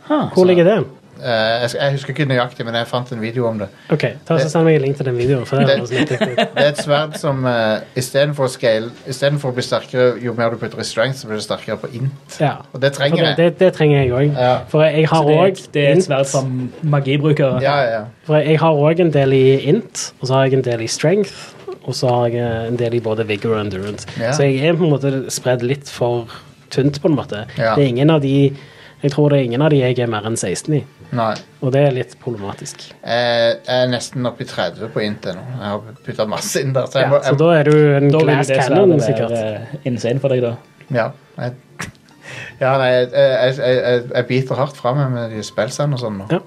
Ah, Hvor ligger det? Eh, jeg, sk- jeg husker ikke nøyaktig, men jeg fant en video om det. OK, ta og så send meg en link til den videoen. For det, Det- er noe som ikke er riktig. Det er et sverd som uh, istedenfor å scale Istedenfor å bli sterkere jo mer du putter i strength, så blir du sterkere på int. ja. Og det For trenger det, jeg. det, det trenger jeg òg. Ja. For jeg Så har det, er òg et- det er et sverd som magibrukere. Ja, ja, ja. For jeg har òg en del i int, og så har jeg en del i strength, og så har jeg eh, en del i både vigor og endurance. Ja. Så jeg er på en måte spredd litt for tynt, på en måte. Ja. Det er ingen av de Jeg tror det er ingen av de jeg er mer enn 16 i, Nei. og det er litt problematisk. Jeg jeg er nesten oppe i 30 på Int nå. Jeg har putta masse inn der. Så jeg Ja, må, så jeg, da er du en Da vil glass det cannon, sverdet sikkert. være eh, insane for deg, da. ja, jeg, ja, nei, jeg, jeg, jeg, jeg, jeg biter hardt fra meg med de spillsene og sånn. nå. Ja.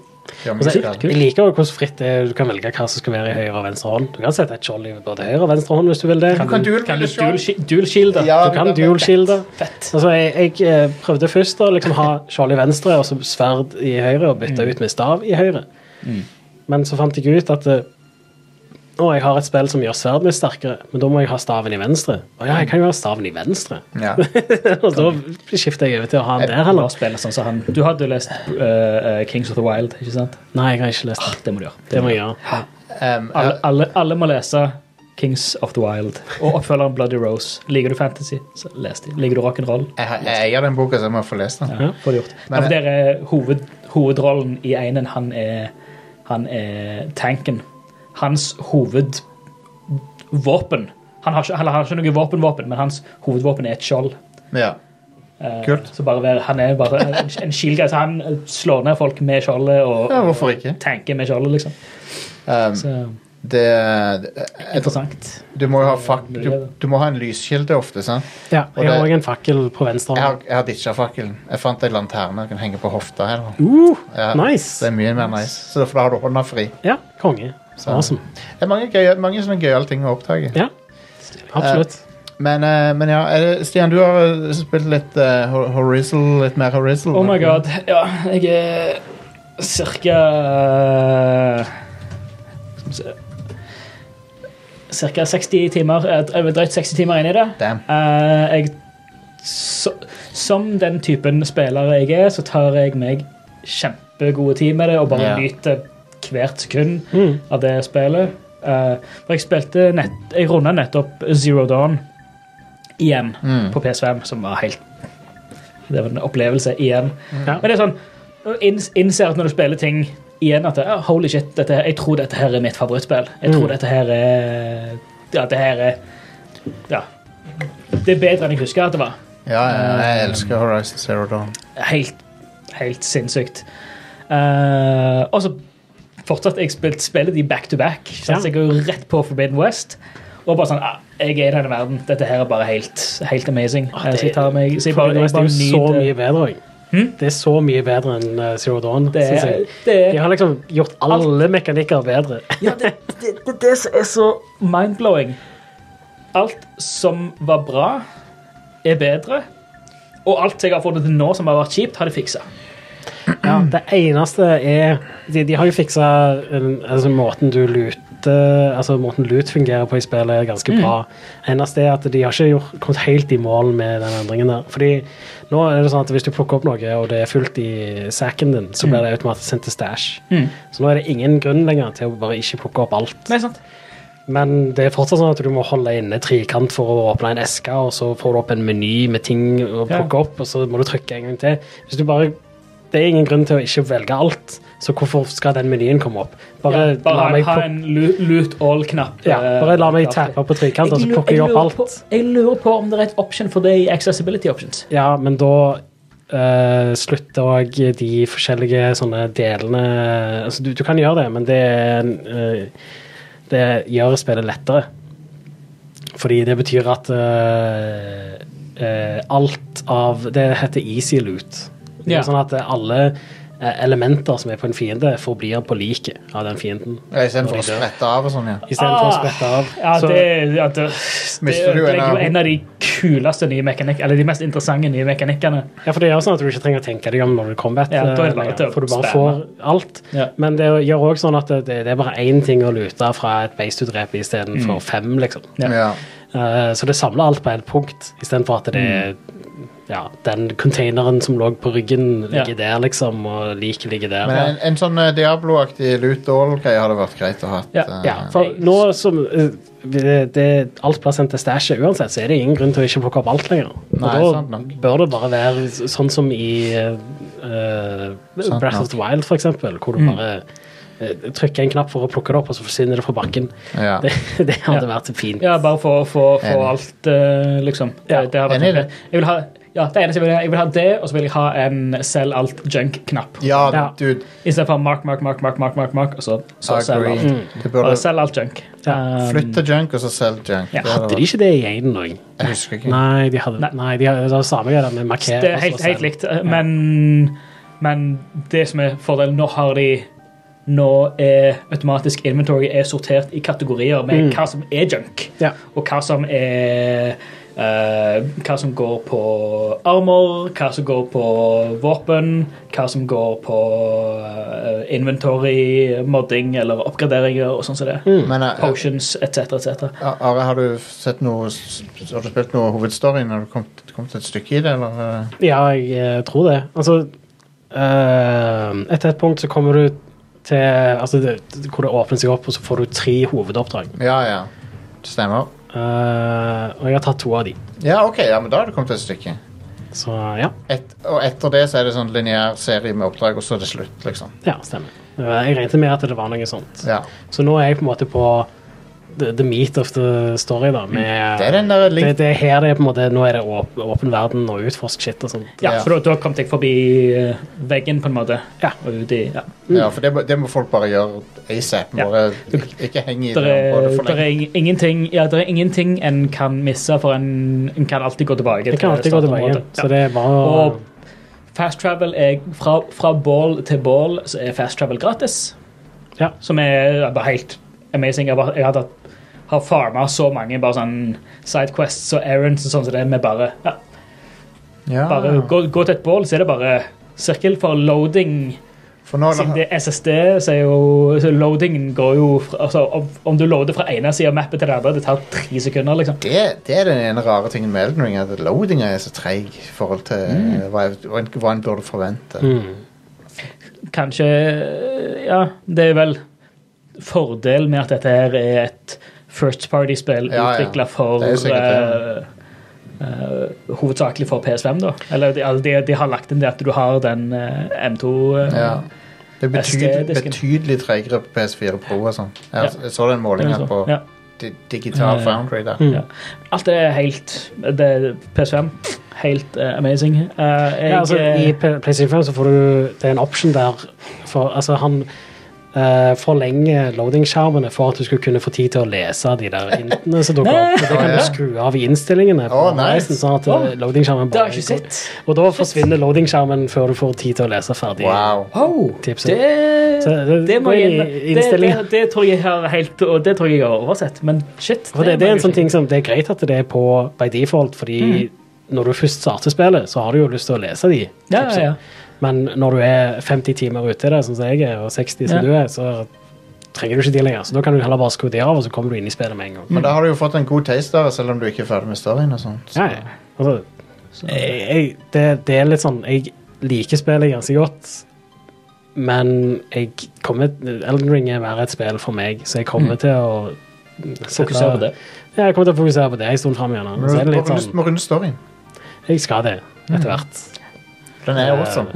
Gjør meg Og så- skade. Altså, Jeg liker jo hvordan fritt det er. Du kan velge hva som skal være i høyre og venstre hånd. Du kan sette et skjold i både høyre og venstre hånd hvis du vil det. Du kan duel- Kan du duel- dual, shi- dual shield, da? Ja, Du kan det- det- dual shield. da. Fett. Altså, jeg, jeg eh, prøvde først å liksom ha skjold i venstre og så sverd i høyre, og bytte ut med stav i høyre. Men så fant jeg ut at eh, å, jeg har et spill som gjør sverdet mitt sterkere, men da må jeg ha staven i venstre. Å ja, jeg kan jo ha staven i venstre. Ja. og da skifter jeg over til å ha den der, Han eller? har spilt sånn som han. Du hadde lest eh, eh, Kings of the Wild, ikke sant? Nei, jeg har ikke lest Ah, det. det må du gjøre. Det må jeg gjøre. Um, Alle, alle, alle må lese Kings of the Wild og oppfølgeren Bloody Rose. Liker du fantasy, så les de. Liker du rock'n'roll, jeg, har- jeg eier den boka, så jeg må få lest den. ja. får du gjort. Men- ja, for der er hoved, hovedrollen i einen, han er, han er tanken. Hans hovedvåpen han har, ikke, han har ikke noe våpen-våpen, men hans hovedvåpen er et skjold. Ja. Eh, Kult. Så bare, vær- han er bare en, en shield guy, så han eh, slår ned folk med skjoldet og ja, hvorfor ikke? tanker med skjoldet, liksom. Um, Så det, det interessant. Du må jo ha, fak, du, du må ha en lyskilde ofte, sant? Ja, Og jeg har det- òg en fakkel på venstre Jeg har, hånd. jeg har ditcha fakkelen. Jeg fant ei lanterne jeg kan henge på hofta. her. nå. Uh, Ja, Det nice! er mye mer nice. Så for da har du hånda fri. Ja, konge. Så awesome. Det er mange, gøy, mange sånne gøyale ting å oppdage. Ja, absolutt. Men, eh, men ja, er det, Stian, du har eh, spilt litt eh, Ho- Horizon, litt mer Horizon. Oh my god. Ja, jeg er cirka Skal vi se Cirka 60 timer, eh, dre- drøyt 60 timer inn i det. Damn. Eh, jeg, så, som den typen spiller jeg er, så tar jeg meg kjempegode tid med det og bare Ja. nyter hvert sekund Eh, Mm. av det spillet. Eh, for jeg spilte nett, Jeg runda nettopp Zero Dawn igjen Mm. på PS5, som var helt Det var en opplevelse igjen. Ja. Men det er sånn når du inns- innser at når du spiller ting igjen at det, «Ah, Holy shit, dette, her- jeg tror dette her er mitt favorittspill. Jeg tror Mm. dette her er Ja, det her er Ja. Det er bedre enn jeg husker at det var. Ja, ja, jeg elsker Horizon Zero Dawn. Helt, helt sinnssykt. Eh, og så fortsatt jeg spilt spillet de back to back. ikke sant? Ja. Så jeg går rett på Forbidden West. Og bare sånn ah, Jeg er i denne verden. Dette her er bare helt, helt amazing. Ah, Eh, det så jeg tar meg, så jeg bare, Forbidden jeg West er bare jo så nyter mye bedre også. Hm? Det er så mye bedre enn eh, Zero Dawn. Det synes er, jeg. det er De har liksom gjort alle mekanikker bedre. Ja, det, det, det, det som er så mindblowing. Alt som var bra, er bedre. Og alt jeg har fått til nå som har vært kjipt, har de fiksa. Ja, det eneste er De, de har jo fiksa eh, altså, måten du luter Altså måten lut fungerer på i spillet, er ganske Mm. bra. Eneste er at de har ikke gjort, kommet helt i mål med den endringen der. Fordi nå er det sånn at hvis du plukker opp noe, og det er fullt i saken din, Mm. så blir det automatisk sendt til stæsj. Så nå er det ingen grunn lenger til å bare ikke plukke opp alt. Nei, sant? Men det er fortsatt sånn at du må holde inne trikant for å åpne en eske, og så får du opp en meny med ting å plukke opp, og så må du trykke en gang til. Hvis du bare Det er ingen grunn til å ikke velge alt, så hvorfor skal den menyen komme opp? Bare, Ja, bare la meg ha pluk- en lu- loot all-knapp. ja, bare la meg eh, tappe på trikant, og så lu- plukker jeg lurer opp alt. På, jeg lurer på om det er et option for det i accessibility options. Ja, men da eh, slutter òg de forskjellige sånne delene Altså, du, du kan gjøre det, men det er en, eh, Det gjør spillet lettere. Fordi det betyr at eh, eh, alt av Det heter easy loot. Det er Ja. Sånn at alle eh, elementer som er på en fiende, forblir på liket av den fienden. Istedenfor å sprette av og sånn, ja. Istedenfor for å Ah, sprette av. Ja, Så- det, ja, det, det, Mister du en er av- jo en av de kuleste nye mekanikkene, eller de mest interessante nye mekanikkene. Ja, for det gjør sånn at du ikke trenger å tenke deg om når du combat. Ja, da er det bare eh, til å for du bare spamme. får alt. Ja. Men det gjør òg sånn at det, det er bare én ting å lute fra et beist du dreper, istedenfor Mm. fem, liksom. ja. Eh, så det samler alt på ett punkt, istedenfor at det er ja, den containeren som lå på ryggen, Mm. Ja. ligger der, liksom, og liket ligger der. Men en, en sånn eh, Diablo-aktig loot all-greie hadde vært greit å ha. Ja, eh, Ja, for nå som eh, det, det, alt blir sendt til stæsjet uansett, så er det ingen grunn til å ikke plukke opp alt lenger. Og Nei, sant da nok. bør det bare være s- sånn som i eh, Sant Breath of the Wild, for eksempel, hvor Mm. du bare eh, trykker en knapp for å plukke det opp, og så forsvinner det fra bakken. ja. Det, det hadde Ja. vært fint. Ja, bare for å få Enig. alt, eh, liksom. Ja, Det, det har vært enig i det. Jeg vil ha Ja, det eneste jeg vil, jeg vil ha det, og så vil jeg ha en selg alt junk-knapp. Ja, Ja. dude. Istedenfor mark, mark, mark, mark, mark, mark, mark, og så, så selg alt. Agreed. Det burde Bare selg alt junk. Um, flytte junk, og så selg junk. Ja, Det Hadde var- de ikke det i én òg? Jeg husker ikke. Nei, de hadde, Nei. nei, de hadde det var samme greia med markering. Det er helt, helt likt, men, men det som er fordelen Nå har de Nå er automatisk inventory er sortert i kategorier med Mm. hva som er junk, Ja. og hva som er eh, hva som går på armor, hva som går på våpen, hva som går på eh, inventory, modding eller oppgraderinger og sånn som det. Mm. Men eh, Potions etc. etc. Ar- Are, har du sett noe s- s- Har du spilt noe hovedstory når du kom, kom til et stykke i det, eller? eh? Ja, jeg eh, tror det. Altså eh, Etter et punkt så kommer du til altså, det, hvor det åpner seg opp, og så får du tre hovedoppdrag. Ja, ja. Stemmer. Eh, og jeg har tatt to av de. Ja, OK, ja, men da har du kommet til et stykke. Så ja. Et, og etter det så er det sånn lineær serie med oppdrag, og så er det slutt, liksom. ja stemmer. Eh, jeg regnet med at det var noe sånt. Ja. Så nå er jeg på en måte på the, the meat of the story, da. Med, Mm. Det er den der det, link... det er her det er på en måte Nå er det åp åpen verden og utforsk shit og sånt. Ja, Ja. for da, da kom jeg forbi eh, veggen, på en måte. Ja. Og ut i, ja. Ja, for det, må- det må folk bare gjøre asap. Ja. Bare, ikke, ikke henge i det Der er, området for der er lenge. ing- ingenting, ja, der er ingenting en kan misse, for en, en kan alltid gå tilbake. Jeg til kan alltid gå tilbake startområdet. igjen. Så det er bare å Og Fast travel er fra, fra bål til bål, så er fast travel gratis. Ja. Som er bare helt amazing. Jeg, bare, jeg har, tatt, har farma så mange bare sånn sidequests og errands og sånn som det, med bare, ja, Ja. bare Ah. gå, gå til et bål, så er det bare sirkel for loading. For nå Siden det er SSD, så er jo så loadingen går jo fra, altså, om, om du loader fra ene sida av mappet til det andre, det tar tre sekunder, liksom. det, det er den ene rare tingen med Elden Ring, at loadinga er så treig i forhold til Mm. eh, hva, jeg- hva, en, hva en burde forvente. mm. Kanskje Ja, det er vel fordel med at dette her er et first party-spill Ja, ja. utvikla for Det er jo sikkert det. eh, eh, Hovedsakelig for PS5, da. Eller de, alle de, de har lagt inn det at du har den eh, M2 eh, Ja. Det er betydelig, SD-disken. betydelig tregere på PS4 Pro og sånn. Jeg, jeg så den den målinga og sånn. på ja. di Digital Eh, Foundry der. Mm. ja. Alt det er helt det er PS5. Helt eh, amazing. Eh, jeg, ja, altså, eh, I P- PlayStation 5 så får du Det er en option der for Altså, han eh, forlenger loading-skjermene for at du skulle kunne få tid til å lese de der hintene som dukker opp. Og Det kan Å, du ja. skru av i innstillingene. på Å, nice. reisen, sånn at eh, loading-skjermen det bare har jeg ikke sett. går- Og da forsvinner loading-skjermen før du får tid til å lese ferdig. Wow. Wow, Tipset. det, Så det- det, må gå jeg, inn i det, det, innstillingen. det tror jeg jeg har helt Og det tror jeg jeg har oversett, men shit. For det, det er en mange sånn ting som, det er greit at det er på by default, fordi når du først starter spillet, så har du jo lyst til å lese de. Mm. Ja, ja, tipsene. ja. Men når du er 50 timer ute i det, sånn som jeg er, og 60 som Ja. du er, så trenger du ikke de lenger. Så da kan du heller bare skru de av, og så kommer du inn i spillet med en gang. Men da har du jo fått en god taste der, selv om du ikke er ferdig med storyen og sånt. Ja, ja. Altså, jeg, jeg, det, det er litt sånn, jeg liker spillet ganske godt, men jeg kommer, Elden Ring er mer et spill for meg, så jeg kommer til å Fokusere på det. Ja, jeg kommer til å fokusere på det en stund frem igjen. Men Så er Du det må litt runde- sånn, må runde storyen. jeg skal det etter hvert. Den er awesome.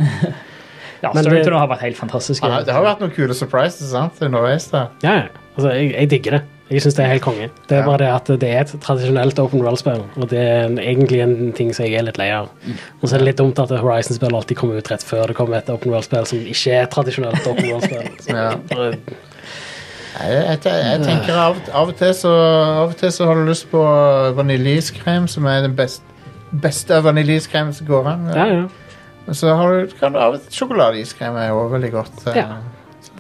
Ja, Men Story det- to nå har vært helt fantastisk. Han har- Det har jo vært noen kule surprises sant, underveis der. Ja, ja. altså, jeg, jeg digger det. Jeg syns det er helt konge. Det er Ja. bare det at det er et tradisjonelt open world-spill, og det er en- egentlig en ting som jeg er litt lei av. Mm. Og så er det litt dumt at Horizon-spill alltid kommer ut rett før det kommer et open world-spill som ikke er et tradisjonelt open world-spill. Så Ja. bare- Nei, Jeg, jeg, jeg tenker av, av, og til så, av og til så har du lyst på eh, vaniljeiskrem, som er den best, beste vaniljeiskrem som går an. Ja, ja. Men Så har du, kan du av og til sjokoladeiskrem er jo veldig godt. eh. Ja.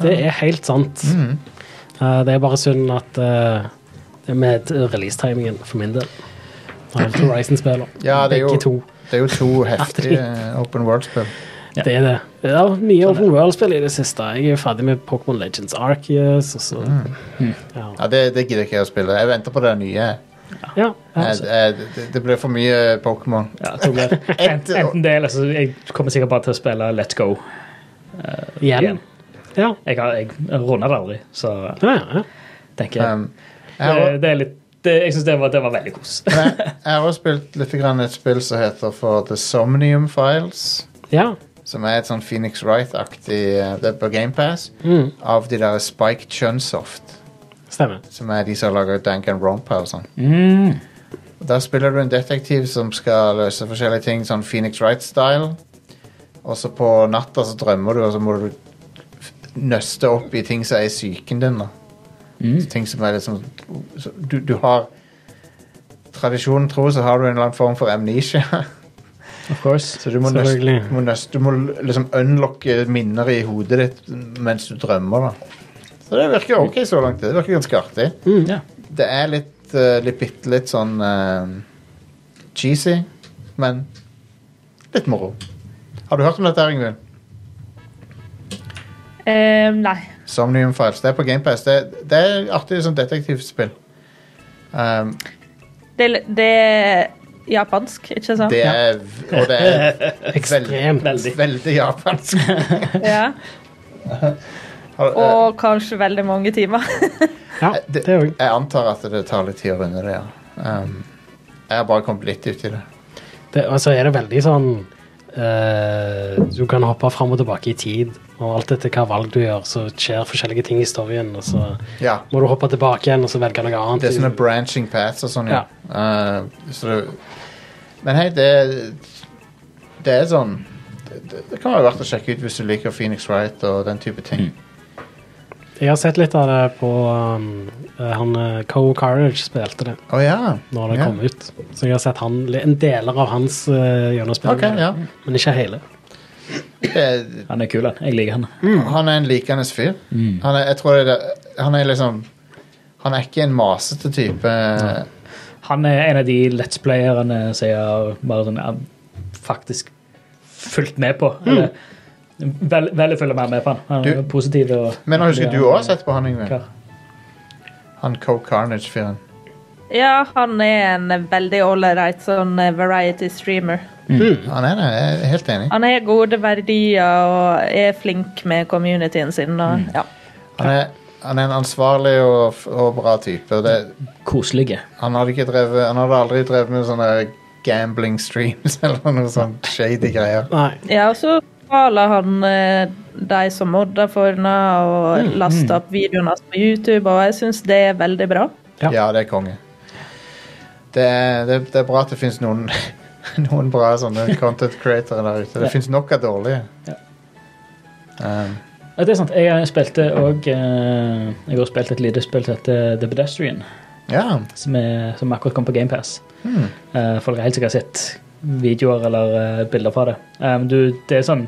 Det er helt sant. Mm. Eh, det er bare synd at eh, det er med release-timingen, for min del. Av Horizon-spiller. Ja, det er jo- Begge to. Det er jo to heftige eh, open world-spill. Det er det. Det er Sånn mye Open World-spill i det siste. Jeg er jo ferdig med Pokémon Legends Arceus, og så Mm. Ja. Ja, det, det gidder ikke jeg å spille. Jeg venter på det nye. ja. Jeg, jeg, det, det blir for mye Pokémon. Ja, jeg tror det. Ent- Enten det, eller så jeg kommer sikkert bare til å spille Let's Go. Igjen. igjen. Ja. Jeg, har, jeg runder det aldri, så Ja, ja. tenker jeg Um, jeg har- det, det er litt, det, Jeg syns det, var- det var veldig kos. Men jeg, jeg har også spilt litt grann et spill som heter for The Somnium Files. ja. Som er et sånn Phoenix Wright-aktig eh, Det er på GamePass. Mm. Av de der Spike Chunsoft. Stemmer. Som er de som lager Danganronpa og sånn. Der spiller du en detektiv som skal løse forskjellige ting, sånn Phoenix Wright-style. Og så på natta så drømmer du, og så må du f- nøste opp i ting som er i psyken din. da. Så Ting som er liksom så du, du har Tradisjonen tro så har du en eller annen form for amnesia. Of course. Så du må, nøst, Selvfølgelig. du må, nøst, du må liksom unlocke minner i hodet ditt mens du drømmer. da. Så det virker ok så langt. Det virker ganske artig. Mm. Ja. Det er litt, eh, litt bitte litt sånn eh, cheesy, men litt moro. Har du hørt om dette, Ingvild? Eh, nei. Somnium Files. Det er på GamePass. Det, det er artig som detektivspill. Um, Det, er- det er japansk, ikke sant? det er Og det er Ekstremt. veldig, veldig japansk. Ja. Har- eh, Og kanskje veldig mange timer. Ja, det, det òg. jeg antar at det tar litt tid å runde det, ja. Um, jeg har bare kommet litt ut i det. Og så er det veldig sånn eh, Du kan hoppe fram og tilbake i tid, og alt etter hva valg du gjør, så skjer forskjellige ting i storyen, og så Ja. må du hoppe tilbake igjen og så velge noe annet. Det er sånne branching paths og sånn, ja. Uh, så det, men hei, det Det er sånn det, det det kan være verdt å sjekke ut hvis du liker Phoenix Wright og den type ting. Jeg har sett litt av det på um, han eh, Co Carriage spilte det Å ja. når det ja. kom ut. Så jeg har sett han, en deler av hans uh, gjennomspill, Ok, ja. men ikke hele. Det, Han er kul, han. Jeg liker han. han er en likende fyr. Han er, jeg tror det, er- han er liksom Han er ikke en masete type. Han er en av de let's playerne som jeg har bare sånn, eh, faktisk fulgt med på. Eller, vel, veldig følger mer med på han. Han er Mm. Du- positiv og Men nå husker jeg du òg har sett på han, Yngve. Kar. Han Co Carnage-fyren. Ja, han er en veldig ålreit sånn eh, variety streamer. Mm. Han er det, jeg er helt enig. Han har gode verdier og er flink med communityen sin. Og, ja. Han er, han er en ansvarlig og, f- og bra type. og Det, Koselige. han, hadde ikke drevet, han hadde aldri drevet med sånne gambling streams eller noe sånn shady greier. Nei. ja, og så betaler han eh, de som modder for henne, og laster opp videoene hans på YouTube, og jeg syns det er veldig bra. Ja. Ja, det er konge. Det er, det, det er bra at det fins noen, noen bra sånne content creator der ute. Det fins nok av dårlige. Um, Ja, det er sant. Jeg spilte òg Jeg har også spilt et lite spill som heter The Pedestrian, ja. som, er, som akkurat kom på GamePass. Eh, folk har helt sikkert sett videoer eller eh, bilder fra det. Eh, du, det er sånn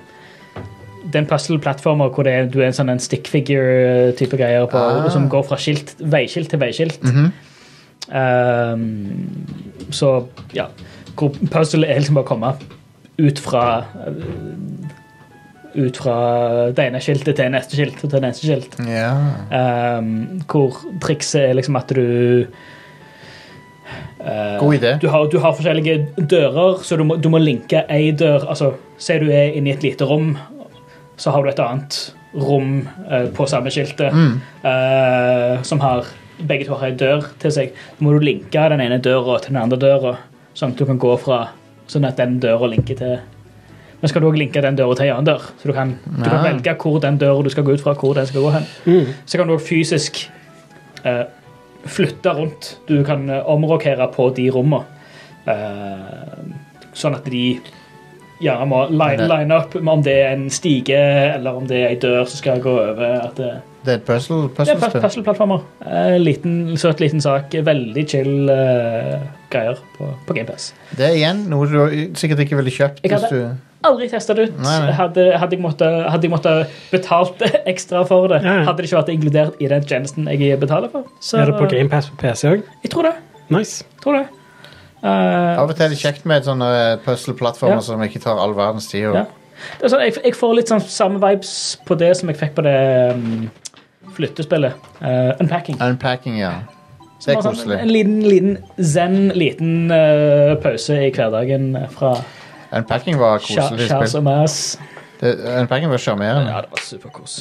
det er en puzzle-plattformer hvor det er, du er en sånn en stick-figure-type greier på, Ah. som går fra skilt, veiskilt til veiskilt. mhm. Ehm, så ja hvor Puzzle er liksom bare å komme ut fra eh, Ut fra det ene skiltet til neste skilt til neste skilt. ja. Ehm, hvor trikset er liksom at du eh, God idé. du har, du har forskjellige dører, så du må, du må linke ei dør. Altså, Si du er inne i et lite rom, så har du et annet rom eh, på samme skiltet Mm. eh, som har Begge to har ei dør til seg. Da må du linke den ene døra til den andre døra, sånn at du kan gå fra Sånn at den døra linker til Men skal du òg linke den døra til ei annen dør, så du kan, du kan Ja. velge hvor den døra du skal gå ut fra, hvor den skal gå hen. Mm. Så kan du òg fysisk eh, flytte rundt. Du kan eh, omrokere på de rommene. Eh, sånn at de gjerne må line, line up med om det er en stige eller om det er ei dør som skal gå over. At det, Det er et puzzle- det er puzzlespill. puzzle-plattformer. Eh, liten, søt liten sak. Veldig chill eh, greier på, på GamePass. Det er igjen noe du sikkert ikke ville kjøpt Jeg hvis hadde- du Aldri testa det ut. Nei, nei. Hadde, hadde, jeg måttet, hadde jeg måttet betalt ekstra for det, Ja, ja. hadde det ikke vært inkludert i den tjenesten jeg betaler for. Så Er det på GamePass på PC òg? jeg tror det. Nice. Tror det. Eh, Av og til er det kjekt med sånne eh, puzzle-plattformer Ja. som ikke tar all verdens tid. Og, Ja. det er sånn, jeg, jeg får litt sånn samme vibes på det som jeg fikk på det um, flyttespillet. eh, unpacking. Unpacking, ja. Som Det er var sånn koselig. En liten, liten zen, liten eh, pause i hverdagen fra Unpacking var kjæ- koselig kjærs spill. og mas. Det, Unpacking var sjarmerende. Ja, det var superkos.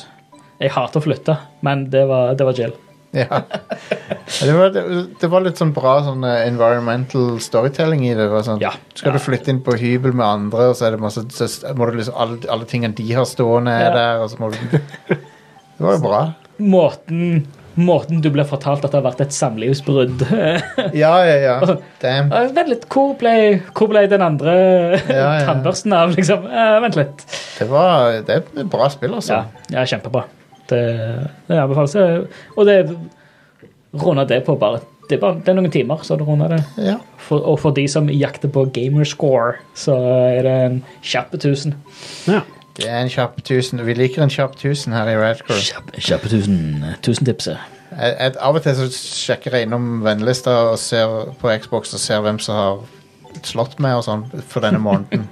Jeg hater å flytte, men det var, det var jail. Ja. Det var, det, det var litt sånn bra sånn eh, environmental storytelling i det. det var sånn, Ja. Skal du flytte inn på hybel med andre, og så, er det masse, så s- må du liksom alle, alle tingene de har stående, er Ja. der, og så må du Det var jo bra. Måten måten du ble fortalt at det har vært et samlivsbrudd. Ja, ja, ja. Damn. Eh, Vent litt, hvor ble, hvor ble den andre Ja, ja. tannbørsten av, liksom? Eh, vent litt. Det, var, det er et bra spill, altså. Ja, ja kjempebra. Det, det anbefales. eh, Og det runder det på bare det er, bare, det er noen timer, så det runder det. Ja. For, og for de som jakter på gamerscore, så er det en kjapp 1000. Ja. Det er en kjapp tusen. Vi liker en kjapp tusen her i Radcore. Kjappe kjappe tusen, tusentipset. Jeg, jeg, av og til så sjekker jeg innom vennlista og ser på Xbox og ser hvem som har slått meg og sånn for denne måneden.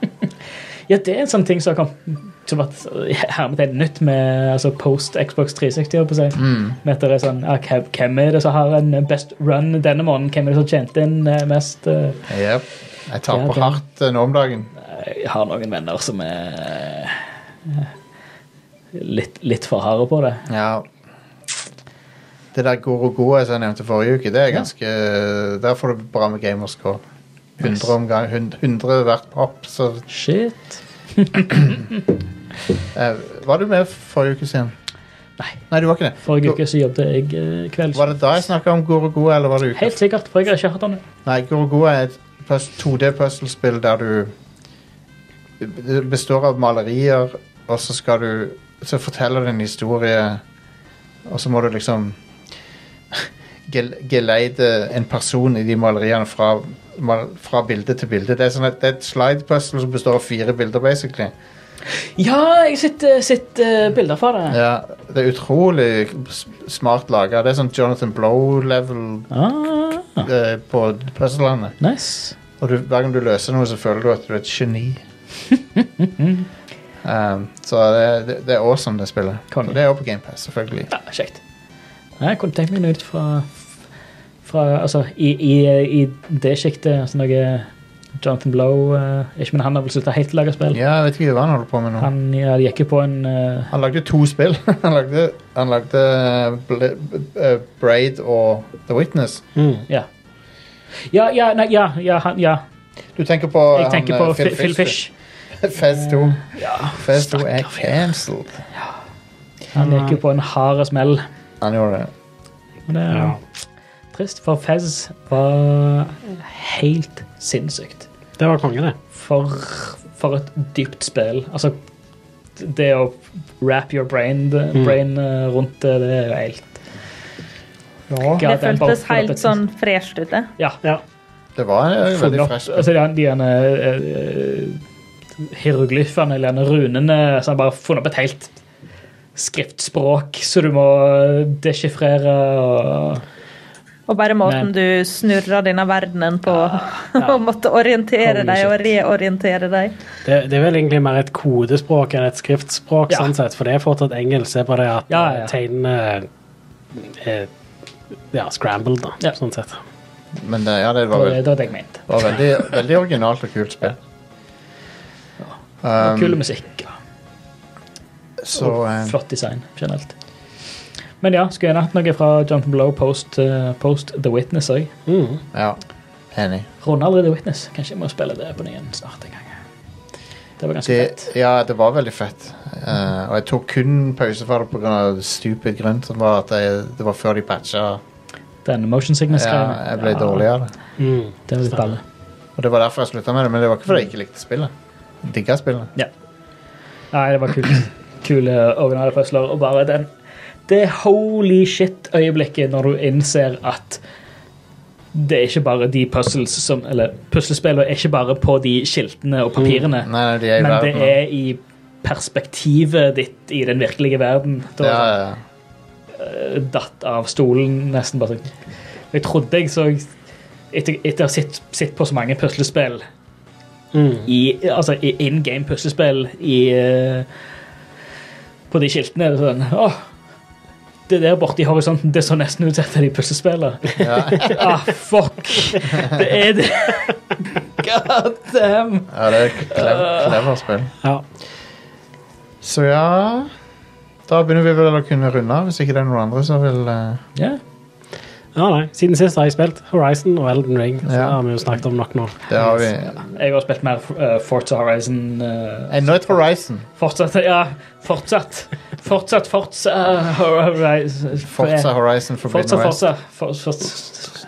Ja, det er en sånn ting som har kommet som har vært hermetegn nytt med altså post Xbox 360. holdt på å si. Mm. Med at det er sånn, ja, hvem- Hvem er det som har en eh, best run denne måneden? Hvem er det som tjente inn eh, mest? eh? Yep. Jeg Ja, taper det- hardt eh, nå om dagen. Jeg har noen venner som er eh, litt, litt for harde på det. Ja. Det der Gorogoa som jeg nevnte forrige uke, det er ganske Der får du bra med gamerscore. 100, om gang, 100, 100 hvert pop. Så, Shit. eh, var du med forrige uke siden? Nei. Nei, du var ikke det. Forrige uke så jobbet jeg eh, kvelds. Var det da jeg snakka om Gorogoa, eller var det uka Helt sikkert, for jeg har ikke hørt om det. Nei, Gorogoa er et 2D-puzzlespill der du Det består av malerier, og så skal du Så forteller du en historie, og så må du liksom gel- geleide en person i de maleriene fra, mal- fra bilde til bilde. Det er, sånn at, det er et slide-puzzle som består av fire bilder, basically. Ja, jeg sitter sitt bilder fra det. Ja, det er utrolig s- smart laga. Det er sånn Jonathan Blow-level Ah, eh, på puzzlene. nice. Og du, hver gang du løser noe, så føler du at du er et geni. um, så det, det, det er awesome, det spillet. Konge. Og det er jo på GamePass, selvfølgelig. Ja, kjekt. Nei, Jeg kunne tenkt meg noe ut fra, fra Altså, i, i, i det sjiktet altså noe Jonathan Blow eh, Ikke, men han har vel slutta helt å lage spill. Ja, jeg vet ikke hva han holder på med nå. Han ja, gikk jo på en eh, Han lagde to spill. han lagde, han lagde eh, Bla- b- eh, Braid og The Witness. Mm. Ja. Ja, ja, nei, ja, ja, han, ja. Du tenker på, Jeg han, tenker eh, på Phil, Phil Fish. Mm. Fez 2. Fez 2 er cancelled. Han gikk jo på en hard smell. Han gjorde det. Og det er Ja. trist, for Fez var helt sinnssykt. Det var konge, det. For, for et dypt spill. Altså, det å wrap your brain, Mm. brain eh, rundt det, det er jo helt Det God, er bare føltes full helt appetitt. sånn fresht ut, det. Ja. Det var eh, Funnet veldig opp fresh. altså, de, de ene, eh, hieroglyfene eller de runene Så har bare funnet opp et helt skriftspråk så du må deskifrere. Og, Og bare Men- måten du snurra denne verdenen på, og måtte orientere Holy deg og reorientere deg. det. Det er vel egentlig mer et kodespråk enn et skriftspråk, Ja. sånn sett, for det er fortsatt engelsk. Se på det at Ja, ja, ja. tegnene er ja, scrambled, da, Ja. sånn sett. Men det, ja, det det var, var vel- det var det jeg mente. var veldig, veldig originalt og kult spill. Um, Og Kul musikk. Så eh, Flott design generelt. Men ja, skulle gjerne hatt noe fra Jonathan Blow post, eh, post The Witness òg. Mm. ja. Enig. Runder aldri The Witness. Kanskje jeg må spille det på ny igjen snart en gang. Det var ganske det, fett. Ja, det var veldig fett. Eh, og jeg tok kun pause fra det pga. stupid grunn, som var at jeg, det var før de patcha. Den motion sickness Ja, jeg ble dårlig av det. Mm. Det var litt balle. Og det var derfor jeg slutta med det, men det var ikke fordi jeg ikke likte spillet. Jeg Digga spillet. Nei, det var kult. Kule originale puzzler. Og bare den det holy shit-øyeblikket når du innser at det er ikke bare de puzzles som Eller puslespillene er ikke bare på de skiltene og papirene. Nei, nei, de er Mm. i Men det verden. nå. er i perspektivet ditt i den virkelige verden. Da ja, var ja, ja. jeg sånn, datt av stolen nesten bare sånn. Jeg trodde jeg så Etter, etter å ha sett, sett på så mange puslespill Mm. i, altså, i in game puslespill i eh, På de skiltene er det sånn Åh, det der borte i horisonten, det så nesten ut som et av de puslespillene. Ja. ah, fuck! Det er det. God damn! ja, det er et clever, clever spill. Ja. Så ja Da begynner vi vel å kunne runde av, hvis ikke det er noen andre som vil eh, Ja. ja, nei. Siden sist har jeg spilt Horizon og Elden Ring. Så Ja. har vi jo snakket om nok nå. Det har vi. Jeg har spilt mer eh, Forza Horizon. eh, Enda et Horizon. fortsatt, ja, fortsatt. Fortsatt, fortsatt Horizon. Forza Horizon Forbidden Fortsatt, West. fortsatt. For, for,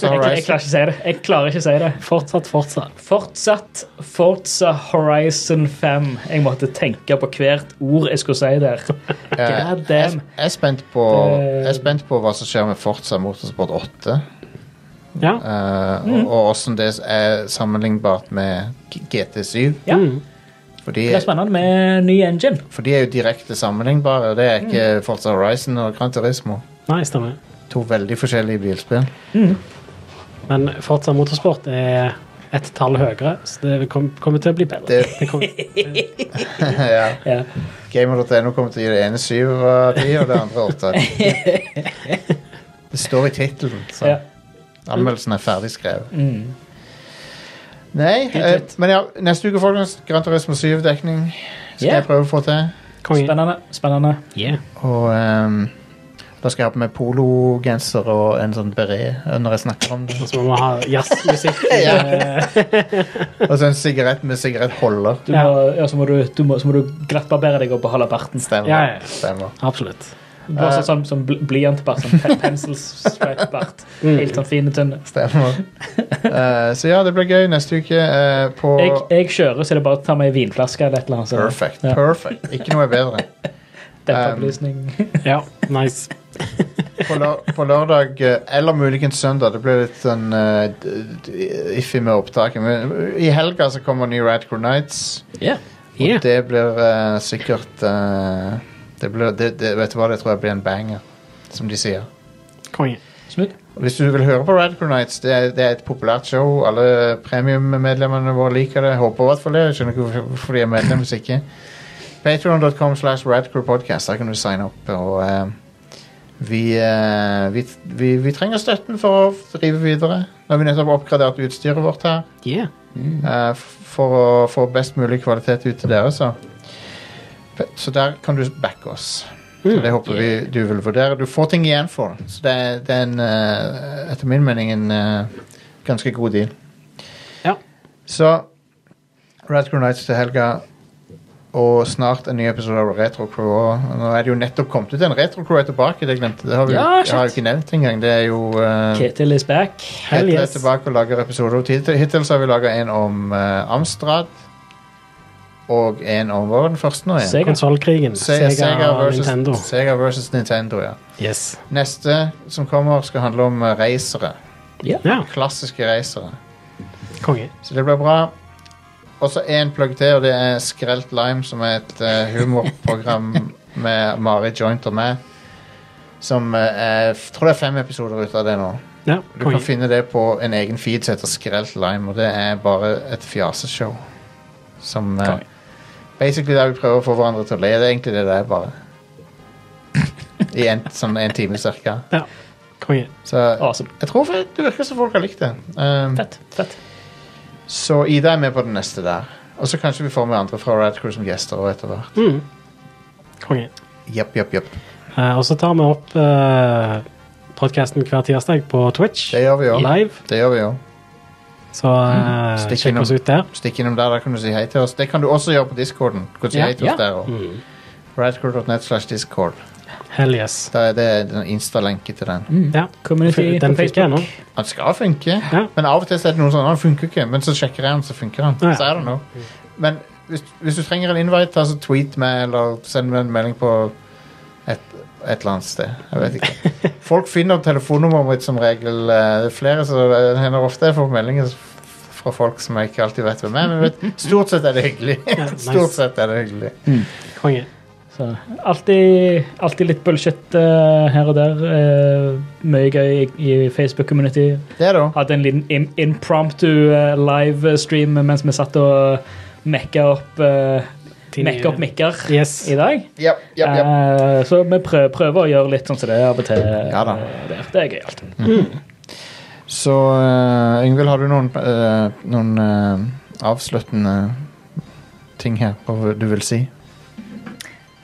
Forza jeg, jeg Horizon. klarer ikke å si det. Jeg klarer ikke å si det. Fortsatt, fortsatt. Fortsatt Forza Horizon 5. Jeg måtte tenke på hvert ord jeg skulle si der. Eh, God Jeg damn. jeg er spent på Det- Jeg er spent på hva som skjer med Forza Motorsport 8. Ja. eh, Mm. og, og hvordan det er sammenlignbart med GT7. Ja. Mm. For de, Det er spennende med ny engine. for de er jo direkte sammenlignbare, og det er Mm. ikke Forza Horizon og Gran Turismo. Nei, stemmer. To veldig forskjellige bilspill. Men Forza Motorsport er et tall høyere, så det kom, kommer til å bli bedre. Det- kommer, ja. Ja. Gamer.no kommer til å gi det ene syv av ti og det andre åtte. Det står i tittelen, så Ja. anmeldelsen er ferdig skrevet. Mm. Nei, eh, litt. men ja, neste uke, folkens, Gran Turismo 7-dekning skal Ja. jeg prøve å få til. konge. Spennende. spennende. Yeah. Og ehm, da skal jeg ha på meg pologenser og en sånn beret når jeg snakker om det. Og så må vi ha jazzmusikk. Ja. eh, Og så en sigarett med sigarettholder. Du Ja. må, ja, så, må du, du må, så må du glattbarbere deg opp og holde barten. Stemmer. Ja, ja. Stemmer. Absolutt. Bare sånn, sånn, sånn bl- blyantbart. Sånn pe- penselstrap-bart. Mm. Helt sånn fin og tynn. Stemmer. Eh, så ja, det blir gøy neste uke eh, på Jeg, jeg kjører, så det er bare å ta meg en vinflaske eller et eller annet. så- Perfect. Ja. Perfect. Ikke noe er bedre. Dempa Um, belysning. Ja, nice. på, lø- på lørdag, eh, eller muligens søndag Det blir litt sånn eh, d- d- iffy med opptaket. Men eh, i helga så kommer ny Radcore Nights. Ja. Og Yeah. det blir eh, sikkert eh, det blir, det, det, Vet du hva, det tror jeg blir en banger, som de sier. Konge. Smooth. Og Hvis du vil høre på Radcore Nights, det er, det er et populært show. Alle premiummedlemmene våre liker det. Håper i hvert fall det. Jeg Skjønner ikke hvorfor- hvorfor de er medlem hvis ikke. Patreon.com slash Radcore Podcast. Der kan du signe opp. Og eh, vi, eh, vi, vi, vi trenger støtten for å drive videre. Nå har vi nettopp oppgradert utstyret vårt her Yeah. eh, f- for å få best mulig kvalitet ut til dere. Så, P- så der kan du backe oss. Så det håper vi du vil vurdere. Du får ting igjen for det. Så det er, det er en, eh, etter min mening en eh, ganske god deal. Ja. Så Radcrow Nights til helga. Og snart en ny episode av Retro Crew. også. Nå er det jo nettopp kommet ut en Retro Crew er tilbake. Det glemte det har vi, Ja, jeg har jo ikke nevnt engang. Det er jo eh, Ketil is back. Hittil er yes. tilbake og lager episoder. Hittil, hittil så har vi laga en om eh, Amstrad. Og en om hva var den første nå igjen? Sega. Konsollkrigen. Oh, Se- Sega, og versus- Nintendo. Sega versus Nintendo, ja. Yes. Neste som kommer, skal handle om eh, racere. Ja, Klassiske racere. konge. Så det blir bra. Og så én plugg til, og det er Skrelt Lime, som er et eh, humorprogram med Mari Joint og meg. Som eh, er f- tror det er fem episoder ut av det nå. Ja, Du kan konge. finne det på en egen feed som heter Skrelt Lime, og det er bare et fjaseshow. Som eh, Basically der vi prøver å få hverandre til å le. Det er egentlig det det er, bare. I en, sånn en time cirka. Ja, konge. Så Awesome. jeg tror for- det virker som folk har likt det. Um, Fett. fett. så Ida er med på den neste der. Og så kanskje vi får med andre fra Rad Crew som gjester og etter hvert. Mm. Konge. Jepp, jepp, jepp. Eh, og så tar vi opp eh, podcasten hver tirsdag på Twitch. Det gjør vi òg. Live. Det gjør vi også. Så eh, Stikk sjekk innom. oss ut der. Stikk innom der, der kan du si hei til oss. Det kan du også gjøre på discorden. Du kan si Ja, hei til oss ja. der også. Mm. Radcrew.net slash discord. Hell yes. Der er det en Insta-lenke til den. Mm. Ja. Mm. Community Den på fikk jeg nå. Han skal funke, Ja. men av og til så er det noen sånn Han funker ikke, men så sjekker jeg den, så funker han. Ja, ja. Så er det noe. Men hvis, hvis du trenger en invite, ta så tweet meg, eller send meg en melding på et, et eller annet sted. Jeg vet ikke. Folk finner telefonnummeret mitt som regel. eh, Det er flere, så det hender ofte jeg får meldinger f- fra folk som jeg ikke alltid vet hvem er, men vet, stort sett er det hyggelig. nice. Stort sett er det hyggelig. Konge. Så alltid, alltid litt bullshit eh, her og der. eh, mye gøy i, i Facebook-community. Det er det også. Hadde en liten im- impromptu eh, livestream mens vi satt og mekka opp, eh, mekka opp mikker Yes. i dag. Japp, japp, japp. Eh, så vi prøver, prøver å gjøre litt sånn som det er av og til. Ja da. eh, Der. Det er gøy alltid. Så eh, Yngvild, har du noen, eh, noen eh, avsluttende ting her hva du vil si?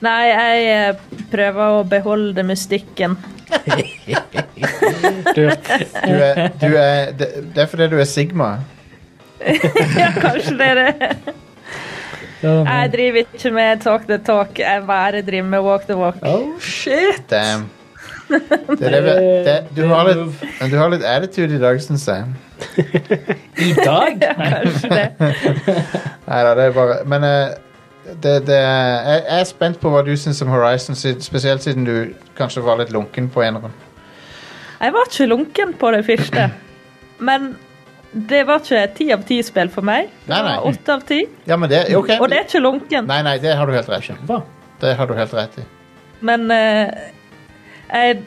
Nei, jeg eh, prøver å beholde mystikken. Du er, du er, det, det er fordi du er Sigma. ja, kanskje Eh, det er det. eh, Jeg driver ikke med talk the talk, jeg bare driver med walk the walk. Oh, shit! Damn. Det er det, Eh, vi- det, du, har litt, men du har litt attitude i dag, syns jeg. I dag? Kanskje det. Nei da, det er bare Men eh, det, det, jeg, jeg er spent på hva du syns om Horizon, siden- spesielt siden du kanskje var litt lunken på eneren. Jeg var ikke lunken på det første, men det var ikke ti av ti spill for meg. Det Nei, nei. var åtte av ti, Ja, men det OK. og det er ikke lunkent. Nei, nei, det har du helt rett i. Det har du helt rett i. Men eh, jeg,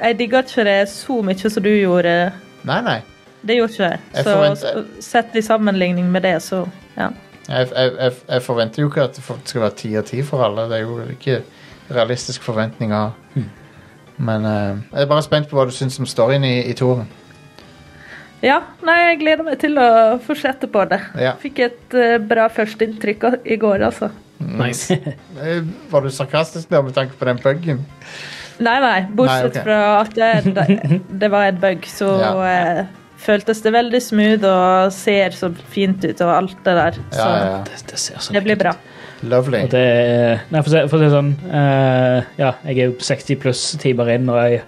jeg digga ikke det så mye som du gjorde. Nei, nei. Det gjorde ikke jeg. Jeg Så forventer- s- sett i sammenligning med det, så ja. Jeg, jeg, jeg, jeg forventer jo ikke at det for- skal være ti av ti for alle. Det er jo ikke realistisk forventning av Hmm. Men eh, jeg er bare spent på hva du syns om storyen i, i toren. Ja, nei, jeg gleder meg til å fortsette på det. Ja. Fikk et eh, bra førsteinntrykk av- i går, altså. Nice. Eh, Var du sarkastisk der med tanke på den bugen? Nei, nei, bortsett Nei, ok. fra at det, det, det var en bug, så Ja. eh, føltes det veldig smooth og ser så fint ut og alt det der. Så Ja, ja, ja. Det, det ser så det blir bra. Lovely. Og det er- Nei, for å si, for å si det sånn eh, Ja, jeg er jo 60 pluss timer inn, og jeg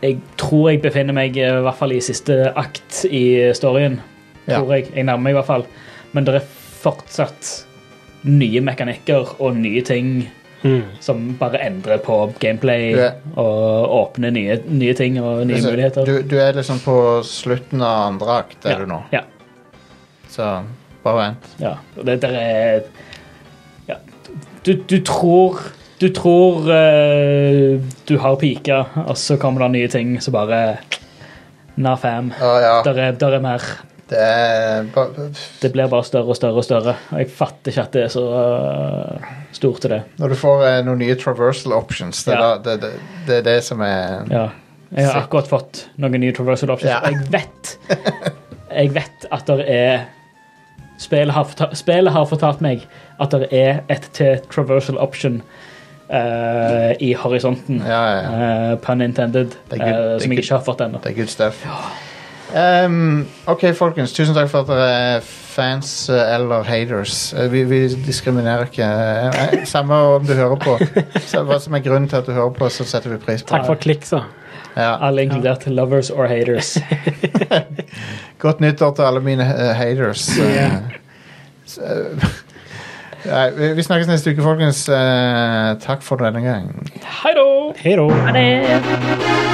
jeg tror jeg befinner meg eh, i hvert fall i siste akt i storyen. Ja. Tror jeg. Jeg nærmer meg i hvert fall. Men det er fortsatt nye mekanikker og nye ting Mm. som bare endrer på gameplay Du er- og åpner nye, nye ting og nye Altså, muligheter. Du, du er liksom på slutten av andre akt, er Ja, du nå. ja. Så bare vent. Ja, og det der er ja, du, du tror Du tror eh, du har pika, og så kommer det nye ting som bare Nah, fam. Å ja, Der er, der er mer. det er ba- Det blir bare større og større og større. Og jeg fatter ikke at det er så eh, stort til det. Når du får eh, noen nye traversal options, det er Ja. da- det, det, det, er det som er Ja. Jeg har akkurat fått noen nye traversal options. Ja. og Jeg vet Jeg vet at det er Spillet har, forta- spillet har fortalt meg at det er et til traversal option eh, i horisonten. Ja, ja, ja. Eh, pun intended. Det er good- eh, det er som jeg good. ikke har fått ennå. Det er good stuff. Ehm, OK, folkens. Tusen takk for at dere er fans eh, eller haters. Eh, Vi, vi diskriminerer ikke. Eh, eh, Samme om du hører på. Så Hva som er grunnen til at du hører på, så setter vi pris på Takk for klikk, så. det. Ja. Alle inkludert lovers or haters. Godt nyttår til alle mine eh, haters. eh. Så, eh, Nei, vi- vi snakkes neste uke, folkens. Eh, takk for denne gang. Hei da! Hei da. Men det